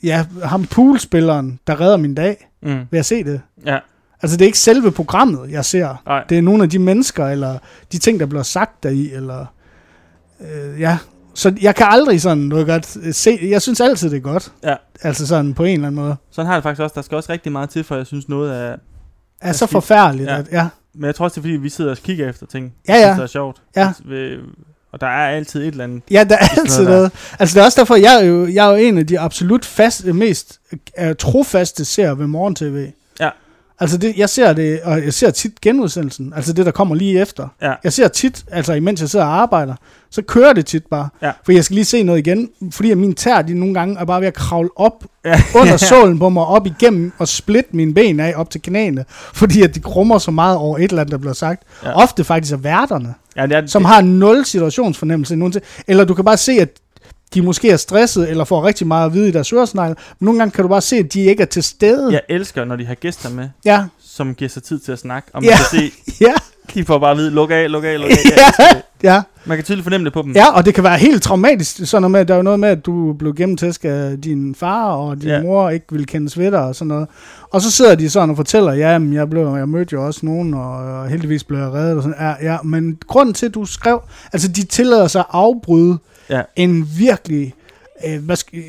Speaker 7: ja, ham poolspilleren, der redder min dag,
Speaker 1: Mm.
Speaker 7: ved at se det.
Speaker 1: Ja.
Speaker 7: Altså, det er ikke selve programmet, jeg ser.
Speaker 1: Nej.
Speaker 7: Det er nogle af de mennesker, eller de ting, der bliver sagt deri, eller... Øh, ja, så jeg kan aldrig sådan noget godt øh, se... Jeg synes altid, det er godt.
Speaker 1: Ja.
Speaker 7: Altså sådan på en eller anden måde.
Speaker 1: Sådan har jeg det faktisk også. Der skal også rigtig meget til, for jeg synes noget er...
Speaker 7: Er så
Speaker 1: skidt.
Speaker 7: forfærdeligt,
Speaker 1: Ja.
Speaker 7: ja. at... Ja,
Speaker 1: Men jeg tror også, det er fordi, vi sidder og kigger efter ting.
Speaker 7: ja,
Speaker 1: Ja.
Speaker 7: ja.
Speaker 1: Synes, det er sjovt. Altså,
Speaker 7: Ja.
Speaker 1: Ved- Og der er altid et eller andet.
Speaker 7: Ja, der er
Speaker 1: sådan
Speaker 7: altid
Speaker 1: noget der.
Speaker 7: noget. Altså, det er også derfor, jeg er jo, jeg er jo en af de absolut fast, mest uh, trofaste seere ved morgen-tv.
Speaker 1: Ja.
Speaker 7: Altså, det, jeg ser det, og jeg ser tit genudsendelsen, altså det, der kommer lige efter.
Speaker 1: Ja.
Speaker 7: Jeg ser tit, altså imens jeg sidder og arbejder, så kører det tit bare.
Speaker 1: Ja.
Speaker 7: For jeg skal lige se noget igen, fordi at mine tær, de nogle gange er bare ved at kravle op
Speaker 1: Ja.
Speaker 7: <laughs> under sålen på mig, op igennem og splitte mine ben af op til knæene, <laughs> fordi at de krummer så meget over et eller andet, der bliver sagt.
Speaker 1: Ja.
Speaker 7: Ja. Ofte faktisk er værterne
Speaker 1: Ja, det er,
Speaker 7: som
Speaker 1: det,
Speaker 7: har nul situationsfornemmelse. nogensinde. Eller du kan bare se, at de måske er stresset, eller får rigtig meget at vide i deres øresnegle. Men nogle gange kan du bare se, at de ikke er til stede.
Speaker 1: jeg elsker, når de har gæster med,
Speaker 7: ja. <laughs>
Speaker 1: som giver sig tid til at snakke. Og man
Speaker 7: Ja.
Speaker 1: kan se,
Speaker 7: <laughs> Ja,
Speaker 1: de får bare at vide, luk af, luk af, luk af. Ja.
Speaker 7: ja, ja,
Speaker 1: Man kan tydeligt fornemme det på dem.
Speaker 7: ja, og det kan være helt traumatisk, sådan noget med, der er jo noget med, at du blev gennemtæsket af din far, og din
Speaker 1: Ja.
Speaker 7: ja. mor ikke ville kendes ved dig, og sådan noget. Og så sidder de sådan og fortæller, ja, men jeg, blev, jeg mødte jo også nogen, og, og heldigvis blev jeg reddet, og sådan, ja, ja, men grunden til, at du skrev, altså de tillader sig at afbryde
Speaker 1: Ja.
Speaker 7: en virkelig, øh, hvad skal,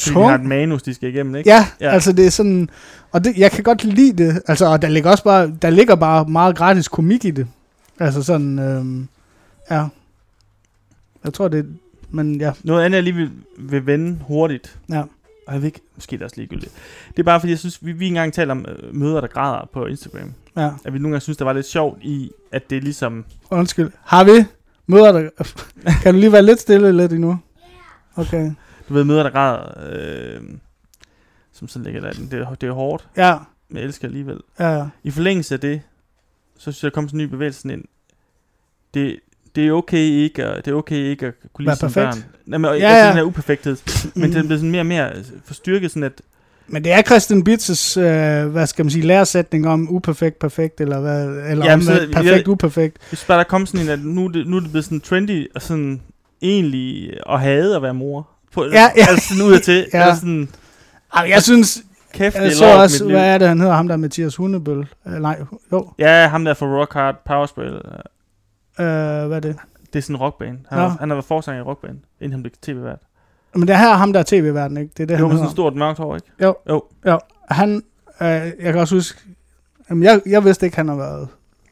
Speaker 1: Fordi de har
Speaker 7: tung
Speaker 1: et manus, de skal igennem, ikke?
Speaker 7: Ja,
Speaker 1: Ja.
Speaker 7: ja, altså det er sådan... Og det, jeg kan godt lide det. Altså, og der ligger også bare, der ligger bare meget gratis komik i det. Altså sådan, øhm, ja. Jeg tror det, men ja,
Speaker 1: Noget andet, jeg lige vil, vil vende hurtigt.
Speaker 7: Ja.
Speaker 1: Og jeg ved ikke, måske er det også ligegyldigt. Det er bare, fordi jeg synes, vi, vi engang talte om øh, møder, der græder på Instagram.
Speaker 7: ja.
Speaker 1: At vi nogle gange synes, der var lidt sjovt i, at det er ligesom...
Speaker 7: Undskyld. Har vi møder
Speaker 1: <laughs>
Speaker 7: dig? kan du lige være lidt stille lidt endnu? Okay.
Speaker 1: Du ved, møder, der græder. Øh, som sådan ligger der. Det, er- det er hårdt,
Speaker 7: Ja,
Speaker 1: men jeg elsker alligevel.
Speaker 7: ja, ja.
Speaker 1: I forlængelse af det, så synes jeg, der kom sådan en ny bevægelse sådan ind. Det, det er okay ikke at, det er okay ikke at kunne lide
Speaker 7: Være
Speaker 1: sine
Speaker 7: perfekt.
Speaker 1: børn. Nej, men, ja,
Speaker 7: Ja,
Speaker 1: ja.
Speaker 7: ja.
Speaker 1: den her uperfekthed. Men den blev sådan mere og mere øh, forstyrket, sådan at...
Speaker 7: Men det er Christian Bitzes, øh, hvad skal man sige, læresætning om uperfekt, perfekt, eller hvad, eller
Speaker 1: Jamen,
Speaker 7: Jamen,
Speaker 1: så-
Speaker 7: om, øh, perfekt,
Speaker 1: jeg-
Speaker 7: uperfekt.
Speaker 1: Jeg synes bare, der kom sådan en, at nu, er det, nu er det blevet sådan trendy, og sådan egentlig at hade at være mor. På,
Speaker 7: Ja, ja.
Speaker 1: Altså sådan ud af til. ja.
Speaker 7: Ja.
Speaker 1: Eller sådan,
Speaker 7: Ej, jeg synes,
Speaker 1: kæft, det er
Speaker 7: jeg så
Speaker 1: lort,
Speaker 7: også,
Speaker 1: mit liv.
Speaker 7: hvad er det, han hedder, ham der Mathias Hundebøl? Øh, nej, jo.
Speaker 1: Ja, ham der fra Rock Hard Powerspell.
Speaker 7: Øh, hvad er det?
Speaker 1: Det er sådan en rockband. Han,
Speaker 7: Nå.
Speaker 1: var, han har været forsanger i rockband, inden han blev tv-vært.
Speaker 7: Men det er her ham, der er tv-verden, ikke? Det er det,
Speaker 1: Det var
Speaker 7: han
Speaker 1: med sådan
Speaker 7: hedder.
Speaker 1: et stort mørkt hår, ikke?
Speaker 7: Jo, han, øh, jeg kan også huske, jamen jeg, jeg vidste ikke, han har været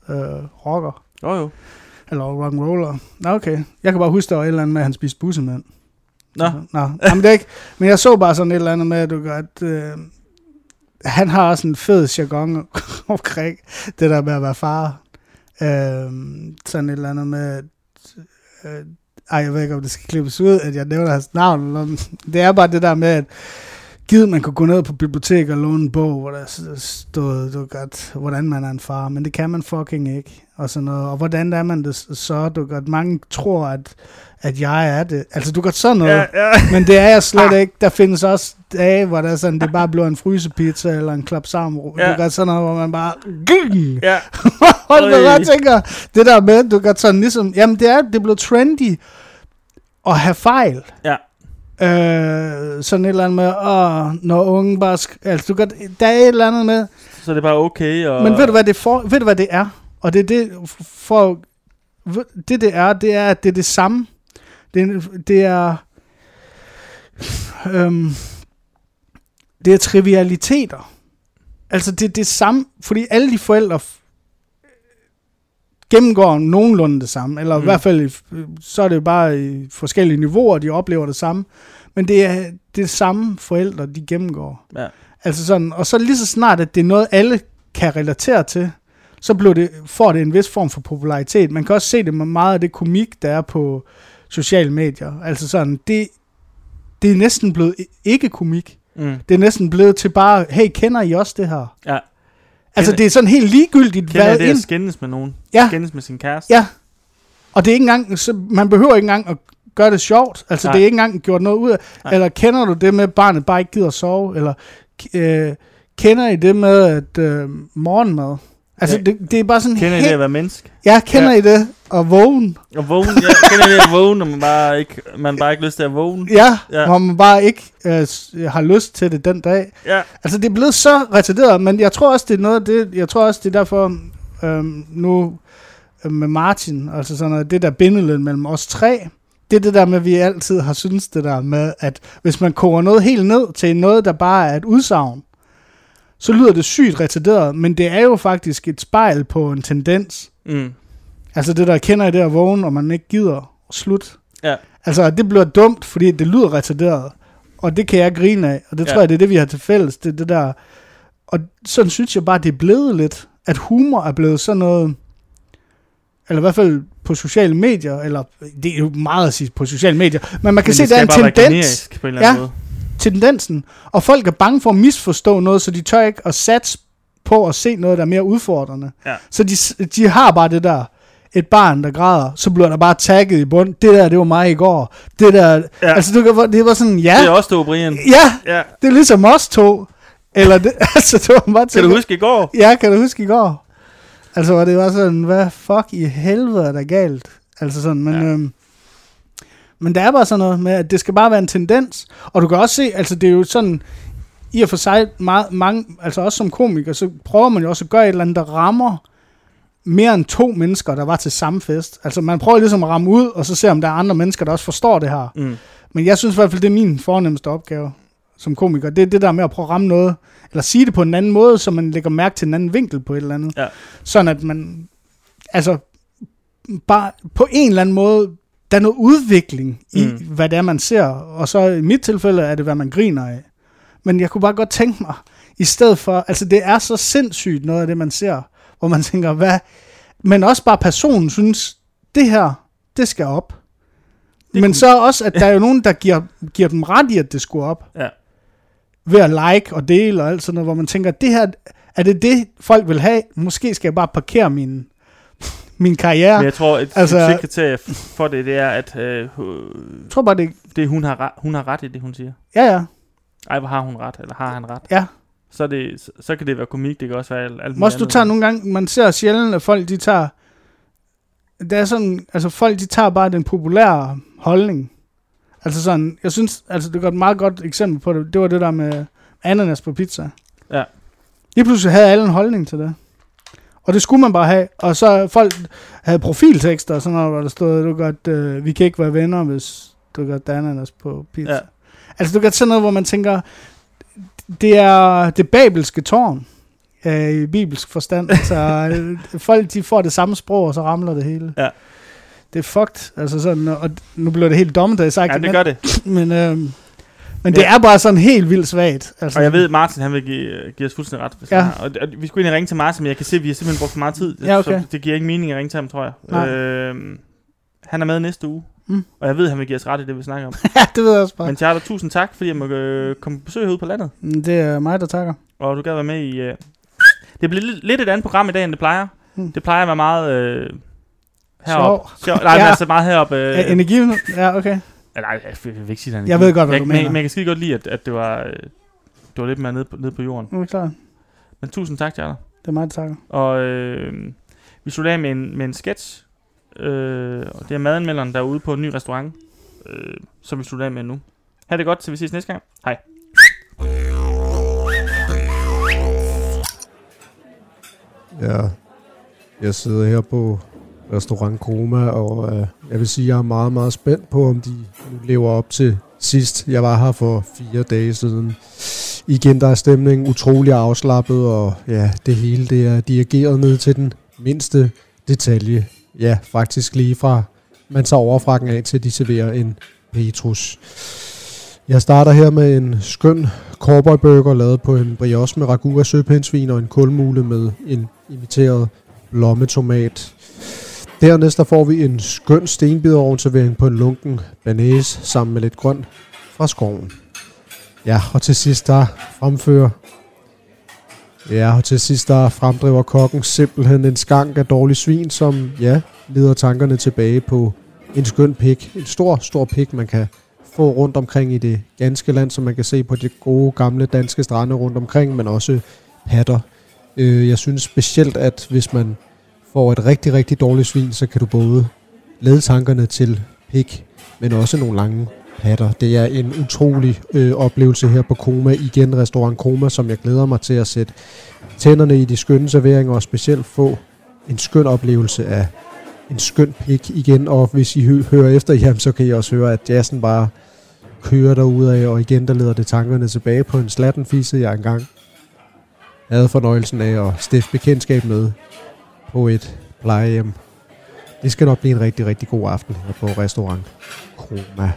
Speaker 7: øh, rocker,
Speaker 1: Jo, jo.
Speaker 7: eller rock'n'roller. Nå, okay. Jeg kan bare huske, der var et eller andet med, at han spiste bussemænd.
Speaker 1: Nå.
Speaker 7: Nå, jamen det er ikke, men jeg så bare sådan et eller andet med, at du godt, øh, <laughs> han har også en fed jargon omkring det der med at være far. Øh, sådan et eller andet med... Øh, ej, jeg ved ikke, om det skal klippes ud, at jeg nævner hans navn. Eller, noget. det er bare det der med, at givet man kunne gå ned på biblioteket og låne en bog, hvor der s- stod, du ved godt, hvordan man er en far, men det kan man fucking ikke, og sådan noget. Og hvordan er man det s- så, du ved godt, mange tror, at, at jeg er det. Altså, du ved godt sådan noget.
Speaker 1: Ja, Ah. ja.
Speaker 7: <laughs> Men det er jeg slet ikke. Der findes også dage, hvor der er sådan, det bare bliver en frysepizza eller en klap sammen. Ja.
Speaker 1: Ja.
Speaker 7: Du gør sådan noget, hvor man bare... Gyng!
Speaker 1: ja.
Speaker 7: <laughs> Hold da,
Speaker 1: Øj.
Speaker 7: jeg tænker, det der med, du gør sådan ligesom... Jamen, det er, det blev trendy at have fejl.
Speaker 1: Ja.
Speaker 7: Øh, sådan et eller andet med, åh, når unge bare... Sk- altså, du gør, der er et eller andet med...
Speaker 1: Så det er bare okay. Og...
Speaker 7: Men ved du, hvad det for, ved du, hvad det er? Og det er det, for, ved- det, det er, det er, at det er det samme. Det, er- det er... Øhm, det er trivialiteter. Altså, det er det samme, fordi alle de forældre f- gennemgår nogenlunde det samme, eller mm. i hvert fald, i f- så er det jo bare i forskellige niveauer, de oplever det samme. Men det er det samme forældre, de gennemgår.
Speaker 1: Ja.
Speaker 7: Altså sådan, og så lige så snart, at det er noget, alle kan relatere til, så blev det, får det en vis form for popularitet. Man kan også se det med meget af det komik, der er på sociale medier. Altså sådan, det, det er næsten blevet i- ikke komik.
Speaker 1: Mm.
Speaker 7: Det er næsten blevet til bare, hey, kender I også det her?
Speaker 1: Ja.
Speaker 7: Altså,
Speaker 1: Kender-
Speaker 7: det er sådan helt ligegyldigt,
Speaker 1: Kender
Speaker 7: hvad
Speaker 1: jeg det
Speaker 7: ind...
Speaker 1: at skændes med nogen?
Speaker 7: Ja.
Speaker 1: Skændes med sin kæreste?
Speaker 7: Ja. Og det er ikke engang, så man behøver ikke engang at gøre det sjovt. Altså, Nej.
Speaker 1: Nej.
Speaker 7: det er ikke engang gjort noget ud af.
Speaker 1: Nej.
Speaker 7: Eller kender du det med, at barnet bare ikke gider at sove? Eller øh, kender I det med, at øh, morgenmad? Altså,
Speaker 1: Ja.
Speaker 7: det, det er bare sådan
Speaker 1: Kender I det at være menneske?
Speaker 7: Ja, kender ja. I det? Og vågen?
Speaker 1: Og vågen, ja. Kender I det at vågne, når man bare ikke, man bare ikke har lyst til at vågne?
Speaker 7: Ja, ja.
Speaker 1: Ja.
Speaker 7: hvor man bare ikke øh, s- har lyst til det den dag.
Speaker 1: Ja.
Speaker 7: Altså, det er blevet så retarderet, men jeg tror også, det er noget af det, jeg tror også, det er derfor øhm, nu øh, med Martin, altså sådan noget, det der bindeled mellem os tre, det er det der med, at vi altid har syntes det der med, at hvis man koger noget helt ned til noget, der bare er et udsagn, så lyder det sygt retarderet, men det er jo faktisk et spejl på en tendens.
Speaker 1: Mm.
Speaker 7: Altså det der kender i det at vågne, og man ikke gider, slut.
Speaker 1: Ja.
Speaker 7: Altså det bliver dumt, fordi det lyder retarderet, og det kan jeg grine af, og det ja.
Speaker 1: Ja.
Speaker 7: tror jeg, det er det, vi har til fælles, det er det der. Og sådan synes jeg bare, det er blevet lidt, at humor er blevet sådan noget, eller i hvert fald på sociale medier, eller det er jo meget at sige på sociale medier, men man kan men se,
Speaker 1: det
Speaker 7: der er
Speaker 1: skal bare
Speaker 7: en
Speaker 1: være
Speaker 7: tendens
Speaker 1: generisk på en eller anden
Speaker 7: Ja.
Speaker 1: måde.
Speaker 7: tendensen, og folk er bange for at misforstå noget, så de tør ikke at satse på at se noget, der er mere udfordrende.
Speaker 1: Ja.
Speaker 7: Så de, s- de har bare det der, et barn, der græder, så bliver der bare tagget i bund. Det der, det var mig i går. Det der, ja.
Speaker 1: Ja.
Speaker 7: altså du kan, det var sådan, ja,
Speaker 1: Det er også du, Brian.
Speaker 7: ja,
Speaker 1: Ja.
Speaker 7: det er ligesom os to. Eller det, <laughs> altså det var
Speaker 1: Kan
Speaker 7: bare
Speaker 1: du
Speaker 7: tænker-
Speaker 1: huske i går?
Speaker 7: <laughs> Ja, kan du huske i går? Altså, hvor det var sådan, hvad fuck i helvede er der galt? Altså sådan, men... Ja.
Speaker 1: Ja.
Speaker 7: Øhm, men der er bare sådan noget med, at det skal bare være en tendens. Og du kan også se, altså det er jo sådan, i og for sig meget, mange, altså også som komiker, så prøver man jo også at gøre et eller andet, der rammer mere end to mennesker, der var til samme fest. Altså man prøver ligesom at ramme ud, og så se om der er andre mennesker, der også forstår det her.
Speaker 1: Mm.
Speaker 7: Men jeg synes i hvert fald, det er min fornemmeste opgave som komiker. Det er det der med at prøve at ramme noget, eller sige det på en anden måde, så man lægger mærke til en anden vinkel på et eller andet.
Speaker 1: Ja.
Speaker 7: Sådan at man, altså, bare på en eller anden måde, der er noget udvikling i,
Speaker 1: Mm.
Speaker 7: mm. hvad det er, man ser. Og så i mit tilfælde er det, hvad man griner af. Men jeg kunne bare godt tænke mig, i stedet for, altså det er så sindssygt noget af det, man ser, hvor man tænker, hvad, men også bare personen synes, det her, det skal op. Det men så også, at der er jo nogen, der giver, giver dem ret i, at det skulle op.
Speaker 1: Ja.
Speaker 7: Ved at like og dele og alt sådan noget, hvor man tænker, det her, er det det, folk vil have? Måske skal jeg bare parkere min, min karriere.
Speaker 1: Men jeg tror, et
Speaker 7: Altså-
Speaker 1: altså, succeskriterie for det, det er, at øh, hu-
Speaker 7: Jeg tror bare, det
Speaker 1: det, hun, har, re- hun har ret i det, hun siger.
Speaker 7: Ja, ja.
Speaker 1: Ej, hvor har hun ret, eller har han ret?
Speaker 7: Ja.
Speaker 1: Så, er det, så, så kan det være komik, det kan også være alt, alt muligt
Speaker 7: Måske du
Speaker 1: andet.
Speaker 7: tager nogle gange, man ser sjældent, at folk de tager, det er sådan, altså folk de tager bare den populære holdning. Altså sådan, jeg synes, altså det er et meget godt eksempel på det, det var det der med ananas på pizza.
Speaker 1: Ja.
Speaker 7: Lige pludselig havde alle en holdning til det. Og det skulle man bare have. Og så folk havde profiltekster og sådan noget, hvor der stod, du godt, øh, vi kan ikke være venner, hvis du godt der er ananas på pizza. Ja.
Speaker 1: Ja.
Speaker 7: Altså du kan sådan noget, hvor man tænker, det er det babelske tårn øh, i bibelsk forstand. Så øh, folk de får det samme sprog, og så ramler det hele.
Speaker 1: Ja.
Speaker 7: Det er fucked. Altså sådan, og nu bliver det helt dommedagsagtigt.
Speaker 1: Ja, det gør det.
Speaker 7: Men, øh, Men det er bare sådan helt vildt svagt. Altså,
Speaker 1: Og jeg ved, Martin han vil give, give os fuldstændig ret. Hvis
Speaker 7: Ja.
Speaker 1: ja. han har. Og, og vi skulle egentlig ringe til Martin, men jeg kan se, at vi har simpelthen brugt for meget tid.
Speaker 7: Ja, okay.
Speaker 1: Så det giver ikke mening at ringe til ham, tror jeg.
Speaker 7: Nej.
Speaker 1: Øhm, han er med næste uge.
Speaker 7: Mm.
Speaker 1: Og jeg ved, at han vil give os ret i det, vi snakker om.
Speaker 7: <laughs> ja, det ved jeg også bare.
Speaker 1: men Charter, tusind tak, fordi jeg må øh, komme på besøg herude på landet.
Speaker 7: Men... Det er mig, der takker.
Speaker 1: Og du gad være med i... Øh... Det bliver lidt, lidt et andet program i dag, end det plejer.
Speaker 7: Mm.
Speaker 1: Det plejer at være meget... Øh...
Speaker 7: Sjov.
Speaker 1: Heroppe. Sjov. Nej, ja.
Speaker 7: Ja.
Speaker 1: men altså meget heroppe.
Speaker 7: Øh,
Speaker 1: Øh...
Speaker 7: Energi? Ja, okay.
Speaker 1: Ja, Nej, jeg jeg vil ikke sige, at han
Speaker 7: Jeg ved godt, hvad
Speaker 1: jeg,
Speaker 7: du
Speaker 1: men,
Speaker 7: mener.
Speaker 1: Men jeg kan skide godt lide, at, at det var... Øh... Det var lidt mere nede på, nede på jorden.
Speaker 7: Nu er vi klar.
Speaker 1: Men tusind tak, Charter.
Speaker 7: Det er mig, der takker.
Speaker 1: Og øh, vi slutter af med en, med en sketch. Øh, og det er madanmelderen, der er ude på en ny restaurant, øh, som vi slutter af med nu. Ha' det godt, til vi ses næste gang. Hej.
Speaker 2: Ja, jeg sidder her på restaurant Koma, og øh, jeg vil sige, at jeg er meget, meget spændt på, om de nu lever op til sidst. Jeg var her for fire dage siden. Igen, der er stemningen utrolig afslappet, og ja, det hele det er dirigeret ned til den mindste detalje. Ja, faktisk lige fra man tager overfrakken af, til de serverer en Petrus. Jeg starter her med en skøn cowboyburger lavet på en brioche med ragu af søpindsvin og en kulmule med en imiteret blommetomat. Dernæst der får vi en skøn stenbiderovnservering på en lunken banæs sammen med lidt grønt fra skoven. Ja, og til sidst der fremfører Ja, og til sidst der fremdriver kokken simpelthen en skank af dårlig svin, som, ja, leder tankerne tilbage på en skøn pik. En stor, stor pik, man kan få rundt omkring i det ganske land, som man kan se på de gode gamle danske strande rundt omkring, men også patter. Øh, jeg synes specielt, at hvis man får et rigtig, rigtig dårligt svin, så kan du både lede tankerne til pik, men også nogle lange patter. Det er en utrolig øh, oplevelse her på Koma, igen restaurant Koma, som jeg glæder mig til at sætte tænderne i de skønne serveringer, og specielt få en skøn oplevelse af en skøn pik igen, og hvis I hø- hører efter, <laughs> jamen, så kan I også høre, at jazzen bare kører derude af, og igen der leder det tankerne tilbage på en slattenfisse, jeg engang havde fornøjelsen af at stifte bekendtskab med på et plejehjem. Det skal nok blive en rigtig, rigtig god aften her på restaurant Kroma.